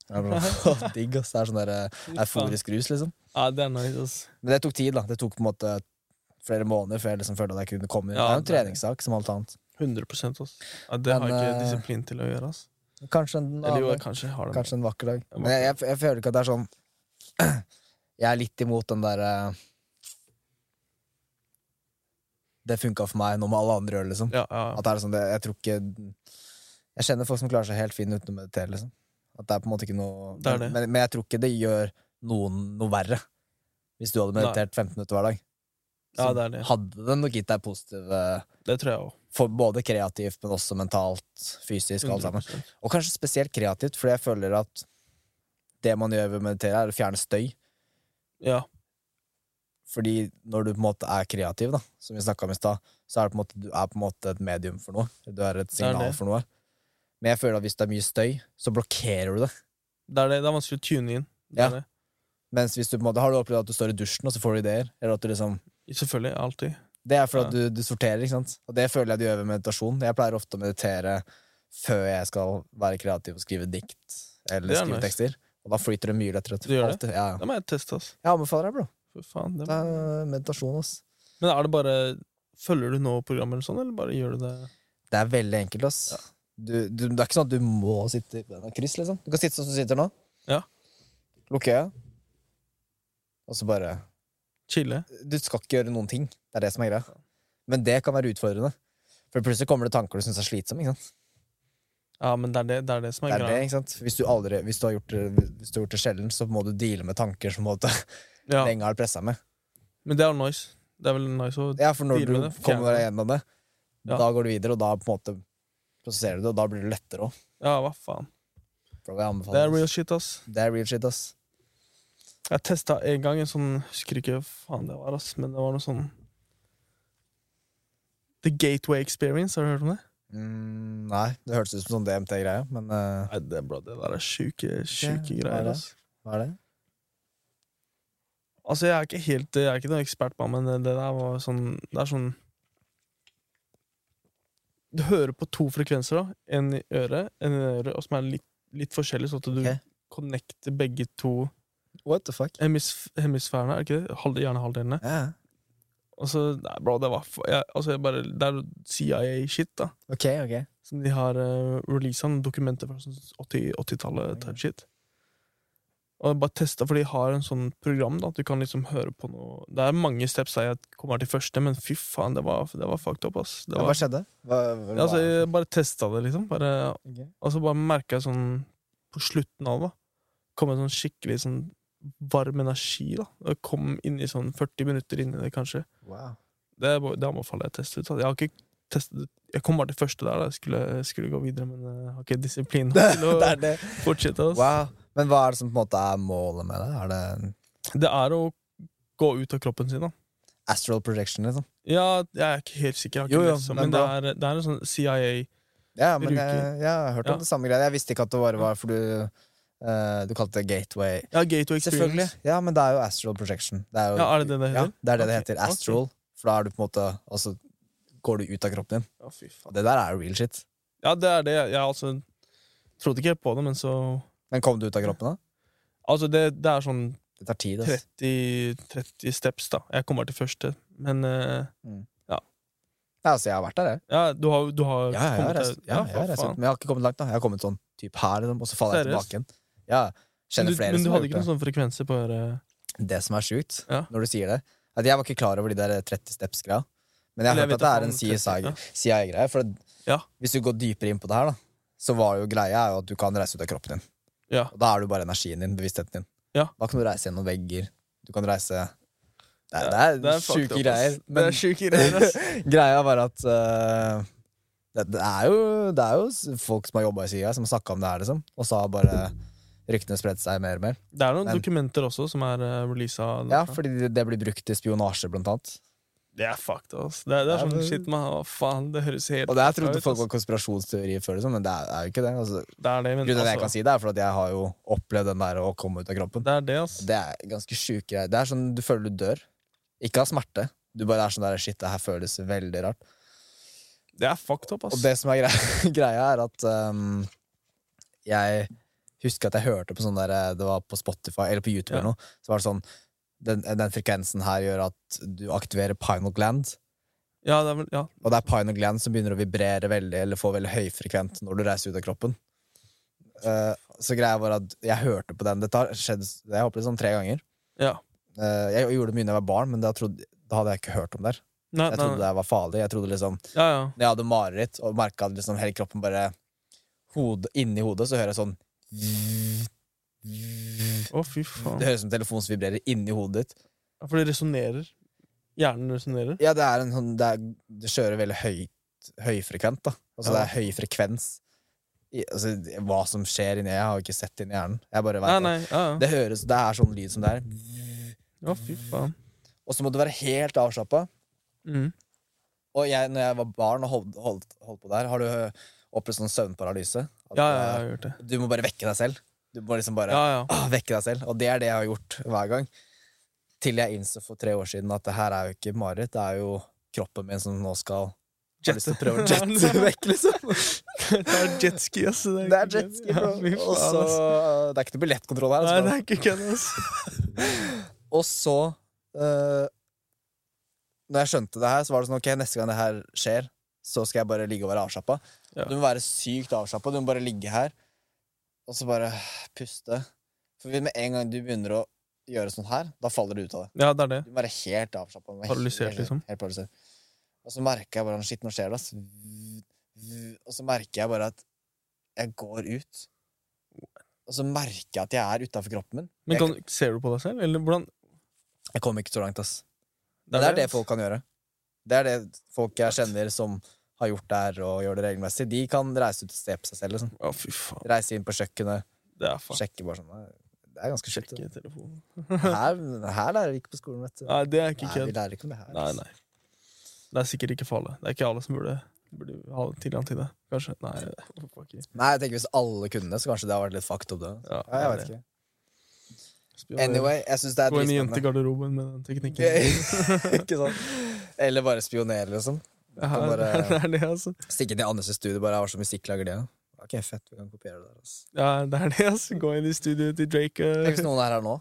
Jeg er bare
[LAUGHS]
[LAUGHS] sånn, Digg, ass. Det er sånn der eh, euforisk rus, liksom.
Ja, det er nice, ass.
Men det tok tid, da. Det tok på en måte flere måneder før jeg liksom følte at jeg kunne komme inn.
Ja,
det er jo
det er
en
det.
treningssak, som alt annet.
100 ass. Ja, det har
Men,
jeg ikke
eh,
disiplin til å gjøre, ass.
Kanskje en annen
Eller jo,
dag.
jeg kanskje har det.
Kanskje en vakker dag.
En
Men jeg, jeg, jeg føler ikke at det er sånn [CLEARS THROAT] Jeg er litt imot den derre Det funka for meg, nå må alle andre gjøre det, liksom.
Ja, ja,
At det er sånn, det, jeg tror ikke Jeg kjenner folk som klarer seg helt fint uten å meditere, liksom. At det er på en måte ikke noe
Det er det.
Men, men jeg tror ikke det gjør noen noe verre. Hvis du hadde meditert 15 minutter hver dag,
ja, det er det.
hadde det nok gitt deg positive
Det tror jeg òg.
for Både kreativt, men også mentalt, fysisk, alt sammen.
100%.
Og kanskje spesielt kreativt, fordi jeg føler at det man gjør ved å meditere, er å fjerne støy.
Ja,
Fordi når du på en måte er kreativ, da, som vi snakka om i stad, så er det på en måte, du er på en måte et medium for noe. Du er et
Det er
signal
det.
for noe. Men jeg føler at hvis det er mye støy, så blokkerer du det.
det er det. Det er vanskelig å tune inn. Det
Ja.
er det.
Mens hvis du på en måte, Har du opplevd at du står i dusjen og så får du ideer? Eller at du liksom,
Selvfølgelig. Alltid.
det er fordi at du, du sorterer. ikke sant? Og det føler jeg du gjør ved meditasjon. Jeg pleier ofte å meditere før jeg skal være kreativ og skrive dikt eller
Det er
skrive
nice.
tekster. Og da flyter det mye lettere.
Du gjør
Alltid. Ja, ja.
Det må jeg teste, ass.
Jeg anbefaler deg, bro.
For faen, det
Det er meditasjon, ass.
Men er det bare Følger du nå programmet, eller sånn, eller bare gjør du det
Det er veldig enkelt, ass. Du, du, det er ikke sånn at du må sitte i bena kryss, liksom. Du kan sitte sånn som du sitter nå.
Ja.
Lukke øya. Og så bare
chille?
Du skal ikke gjøre noen ting. Det er det som er greia. Men det kan være utfordrende. For plutselig kommer det tanker du syns er slitsomme. Ikke sant?
Ja, men det er det, det, er det som er
Det er det,
Sånn greia.
ikke sant? Hvis, du aldri, hvis, du har gjort, det- hvis du har gjort det sjelden, så må du deale med tanker som på en måte
Ja.
lenge har pressa med.
Men det er jo nice. Det er vel nice å
Ja, for når
Deale
du
med det, fjerne
kommer deg
det.
gjennom det,
Ja.
da går du videre, og da på en måte prosesserer du det, og da blir det lettere òg.
Ja, hva faen. Det er real
Det,
shit, ass.
det er real shit, ass.
Jeg testa en gang en sånn Husker ikke hva faen det var, ass, men det var noe sånn The Gateway Experience, har du hørt om det?
Mm, nei, det hørtes ut som sånn DMT-greie, men eh,
Nei, det, bro, det der er sjuke, sjuke
hva er
greier,
det?
ass.
hva er det?
Altså, jeg er ikke helt Jeg er ikke noen ekspert på det, men det der var sånn Det er sånn Du hører på to frekvenser, da. En i øret, en i øret, og som er litt, litt forskjellig, sånn at du
Ok.
connecter begge to
What the fuck?
hemisf hemisfærene, er det ikke det? Halv, gjerne halvdelene.
Ja,
Og så Nei, bro, det var f- jeg, Altså, jeg bare Det er CIA-shit, da.
ok, ok.
Som de har uh, releasa noen dokumenter fra sånn 80 80-tallet. type shit. Og jeg bare testa, for de har en sånn program da, at du kan liksom høre på noe Det er mange steps der jeg kommer til første, men fy faen, det var, det var fucked up, ass. Det
Ja,
var,
Hva skjedde? Hva, hva,
ja, altså, jeg bare testa det, liksom. Bare,
Ok.
og så bare merka jeg sånn På slutten av det kom en sånn skikkelig sånn varm energi. da. Det kom inn i sånn 40 minutter inn i det, kanskje.
Wow.
Det, er bare- det anbefaler jeg å teste ut. da. Jeg har ikke testet ut Jeg kom bare til første der, da. Jeg skulle, skulle gå videre, men jeg har ikke disiplin nok til å
det er det.
fortsette. altså. ass.
Wow. Men hva er det som på en måte er målet med det? Er det
Det er å gå ut av kroppen sin, da.
astral projection, liksom?
Ja, jeg er ikke helt sikker, jeg har
Jo,
ikke
jo,
lest om,
men
men det er, det er en sånn CIA
Ja, men
Ruker.
jeg, jeg har hørt om
Ja.
det samme greia. Jeg visste ikke at det bare var for du eh, Du kalte det gateway.
Ja, Gateway
Selvfølgelig.
Experience.
Ja, men det er jo astral projection. Det er jo,
Ja, er det det det
Ja,
heter?
det er det det
Ok,
heter.
ok.
Astral. For da er du på en måte Og så går du ut av kroppen din.
Ja, fy
Og
faen.
Det der er jo real shit.
Ja, det er det. Jeg altså trodde ikke helt på det, men så
Men kom du ut av kroppen, da?
Altså, det, det er sånn
Det tar tid. ass.
30, 30 steps, da. Jeg kommer til første, men eh,
Ja, altså, jeg har vært der, jeg.
Ja, du har, du har
Ja, jeg har
kommet
reist,
deg-
ja, jeg har
for
reist
faen.
rundt. Men jeg har ikke kommet langt, da. Jeg har kommet sånn typ her, liksom, og så faller jeg
Seriøst?
tilbake igjen. Ja,
Men
kjenner
du,
flere
men du
som
hadde
har gjort
ikke
det.
noen sånne frekvenser på øret?
det som er sjukt,
Ja.
når du sier det At Jeg var ikke klar over de der 30 steps-greia. Men jeg
Eller jeg vet
har hørt at det
da
er en
faen, 30, ja.
CIA-greie. For det-
Ja.
hvis du går dypere inn på det her, da, så var jo greia er jo at du kan reise ut av kroppen din.
Ja.
Og da er du bare energien din, bevisstheten din.
Ja.
Da kan du reise gjennom vegger. Du kan reise Det er,
Ja,
det er
fucked
sjuke
up, ass.
greier. Men
Det er sjuke greier, ass.
greia var at eh, det, det, er jo, det er jo s- folk som har jobba i CIA, som har snakka om det her, liksom. Og så har bare ryktene spredt seg mer og mer.
[LAUGHS] Det er noen
Men-
dokumenter også som er uh, releasa.
Ja, fordi det, det blir brukt i spionasje, blant annet.
Det er fucked, ass. Det, er- det er
Ja,
sånn
men-
shit, man. Hva faen, det høres helt
Og det her
fucka
trodde
ut,
folk
ass.
var konspirasjonsteorier før, liksom, men det er, er jo ikke det. Altså,
Det er det, men
grunnen til at jeg
altså,
kan si det, er for at jeg har jo opplevd den der å komme ut av kroppen.
det er det, ass.
Det er ganske sjuke greier. Det er sånn du føler du dør. Ikke av smerte. Du bare er sånn der Shit, det her føles veldig rart.
Det er fucked up, ass.
Og det som er greia, [LAUGHS] greia er at ehm, jeg husker at jeg hørte på sånn der eh, Det var på Spotify eller på YouTube
Ja.
eller noe. Så var det sånn den, den frekvensen her gjør at du aktiverer pinal gland.
Ja, det er vel, ja.
Og det er pine og gland som begynner å vibrere veldig Eller få veldig høyfrekvent når du reiser ut av kroppen Eh, Så greia var at jeg hørte på den Dette har skjedd, jeg håper det sånn tre ganger
ja.
Eh, Jeg gjorde det mye når jeg var barn Men da, trodde, da hadde jeg ikke hørt om det her.
Nei,
Jeg
nei,
trodde
nei.
det var farlig Jeg trodde liksom,
Ja, ja.
når jeg hadde mareritt Og merket at liksom hele kroppen bare hode, Inni hodet så hører jeg sånn
Å, fy faen.
Det høres som telefonen som vibrerer inni hodet ditt
Ja, for det resonnerer. Hjernen resonnerer.
Ja, det er en sånn Det, er, det kjører veldig høyt, høyfrekvent, da. Altså det er høy frekvens. I, altså, det- hva som skjer inni Jeg har jo ikke sett inni hjernen. Jeg bare vet
Nei,
at
nei. Ja, ja.
Det høres Det er sånn lyd som det er.
Å, fy faen.
Og så må du være helt avslappa.
Mm.
Og jeg, når jeg var barn og holdt, holdt, holdt på der, har du ø, opplevd sånn søvnparalyse? At,
Ja, ja, jeg
ø,
har gjort det.
Du må bare vekke deg selv. Du må liksom bare
Ja, ja.
ah, vekke deg selv. Og det er det jeg har gjort hver gang. Til jeg innså for tre år siden at det her er jo ikke mareritt, det er jo kroppen min som nå skal Har lyst til å prøve å jette vekk, liksom. [LAUGHS]
Det er jetski, ass.
Det er jetski, bro. Og så altså. Det er ikke noe billettkontroll her.
Nei,
Altså.
det er ikke kødd, ass.
Og så eh, Når jeg skjønte det her, så var det sånn Ok, neste gang det her skjer, så skal jeg bare ligge og være avslappa.
Ja.
Du må være sykt avslappa. Du må bare ligge her og så bare puste. For hvis med en gang du begynner å gjøre sånn her, da faller du ut av det.
Ja, det er det.
Du må være helt avslappa. Du må være
Paralysert,
helt-
liksom.
Helt paralysert. Og så merker jeg bare sånn, Shit, nå skjer det, ass. Og så merker jeg bare at jeg går ut. Og så merker jeg at jeg er utafor kroppen min.
Men
Jeg
kan, ser du på deg selv, eller hvordan
Jeg kommer ikke så langt, ass. Det er det folk kan gjøre. Det er det folk jeg kjenner som har gjort det her og gjør det regelmessig, de kan reise ut og se på seg selv. Liksom.
Å, fy faen.
Reise inn på kjøkkenet,
Det er faen
sjekke bare sånn Det er ganske sjukt.
Sjekke telefonen.
det. Her, her lærer vi ikke på skolen, vet du.
Nei, det er ikke
Nei, vi
kødd.
lærer ikke om det her.
Nei,
altså.
nei. Det er sikkert ikke farlig. Det er ikke alle som burde, burde ha tilgang til det. Kanskje. Nei, fuck it.
Nei, jeg tenker Hvis alle kunne det, så kanskje det har vært litt fucked up. Det.
Ja,
Ja, jeg vet ikke. Anyway, jeg syns det er
Gå inn i
dritspennende.
jentegarderoben med den
[LAUGHS]
teknikken.
ikke sant? Eller bare spionere, liksom.
Ja,
kan
det
bare- [LAUGHS]
er det, altså.
Stikke til Anders' studio bare hva slags musikk lager de? da? Ok, fett, vi kan kopiere det der. Altså.
Ja, det er det, altså. Gå inn i studioet til Drake.
Er det
eh.
ikke noen her her nå?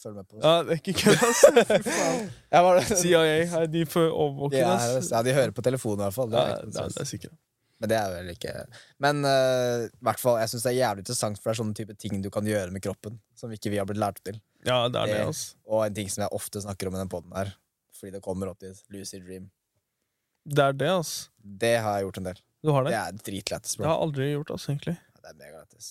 Følg med på oss.
Ja, det er ikke kødd,
[LAUGHS]
altså. Fy faen.
Jeg bare, [LAUGHS]
CIA, hei, de får
de,
overvåke
er her,
oss.
altså. ja, de hører på telefonen i hvert fall. Det
Ja,
er,
det er,
helt
det er sikkert.
Men det er vel ikke Men eh, i hvert fall, jeg syns det er jævlig interessant, for det er sånne type ting du kan gjøre med kroppen som ikke vi har blitt lært til.
Ja, det er det,
Det-
altså.
Og en ting som jeg ofte snakker om i den poden her, fordi det kommer opp dit, Lucy Dream.
Det er det, altså.
Det har jeg gjort en del.
Du har
Det
det?
er dritlættis,
Det
bro.
har jeg aldri gjort, altså, egentlig.
Det er megalættis.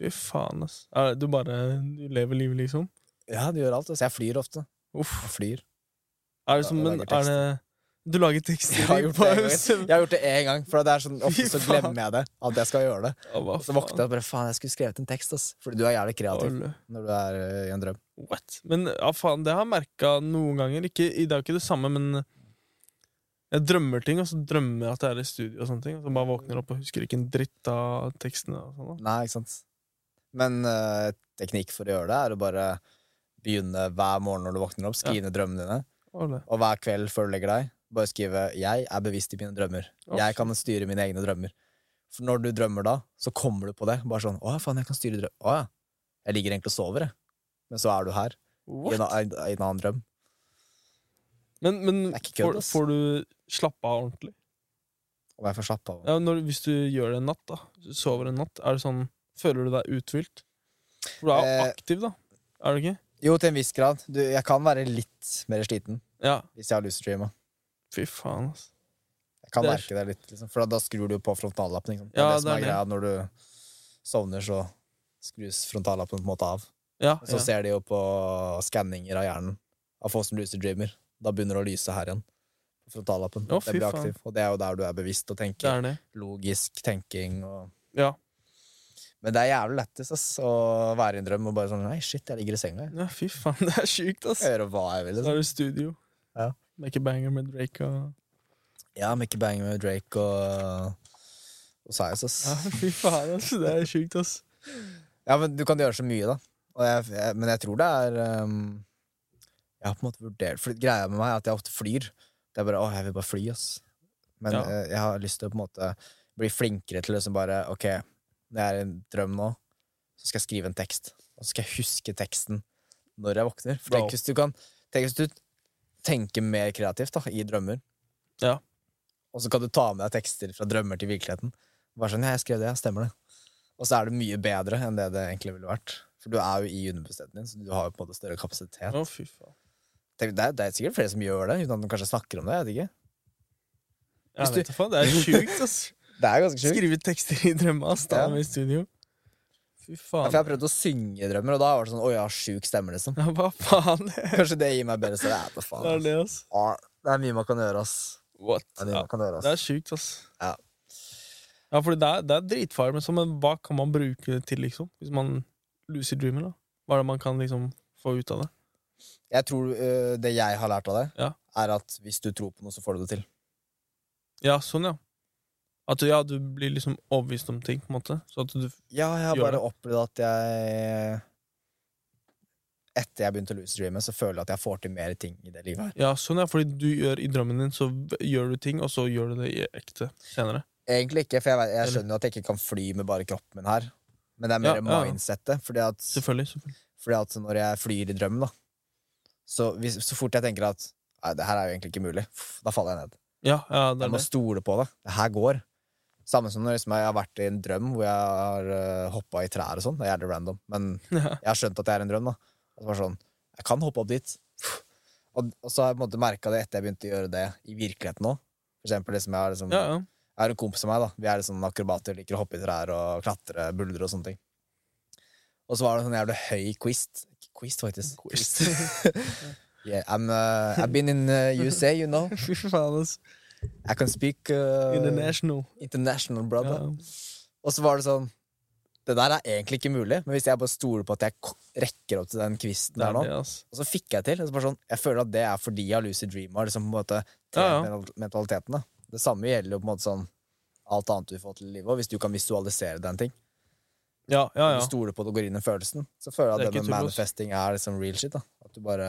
Fy faen, ass. Er det- Du bare du lever livet, liksom?
Ja, du gjør alt. Altså. Jeg flyr ofte. Jeg
Uff.
[LAUGHS] flyr.
Er det som
Ja,
en
jeg lager
Er det Du lager tekster
Jeg
i
har gjort det en gang.
[LAUGHS] pause?
Jeg har gjort det én gang, for det er sånn, ofte
Fy
så
faen.
glemmer jeg det. At jeg skal gjøre det.
Ja, hva
Og så våkner
faen?
jeg og bare faen, jeg skulle skrevet en tekst, ass. Fordi du er jævlig kreativ
Alle.
når du er ø, i en drøm.
What? Men ja, faen, det har jeg merka noen ganger. Ikke, det er jo ikke det samme, men jeg drømmer ting, og så drømmer jeg at jeg er i studio, og sånne ting. Og så bare våkner jeg opp og husker ikke en dritt av tekstene. og sånn da.
Nei, ikke sant. Men ø, teknikk for å gjøre det er å bare begynne hver morgen når du våkner opp, skrive ned drømmene dine.
Alle.
Og hver kveld før du legger deg, bare skrive 'Jeg er bevisst i mine drømmer'.
Å,
Jeg kan styre mine egne drømmer. For når du drømmer da, så kommer du på det. Bare sånn 'Å ja, faen, jeg kan styre drøm... Å ja. Jeg ligger egentlig og sover, jeg. Men så er du her, i en,
What?
a- i en annen drøm.
Men, men
Det er ikke kødd,
får,
ass.
får du slappe av ordentlig?
Om jeg får slappe av.
Ja, når, hvis du gjør det en natt, da hvis du sover en natt, er det sånn Føler du deg uthvilt? For du er jo
Eh.
aktiv, da. Er du ikke?
Jo, til en viss grad. Du, jeg kan være litt mer sliten
Ja.
hvis jeg har lyst til å streame.
Fy faen, ass.
Jeg kan
Det er-
merke det litt, liksom. for da, da skrur du jo på frontallappen. Ikke sant?
Ja,
det er det som
det
er
er
greia. Når du sovner, så skrus frontallappen på en måte av.
Ja,
Så
ja.
ser de jo på skanninger av hjernen av folk som lucid dreamer. Da begynner det å lyse her igjen. på Frontallappen.
Å,
Den
fy
blir
faen.
aktiv. Og det er jo der du er bevisst og
det
tenker.
er det.
Logisk tenking og
Ja.
Men det er jævlig lættis ass, å være i en drøm og bare sånn Nei, shit, jeg ligger i senga. Jeg
ja, fy faen, [LAUGHS] det er sjukt, ass.
Jeg gjør hva jeg vil.
Så
Liksom.
er det studio.
Ja.
Make a banger med Drake og
Ja, Mickey Bang med Drake og og Sias, ass.
Ja, fy faen, ass. Det er sjukt, ass.
Ja, men du kan gjøre så mye, da. Og jeg, jeg, men jeg tror det er ehm, Jeg har på en måte vurdert For greia med meg er at jeg ofte flyr. Det er bare 'Å, jeg vil bare fly', ass. Men
Ja.
eh, jeg har lyst til å på en måte bli flinkere til liksom bare Ok, når jeg er i en drøm nå, så skal jeg skrive en tekst. Og så skal jeg huske teksten når jeg våkner. For
Wow.
tenk hvis du kan Tenk hvis du tenker mer kreativt da, i drømmer.
Ja.
Og så kan du ta med deg tekster fra drømmer til virkeligheten. Bare sånn, ja, jeg skrev det, ja, stemmer det. Og så er det mye bedre enn det det egentlig ville vært. For du er jo i underbevisstheten din, så du har jo på en måte større kapasitet.
Å, fy faen.
Tenk, det, er, det er sikkert flere som gjør det, uten at de kanskje snakker om det. jeg vet ikke. Hvis
Jeg
du-
vet da faen, det er
[LAUGHS]
sjukt, ass.
Det er ganske sjukt.
Skrive tekster i drømma, ass. Da
Ja.
med i studio. Fy
Ja, for jeg
faen.
har prøvd å synge i drømmer, og da var det sånn, å, jeg har sjuk stemme, liksom.
Ja, hva faen?
Kanskje det gir meg bedre stemme. Ja, for faen,
Det er
ass.
det, ass.
Ja, det er mye man kan gjøre, ass.
What?
Det er mye
Ja.
man kan gjøre,
Det er
ass.
sjukt, ass.
Ja.
Ja, fordi det er, det er dritfare, men, så, men hva kan man bruke det til, liksom? Hvis man lucid dreamer, da? Hva er det man kan liksom få ut av det?
Jeg tror øh, det jeg har lært av det,
Ja.
er at hvis du tror på noe, så får du det til.
Ja, sånn, ja. At du, ja, du blir liksom overbevist om ting, på en måte. Så at du
Ja, jeg har
Gjør
bare opplevd at jeg Etter jeg begynte å lose dreamet, så føler jeg at jeg får til mer ting i det livet her.
Ja, sånn ja, fordi du gjør i drømmen din, så v- gjør du ting, og så gjør du det i ekte senere.
Egentlig ikke, for jeg, vet- jeg
Eller-
skjønner jo at jeg ikke kan fly med bare kroppen min her. Men det er
Ja,
mer
ja, ja.
mindsettet. Fordi at,
Selvfølgelig. selvfølgelig.
fordi at når jeg flyr i drømmen, da så, hvis, så fort jeg tenker at Nei, det her er jo egentlig ikke mulig, pff, da faller jeg ned.
Ja, ja, det er
Jeg må
det.
stole på det. Det her går. Samme som når liksom, jeg har vært i en drøm hvor jeg har uh, hoppa i trær og sånn. Det er jævlig random. Men
Ja.
jeg har skjønt at det er en drøm. da At det var sånn, Jeg kan hoppe opp dit. Og, og så har jeg på en måte merka det etter jeg begynte å gjøre det i virkeligheten òg. For eksempel, liksom, jeg, har liksom,
[LAUGHS] Ja, ja.
jeg har en kompis av meg. da Vi er liksom akrobater, liker å hoppe i trær og klatre, buldre og sånne ting. Og så var det en sånn jævlig høy quist. Quist, faktisk.
Quist. [LAUGHS]
yeah, I'm, uh, I've been in uh, USA, you know.
Fy faen, ass.
I can speak uh,
International.
international, brother.
Ja.
Og så var det sånn Det der er egentlig ikke mulig, men hvis jeg bare stoler på at jeg k- rekker opp til den
Det
kvisten der
er
nå,
det, ass.
og så fikk jeg til. Og så bare sånn, jeg føler at det er fordi jeg har lucid dream og har liksom på en måte
Ja, ja.
trent mental- mentaliteten. da. Det samme gjelder jo på en måte sånn alt annet du får til i livet, og hvis du kan visualisere den ting,
Ja, ja,
og
ja.
du stoler på det og går inn i følelsen, så føler jeg
Det er
at det
ikke
med
tullås.
manifesting er liksom real shit. da. At du bare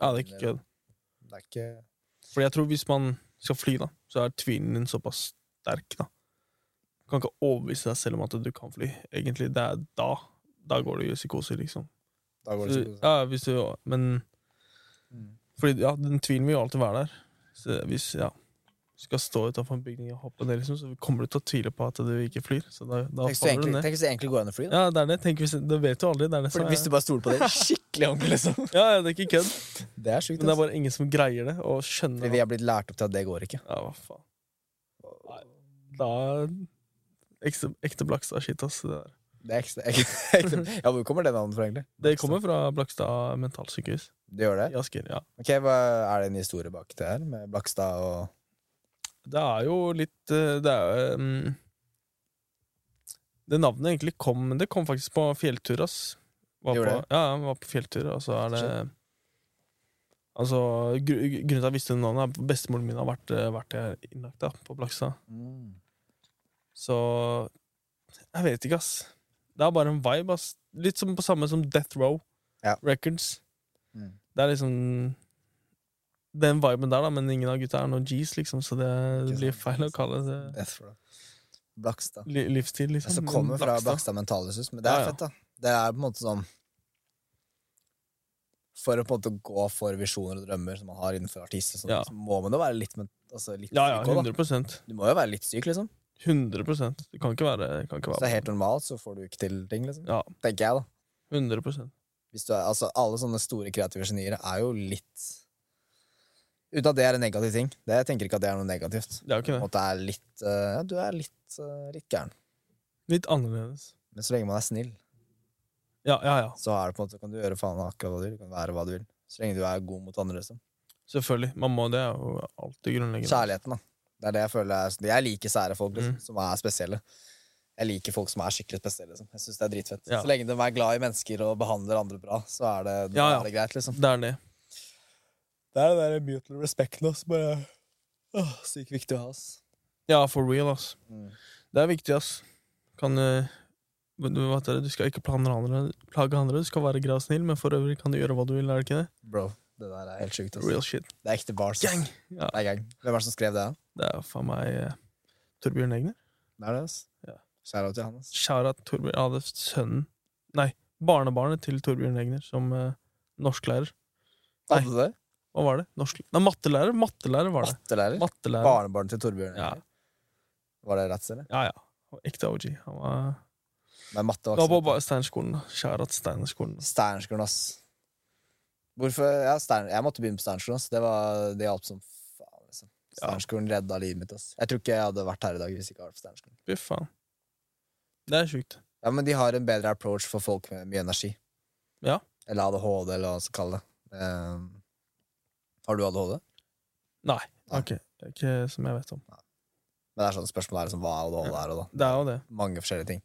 ja det er ikke kødd.
Det er ikke
Fordi jeg tror hvis man skal fly, da, så er tvilen din såpass sterk, da. Du kan ikke overbevise deg selv om at du kan fly. Egentlig, det er da. Da går det i psykose, liksom.
Da går det
Så,
ikke.
ja, hvis du, men
Mm.
Fordi ja, den tvilen vil jo alltid være der. Så hvis ja, du skal stå utenfor en bygning og hoppe ned, liksom, så kommer du til å tvile på at du ikke flyr. Så da, da
Tenk hvis du
faller du
egentlig,
ned.
tenk hvis det egentlig går an å fly, da.
Ja, det er det. Tenk hvis, det vet du aldri. Det er det som er
Fordi hvis du bare stoler
[LAUGHS]
på det skikkelig ordentlig, liksom.
ja, ja, det er ikke kødd.
Det er sjukt.
Men det
[LAUGHS] ass.
er altså. bare ingen som greier det, og skjønner
Fordi
det.
vi er blitt lært opp til at det går ikke.
Ja, hva faen. Nei, da Ekte, ekte Blakstad-shit, ass. Det, der.
Det er ekstra, ekstra.
[LAUGHS]
Ja, Hvor kommer det navnet fra, egentlig?
det kommer fra Blakstad mentalsykehus
Det gjør det?
i Asker. ja.
Ok, hva Er det en historie bak det her, med Blakstad og
Det er jo litt eh, Det er jo mm, Det navnet egentlig kom Det kom faktisk på fjelltur, ass. Var på,
Gjorde det?
ja, var på fjelltur, og så er det Altså, gru, grunnen til at jeg visste det navnet, er at bestemoren min har vært, eh, vært der innlagt da, på Blakstad.
Mm.
Så Jeg vet ikke, ass. Det er bare en vibe, ass. Litt som på samme som Death Row
Ja.
Records.
Mm.
Det er liksom den viben der, da, men ingen av gutta er noen G's, liksom, så det,
Ikke
blir
sant.
feil å kalle det
Death Row? Blakstad.
li livsstil, liksom.
Som Altså, kommer fra
Blakstad.
Blakstad Mentalhusus. Men det
Ja,
er
ja.
fett, da. Det er på en måte sånn For å på en måte gå for visjoner og drømmer som man har innenfor artister, sånn,
Ja.
så må man jo være litt, men- altså, litt
Ja, ja,
syk også, da.
100
Du må jo være litt syk, liksom.
100 Det kan ikke være, det kan ikke være
Hvis det er helt normalt, så får du ikke til ting, liksom.
Ja,
Tenker jeg, da.
100
hvis du er, altså, alle sånne store kreative genier er jo litt Uten at det er en negativ ting. Det, jeg tenker ikke at det er noe negativt.
Det er jo ikke
Og
det.
at det er litt eh, Ja, du er litt, eh, litt gæren.
Litt annerledes.
Men så lenge man er snill,
Ja, ja, ja.
så er det på en måte, kan du gjøre faen akkurat hva du vil. Du kan være hva du vil. Så lenge du er god mot andre. Liksom.
Selvfølgelig. Man må det. er jo alltid grunnleggende.
Kjærligheten, da. Det er det jeg føler er Jeg liker sære folk liksom,
Mm.
som er spesielle. Jeg liker folk som er skikkelig spesielle. Liksom. Jeg synes det er dritfett.
Ja.
Så lenge de er glad i mennesker og behandler andre bra, så er det, da
Ja, ja.
er det greit. liksom
Det er det.
Det er den der mutual respekten også, bare åh, Sykt viktig å ha, ass.
Ja, for real, ass.
Mm.
Det er viktig, ass. Kan eh, men du, vet det, du skal ikke plage andre, plage andre, du skal være grei og snill, men for øvrig kan du gjøre hva du vil, er det ikke det?
Bro, det der er helt sjukt. ass.
Real shit.
Det er ekte bars. ass.
Gang! Ja,
Det er gang. Hvem er det som skrev det? da?
det er faen meg eh, Torbjørn Egner.
Det er det, ass.
Ja.
Shout-out til han, ass.
Kjære Torbjørn Ja, det er sønnen Nei, barnebarnet til Torbjørn Egner som eh, norsklærer. Nei.
Hadde du det?
Hva var det? Norsk... Nei, mattelærer. Mattelærer var det.
Mattelærer?
Mattelærer.
Barnebarnet til Torbjørn.
Ja,
Var det rett, eller?
ja. ja. Og Ekte OG. Han var,
Nei, matte
det var
var
på
ikke
ba- Steinerskolen. da. Kjære at Steinerskolen.
så- Steinerskolen, ass. Hvorfor? Ja, Steiner, jeg måtte begynne på Steinerskolen, ass. Det, var, det hjalp som faen, liksom.
Ja.
Steinerskolen redda livet mitt, ass. Jeg tror ikke jeg hadde vært her i dag hvis jeg ikke hadde vært på Steinerskolen.
Fy faen. Det er sjukt.
Ja, men de har en bedre approach for folk med mye energi.
Ja.
Eller ADHD, eller hva man skal kalle det. Ehm, har du ADHD?
Nei.
Nei.
Ok. Det er Ikke som jeg vet om.
Men det er sånn spørsmål er liksom, hva ADHD er, og da.
Det er jo det.
Mange forskjellige ting.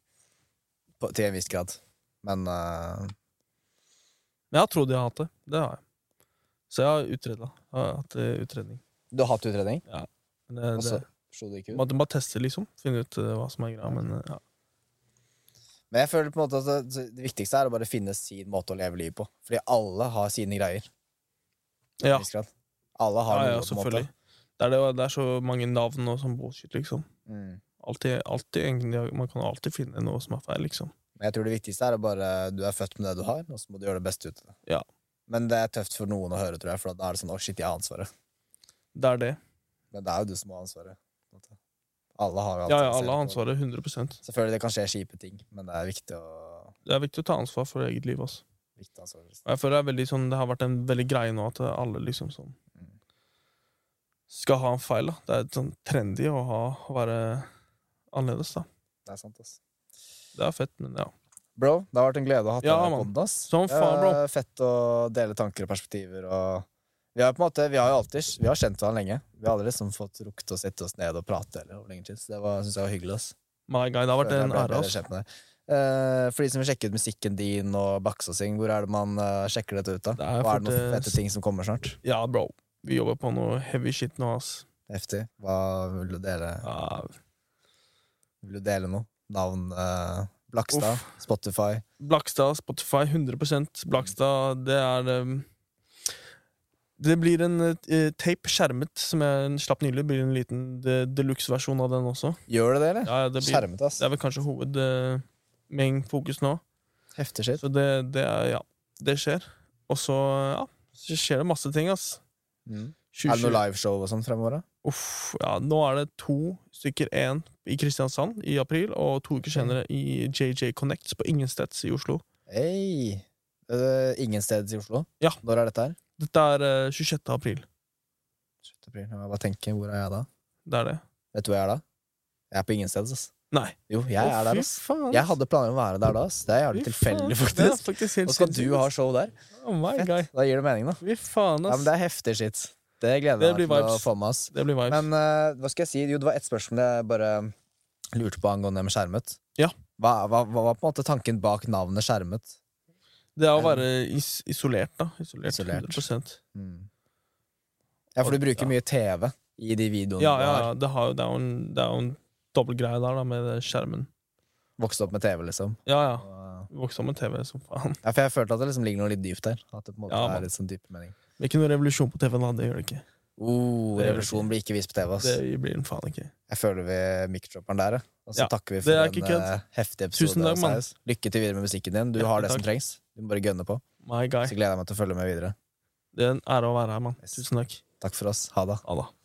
På, til en viss grad. Men eh,
Men jeg har trodd jeg har hatt det. Det har jeg. Så jeg har utreda. Jeg har hatt eh, utredning.
du har hatt utredning?
Men det,
Og så
det,
slo det ikke ut?
man må bare teste, liksom. Finne ut eh, hva som er greia. Men eh, ja.
Men jeg føler på en måte at det, det viktigste er å bare finne sin måte å leve livet på. Fordi alle har sine greier. til en
Ja,
viss grad. Alle har
ja, ja
noe på en måte.
selvfølgelig. Det er, det, det er så mange navn og sånn bullshit, liksom.
Mm.
Alltid, alltid, egentlig, man kan alltid finne noe som er feil, liksom.
Men jeg tror det viktigste er å bare Du er født med det du har, og så må du gjøre det beste ut av det.
Ja.
Men det er tøft for noen å høre, tror jeg, for da er det sånn 'Å, shit, jeg har ansvaret'.
Det er det.
Men det er jo du som har ansvaret. på en måte. Alle har jo
Ja, ja,
ansvaret selv.
alle har ansvaret. 100
Selvfølgelig det kan skje kjipe ting, men det er viktig å
Det er viktig å ta ansvar for eget liv. Ass.
viktig ansvar.
Og jeg føler det, er veldig, sånn, det har vært en veldig greie nå at alle liksom sånn skal ha en feil. Da. Det er sånn trendy å, ha, å være annerledes. Da.
Det er sant, ass.
Det er fett, men ja.
Bro, det har vært en glede å ha
Ja,
deg
mann.
på den. ass. Eh,
Som
Det
faen, bro.
er Fett å dele tanker og perspektiver og Vi har jo på en måte, vi har jo alltid Vi har kjent hverandre lenge. Vi Vi hadde liksom fått rukket å sette oss ned og prate eller, over lengre tid. Så det var, synes jeg var hyggelig. ass.
My guy, det har vært
Føler
en
jeg ble
ære.
bedre
ass.
kjent med deg. Eh, for de som vil sjekke ut musikken din og baksasing, hvor er det man eh, sjekker dette ut, da?
Det er
Hva er det noen
fort, eh,
fete ting som kommer snart?
Ja, bro. Vi jobber på noe heavy shit nå, ass.
Heftig. Hva vil du dele?
Ja,
Vil du dele noe? Navn? eh, Blakstad? Spotify?
Blakstad, Spotify, 100 Blakstad, det er um, Det blir en eh, tape skjermet, som jeg slapp nylig. Det blir en liten de- deluxe-versjon av den også.
Gjør det det, eller?
Ja, ja, det, blir,
Skjermet, ass.
det er vel kanskje hovedmengdefokus nå.
Heftig shit.
Så det, det er Ja, det skjer. Og så, ja, så skjer det masse ting, ass.
Mm. Er det
2020.
noe liveshow og sånn fremover? da?
Uff, ja, nå er det to stykker. Én i Kristiansand i april, og to
Mm.
uker senere i JJ Connects på Ingensteds i Oslo.
Hey. Eh, ingen steds i Oslo?
Ja.
Når er dette her?
Dette er eh, 26. april.
7. april. Jeg må bare tenke, hvor er jeg da?
Det er det.
Vet du hvor jeg er da? Jeg er på ingen steds, ass.
Nei.
Jo, jeg
Å,
er der,
fy
ass.
faen,
Jeg hadde planer om å være der da, ass. Det er jævlig
Fy
tilfeldig,
faen. Det er
faktisk.
faktisk helt
Og skal du
sinnssykt,
ha
ass.
show der?
Oh my
Fett.
guy.
Da gir det mening, da.
Fy faen,
Ja,
ass.
men det er heftig shit. Det gleder
Det
jeg meg
blir
til å
vibes.
få med, ass.
det, blir vibes.
Men eh, hva skal jeg si? Jo, det var ett spørsmål jeg bare lurte på angående med skjermet.
Ja.
Hva, hva, hva var på en måte tanken bak navnet skjermet?
det er å være is isolert, da. Isolert.
Isolert.
100
Mm. Ja, for du
Og-
bruker
ja.
mye TV i de videoene
Ja,
du
ja,
har.
ja. Det, har, jo- det er jo en, det er jo en dobbel greie der, da, med skjermen.
Vokst opp med TV, liksom.
Ja, ja.
Og,
Vokste opp med TV som faen.
Ja, for jeg følte at det liksom ligger noe litt dypt der. At det på en måte
Ja, man.
er litt sånn dype mening.
Det er ikke noe revolusjon på TV-en, da. Det gjør det ikke.
Oh,
Det gjør det
revolusjonen blir ikke vist på TV, ass.
Det blir den faen ikke.
Jeg føler vi mikrochopperen der, ja. Og så
Ja,
takker vi
det
for
er
en
ikke kødd.
eh, heftig episode.
Tusen takk,
av
mann.
Saus. Lykke til videre med musikken din. Du
Hjertelig
har det som
takk.
trengs. Du må bare gønne på.
My guy.
Så gleder jeg meg til å følge med videre.
Det er en ære å være her, mann.
Yes.
Tusen takk.
Takk for oss. Ha det.
Ha det.